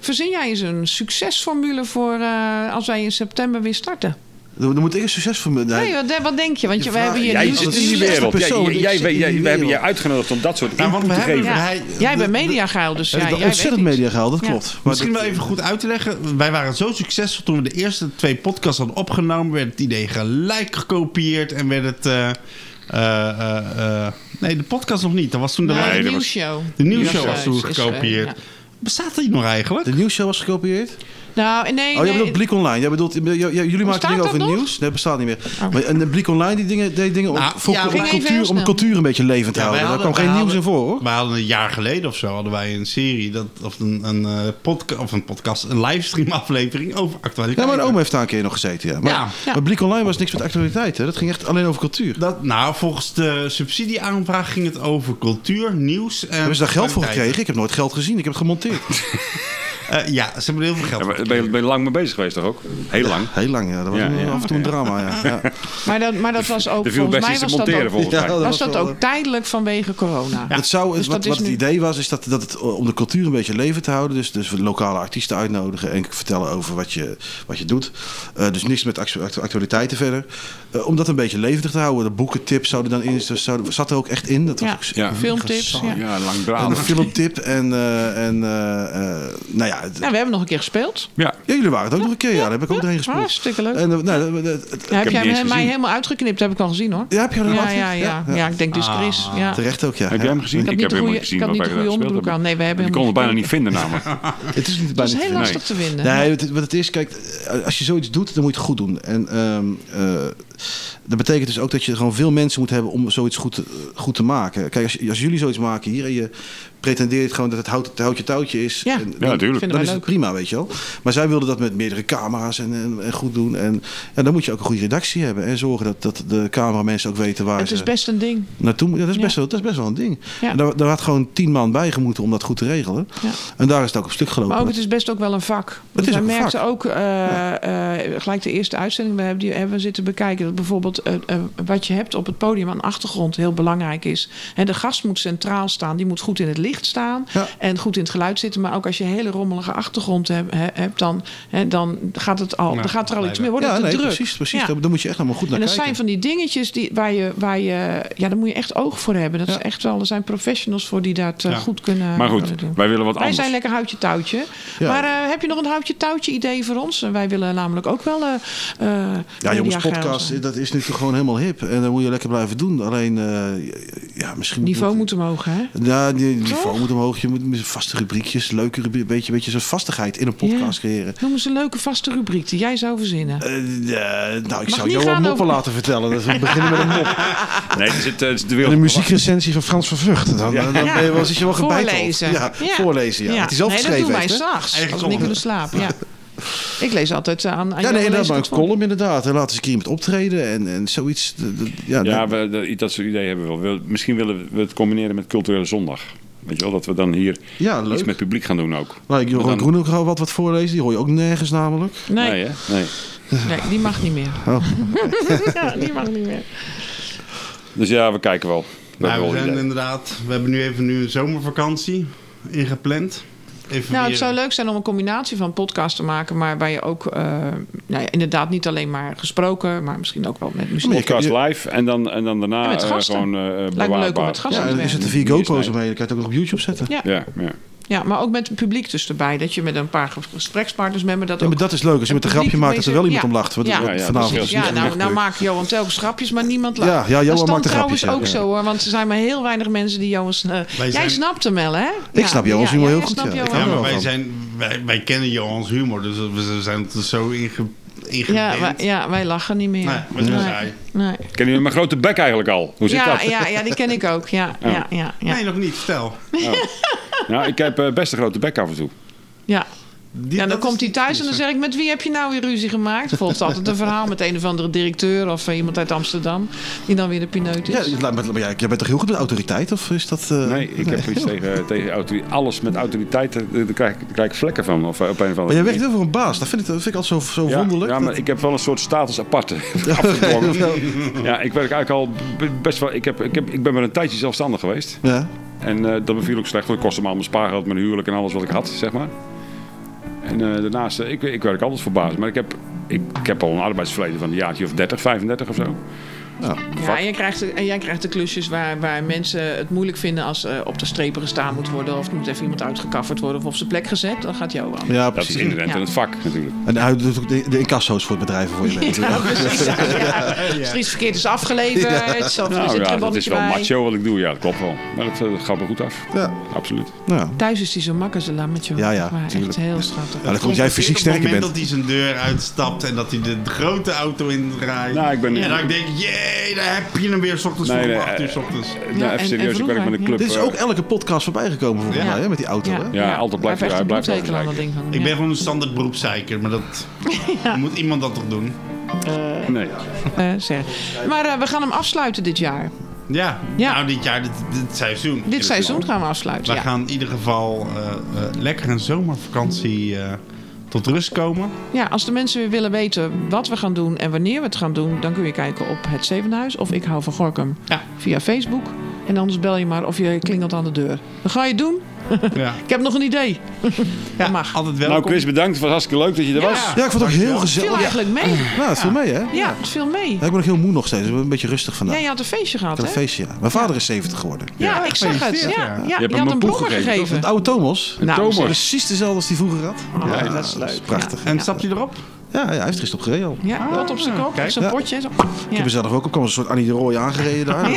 D: verzin jij eens een succesformule voor eh, als wij in september weer starten?
E: Dan dan moet ik een succesformule.
D: Nee,
E: Nee,
D: wat, eh, wat denk je? Want
E: Je
D: je, we
E: vraagt-
D: hebben hier
E: Ja,
F: Jij
E: je
D: nieuws-
F: zit in
E: is
F: die
E: een
F: wereld. Jij,
E: persoon,
F: jij,
E: ik
F: jij-
E: zit in die
F: jij- wij hebben je
E: wereld.
F: uitgenodigd om dat soort
C: Nou, want
F: input
C: we
F: te
C: hebben-
F: geven.
D: Ja.
C: Hij-
D: jij
C: de-
D: bent
C: de-
D: mediageil, dus ja,
E: dat
D: jij
E: ontzettend
D: weet iets.
E: mediageil, dat
D: Ja.
E: klopt. Maar
C: Misschien
E: dat- eh,
C: wel even goed uit te leggen. Wij waren zo succesvol toen we de eerste twee podcasts hadden opgenomen. Werd het idee gelijk gekopieerd en werd het. eh, eh, eh, eh, nee, de podcast nog niet. Dat was toen de,
D: Nee,
C: live-
D: de
F: dat was-
D: nieuwsshow.
C: de nieuwsshow
D: Ja,
C: was toen
D: is- is, eh,
C: gekopieerd.
D: ja.
C: Bestaat die nog eigenlijk?
E: De nieuwsshow was gekopieerd?
D: Nou, nee,
E: Oh, jij
D: nee,
E: bedoelt Blik Online. Jij bedoelt, j- j- jullie maken
D: Bestaat
E: dingen
D: dat
E: over
D: nog?
E: nieuws. Nee, bestaat niet meer. Maar, en de Blik Online die dingen, deed dingen om,
C: Nou,
E: voor,
C: ja,
E: om,
C: ging
D: even heel
E: cultuur, om
D: snel.
E: cultuur een beetje levend te
C: Ja, wij
E: houden. Daar
C: hadden-
E: kwam geen
C: wij
E: nieuws in
C: hadden-
E: voor, hoor.
C: We hadden een jaar geleden of zo hadden wij een serie dat, of een, een eh, podca- of een podcast, een livestream aflevering over actualiteit.
E: Ja, mijn oom heeft daar een keer nog gezeten, ja. Maar,
C: Ja.
D: Ja.
E: maar Blik Online was niks met actualiteit, hè. Dat ging echt alleen over cultuur.
C: dat, nou, volgens de subsidieaanvraag ging het over cultuur, nieuws en.
E: Hebben ze daar geld voor
C: actualiteit.
E: gekregen? Ik heb nooit geld gezien. Ik heb het gemonteerd.
C: Eh, ja, ze hebben er heel veel geld
F: Ja,
C: voor.
F: maar ben, je, ben je lang mee bezig geweest toch ook? Heel lang.
E: Heel lang, ja. Dat was
F: Ja,
E: een-
F: ja.
E: af en toe een drama, ja. ja.
D: Maar dat, maar dat was ook,
F: Er viel
D: volgens
F: best
D: mij
F: iets
D: was
F: te
D: dat
F: monteren
D: ook,
F: volgens
E: Ja,
F: mij.
E: dat
D: was
E: was
D: dat
E: wel,
D: ook tijdelijk vanwege corona.
E: Het zou,
D: Dus
E: wat
D: dat is
E: wat het
D: nu-
E: idee was, is dat, dat het om de cultuur een beetje leven te houden. Dus, dus we lokale artiesten uitnodigen en vertellen over wat je, wat je doet. Eh, dus niks met actu- actu- actualiteiten verder. Eh, om dat een beetje levendig te houden. De boekentips zouden dan in. Dus zouden, zat er ook echt in. Dat was
D: Ja,
E: ook
F: Ja.
D: filmtips. Ja.
F: Ja,
E: En een
F: langdradig.
E: filmtip en, eh, en eh, eh, nou ja, het-
D: Nou, we hebben nog een keer gespeeld.
F: Ja.
E: ja, jullie waren het ook nog een keer. Ja, daar heb ik ook doorheen gespeeld.
D: Hartstikke leuk.
E: En, eh, nou, dat- dat- het-
D: Ja, heb
F: hem
D: jij
F: niet eens
D: hem- mij
F: gezien.
D: helemaal uitgeknipt, heb ik al gezien hoor.
E: ja, heb je dat
D: Ja,
E: laten?
D: ja, ja. Ja, ik denk dus Chris. Ja.
E: Ah, Terecht ook, ja.
F: Heb jij hem gezien?
D: Ik had niet de
F: helemaal
D: goede- ik
F: niet gezien
D: had
F: wat
D: niet de
F: wij
D: goede
F: gespeeld
D: onderbroek
F: hebben.
D: aan. Nee, we hebben
F: Die
D: hem
F: kon het bijna
D: niet
F: niet vinden namelijk.
E: Het is niet
D: Dat
E: bijna
D: is
E: te
D: heel
E: vinden.
D: lastig te vinden.
E: Nee, het, wat het is, kijk, eh, als je zoiets doet, dan moet je het goed doen. En ehm, eh, dat betekent dus ook dat je gewoon veel mensen moet hebben om zoiets goed te, goed te maken. Kijk, als, je- als jullie zoiets maken hier en je pretendeert gewoon dat het hout, het houtje touwtje is.
D: Ja.
E: en,
F: Ja, natuurlijk.
D: Vinden
E: Dan
D: wij
E: is het
D: leuk.
E: prima, weet je wel. Maar zij wilden dat met meerdere camera's en, en, en goed doen. En, en dan moet je ook een goede redactie hebben. En zorgen dat, dat de cameramensen ook weten waar
D: Het
E: ze
D: is best een ding.
E: naartoe moeten. Ja, dat,
D: Ja.
E: is best wel, dat is best wel een ding.
D: Ja.
E: En daar, daar had gewoon tien man bij gemoeten om dat goed te regelen.
D: Ja.
E: En daar is het ook op stuk gelopen.
D: Maar ook, het is best ook wel een vak. Want
E: is
D: wij
E: ook een
D: merkten ook, eh, eh, gelijk de eerste uitzending we hebben, die hebben we zitten bekijken, dat bijvoorbeeld eh, eh, wat je hebt op het podium aan de achtergrond heel belangrijk is. En de gast moet centraal staan, die moet goed in het licht staan
E: Ja.
D: en goed in het geluid zitten. Maar ook als je een hele rommelige achtergrond heb- he- hebt, dan, hè, dan gaat het al, dan gaat er al iets meer worden.
E: ja,
D: het te
E: nee,
D: Oh, druk.
E: precies. precies.
D: Ja.
E: Daar, daar moet je echt allemaal goed naar
D: En dat
E: kijken.
D: zijn van die dingetjes die, waar, je, waar je... Ja, daar moet je echt oog voor hebben. Dat
E: Ja.
D: is echt wel, er zijn professionals voor die dat eh,
C: Ja.
D: goed kunnen
F: Maar goed,
D: kunnen doen.
F: wij willen wat
D: Wij zijn
F: anders.
D: lekker houtje touwtje.
E: Ja.
D: Maar eh, heb je nog een houtje touwtje idee voor ons? Wij willen namelijk ook wel... eh, eh,
E: Ja, jongens,
D: mediageil
E: podcast, eh,
D: zijn.
E: dat is nu toch gewoon helemaal hip. En dat moet je lekker blijven doen. Alleen, eh, ja, misschien...
D: Niveau moet omhoog, hè?
E: Ja, die- niveau
D: Toch?
E: moet omhoog. Je moet met vaste rubriekjes, leuke rubriekjes, een beetje, beetje zo'n vastigheid in een podcast
D: Ja.
E: creëren.
D: Noem eens een leuke vaste rubriek die jij zou verzinnen.
E: Eh, eh, nou, ik
D: Mag
E: zou
D: niet
E: Johan
D: gaan
E: Moppen
D: over-
E: laten vertellen. Dat we beginnen met een mop.
F: Nee, er zit, eh, er zit de
E: En
F: wereld.
E: een muziekrecensie van Frans van Vught. Dan, dan ben je wel, zit je wel gebeiteld.
D: Voorlezen.
E: Ja, voorlezen. Ja.
D: Ja.
E: Dat hij zelf
D: nee, dat
E: geschreven
D: doen wij
E: heeft, hè?
D: s'nachts. Als we
C: Eigenlijk
D: niet kunnen slapen, ja. Ik lees altijd eh, aan, aan
E: Ja,
D: jou,
E: nee,
D: lees
E: dat
D: ik
E: maar een
D: het voor.
E: column inderdaad. En laten ze een keer iemand optreden en, en zoiets. Dat- dat- Ja,
F: Ja,
E: dat-
F: we, dat, dat soort ideeën hebben we wel. We- Misschien willen we het combineren met culturele zondag. Weet je wel, dat we dan hier
E: ja
F: iets
E: leuk.
F: met publiek gaan doen ook.
E: Nou, ik Joran
F: Maar dan-
E: Groen ook al wat, wat voorlezen. Die hoor je ook nergens namelijk.
D: Nee,
F: Nee, hè? Nee.
D: nee, die mag niet meer.
E: Oh.
D: ja, die mag niet meer.
F: Dus ja, we kijken wel. We
C: Nou,
F: hebben
C: we zijn
F: wel ideeën.
C: inderdaad, we hebben nu even nu een zomervakantie ingepland.
D: Nou, het zou leuk zijn om een combinatie van podcast te maken, maar waar je ook eh, nou ja, inderdaad niet alleen maar gesproken, maar misschien ook wel met muziek.
E: Maar je kan-
B: Podcast live en dan, en dan daarna
D: Ja, met
B: eh,
D: gasten.
B: gewoon eh bewaarbaar.
D: me leuk om met gasten
E: Ja,
D: te
E: en er
D: werken.
E: zitten vier
B: Hier is
E: GoPro's
B: hij.
E: omheen. Dan kan je het ook nog op YouTube zetten.
D: Ja.
B: Ja, ja.
D: Ja, maar ook met het publiek dus erbij. Dat je met een paar gesprekspartners met me dat
E: Ja,
D: ook...
E: maar dat is leuk. Als je met een
D: publiek
E: grapje maakt dat er wel
D: mee
E: iemand om
D: zit.
E: lacht. Want
D: Ja.
E: want
B: Ja, ja,
E: vanavond
B: precies.
E: is
D: Ja,
E: niet
D: nou,
E: echt
D: nou
E: leuk.
D: maakt Johan telkens grapjes, maar niemand lacht.
E: Ja, ja, Johan
D: dat is dan
E: maakt de
D: trouwens
E: grapjes, ja.
D: ook
E: Ja.
D: zo hoor, want er zijn maar heel weinig mensen die Johans... eh, jij
C: zijn-
D: snapt hem wel, hè? Ja,
E: snap Johans humor
D: jij
E: heel goed,
D: snapt
E: ja.
D: Johan.
E: Ik hou
C: Ja,
E: er
C: maar wij,
E: wel van.
C: zijn, wij, wij kennen Johans humor, dus we zijn er zo inge, ingebend.
D: Ja, wij, ja, wij lachen niet meer.
C: Nee, maar dat is saai.
D: Nee.
B: Ken je mijn grote bek eigenlijk al? Hoe zit
D: Ja,
B: dat?
D: ja, ja, die ken ik ook. Ja, ja, ja, ja.
C: Nee, nog niet. Vertel.
B: Nou, ik heb eh, best een grote bek af en toe.
D: ja.
C: Die-
D: Ja, dan
C: dat is-
D: komt hij thuis en dan zeg ik: Met wie heb je nou weer ruzie gemaakt? Volgt altijd een verhaal met een of andere directeur of eh, iemand uit Amsterdam. Die dan weer de pineut
E: Ja,
D: is.
E: maar, maar jij- jij bent toch heel goed met autoriteit? Of is dat... eh,
B: Nee, ik heb iets tegen, eh, tegen autori- alles met autoriteit. eh, Daar krijg, ik- daar krijg ik vlekken van. Of eh, op een of andere
E: Maar jij werkt
B: manier.
E: heel voor een baas. Dat vind ik, dat vind ik altijd zo, zo
B: ja,
E: wonderlijk.
B: Ja, maar
E: dat-
B: ik heb wel een soort status aparte afgedwongen. ja, ik werk eigenlijk al b- best wel... Ik, heb, ik, heb, ik ben maar een tijdje zelfstandig geweest.
E: ja.
B: En eh, dat beviel ook slecht, want het kostte me al mijn spaargeld, mijn huwelijk en alles wat ik had, zeg maar. En eh, daarnaast, eh, ik, ik werk altijd voor baas, maar ik heb, ik, ik heb al een arbeidsverleden van een jaartje of 30, 35 of zo.
D: Ja, en jij krijgt, de- en jij krijgt de klusjes waar, waar mensen het moeilijk vinden als eh, op de strepen gestaan moet worden. Of er moet even iemand uitgekafferd worden of op zijn plek gezet. Dan gaat Johan.
E: ja,
B: Dat is
E: precies.
B: inherent
D: Ja. Dus
B: in het vak natuurlijk.
E: En hij doet ook de, de incasso's voor het bedrijf voor je. mee.
D: Ja, precies. Ja, ja. Als er iets verkeerd is afgeleverd. Of er is
B: Nou
D: een
B: ja, dat is
D: kribballetje
B: wel
D: bij.
B: macho wat ik doe, ja, dat klopt wel. Maar dat, eh, dat gaat me goed af.
E: Ja.
B: Absoluut.
E: Nou, ja.
D: Thuis is hij zo makkerselam met je.
E: Ja, ja,
D: Maar echt
E: tuurlijk.
D: heel schattig.
E: dan komt jij fysiek
C: Op
E: sterker
C: het moment
E: bent.
C: dat hij zijn deur uitstapt en dat hij de grote auto indraait.
B: Nou, ik ben...
C: En dan denk ik, jee, daar heb je hem weer, s ochtends
B: Nee,
C: vroeg,
B: nee,
C: om acht uur
B: eh,
C: 's ochtends.
B: Nou,
D: Ja, en-
B: even serieus,
D: en
B: ik werk met een
D: vroeger,
B: club.
E: Dit is ook
B: eh,
E: elke podcast voorbij gekomen volgens
D: Ja.
E: mij, hè, met die auto. Hè?
B: Ja, altijd blijft hij-
D: echt een
B: hij blijft altijd
D: bloedhekel aan dat
B: gelijk.
D: ding van hem,
C: Ik
D: ja.
C: ben gewoon een standaard beroepszeiker, maar dat moet iemand dat toch doen?
B: Nee.
D: Eh, zeg. Maar eh, we gaan hem afsluiten dit jaar.
C: Ja,
D: Ja.
C: nou dit jaar, dit, dit seizoen.
D: Dit seizoen gaan we afsluiten.
C: We
D: Ja.
C: gaan in ieder geval eh, eh, lekker een zomervakantie eh, tot rust komen.
D: ja, als de mensen weer willen weten wat we gaan doen en wanneer we het gaan doen, dan kun je kijken op het Zevenhuis of ik hou van Gorkum
C: Ja.
D: via Facebook. En anders bel je maar of je klingelt aan de deur. Dan ga je het doen.
C: Ja,
D: Ik heb nog een idee. dat mag.
C: altijd welkom.
B: Nou Chris, bedankt. Het was hartstikke leuk dat je er was.
E: Ja, ik vond het ook heel
D: Het viel
E: gezellig.
D: eigenlijk mee.
E: Nou, het viel mee, hè? Ja.
D: Ja, het viel mee.
E: Ik ben nog heel moe nog steeds. Ik ben een beetje rustig vandaag.
D: Ja, je had een feestje gehad,
E: Ik had
D: hè?
E: een feestje, ja. Mijn vader is 70 geworden.
D: Ja, ik zag het. Ja,
C: Gefeliciteerd,
D: ja.
C: ja.
D: Je,
B: hem
D: had
B: een
D: een
B: poel
D: bloem
B: gegeven,
D: gegeven.
E: Het oude Thomas.
D: Nou,
B: Thomas.
D: zeg.
E: Precies dezelfde als die vroeger had.
D: Oh, dat is leuk.
E: prachtig.
D: Ja,
C: En
D: ja.
C: stap je erop?
E: Ja, ja hij heeft gisteren op gereden al.
D: Ja, dat op zijn kop,
C: Ah, kijk.
D: zo'n
E: Ja.
D: potje. Zo.
E: Ik
D: Ja.
E: heb er zelf ook op, kwam een soort Annie de Rooij aangereden daar. eh,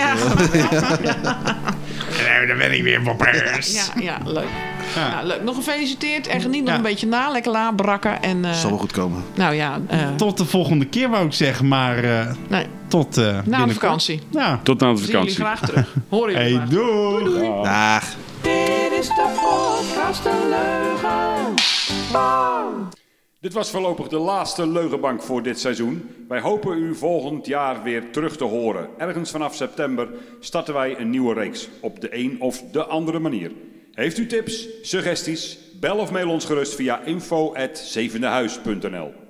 D: Ja.
C: Nee, nou, dan ben ik weer boppers.
D: Ja, ja, leuk.
C: Ja.
D: Nou, leuk. Nog gefeliciteerd en geniet nog
C: Ja.
D: een beetje na. Lekker la, brakken. En, eh,
E: Zal wel goed komen.
D: nou ja, eh,
C: Tot de volgende keer wou ik zeggen, maar eh,
D: nee,
C: tot eh,
D: na de
C: binnenkort.
D: vakantie.
C: Ja.
B: Tot na de
D: Zien jullie
B: vakantie.
D: graag terug. Horen jullie
C: Hey,
D: graag.
C: doei.
D: Oh.
E: Dag.
G: Dit is de podcast De Leugen. Bam!
H: Dit was voorlopig de laatste leugenbank voor dit seizoen. Wij hopen u volgend jaar weer terug te horen. Ergens vanaf september starten wij een nieuwe reeks op de een of de andere manier. Heeft u tips, suggesties? Bel of mail ons gerust via info@zevendehuis.nl.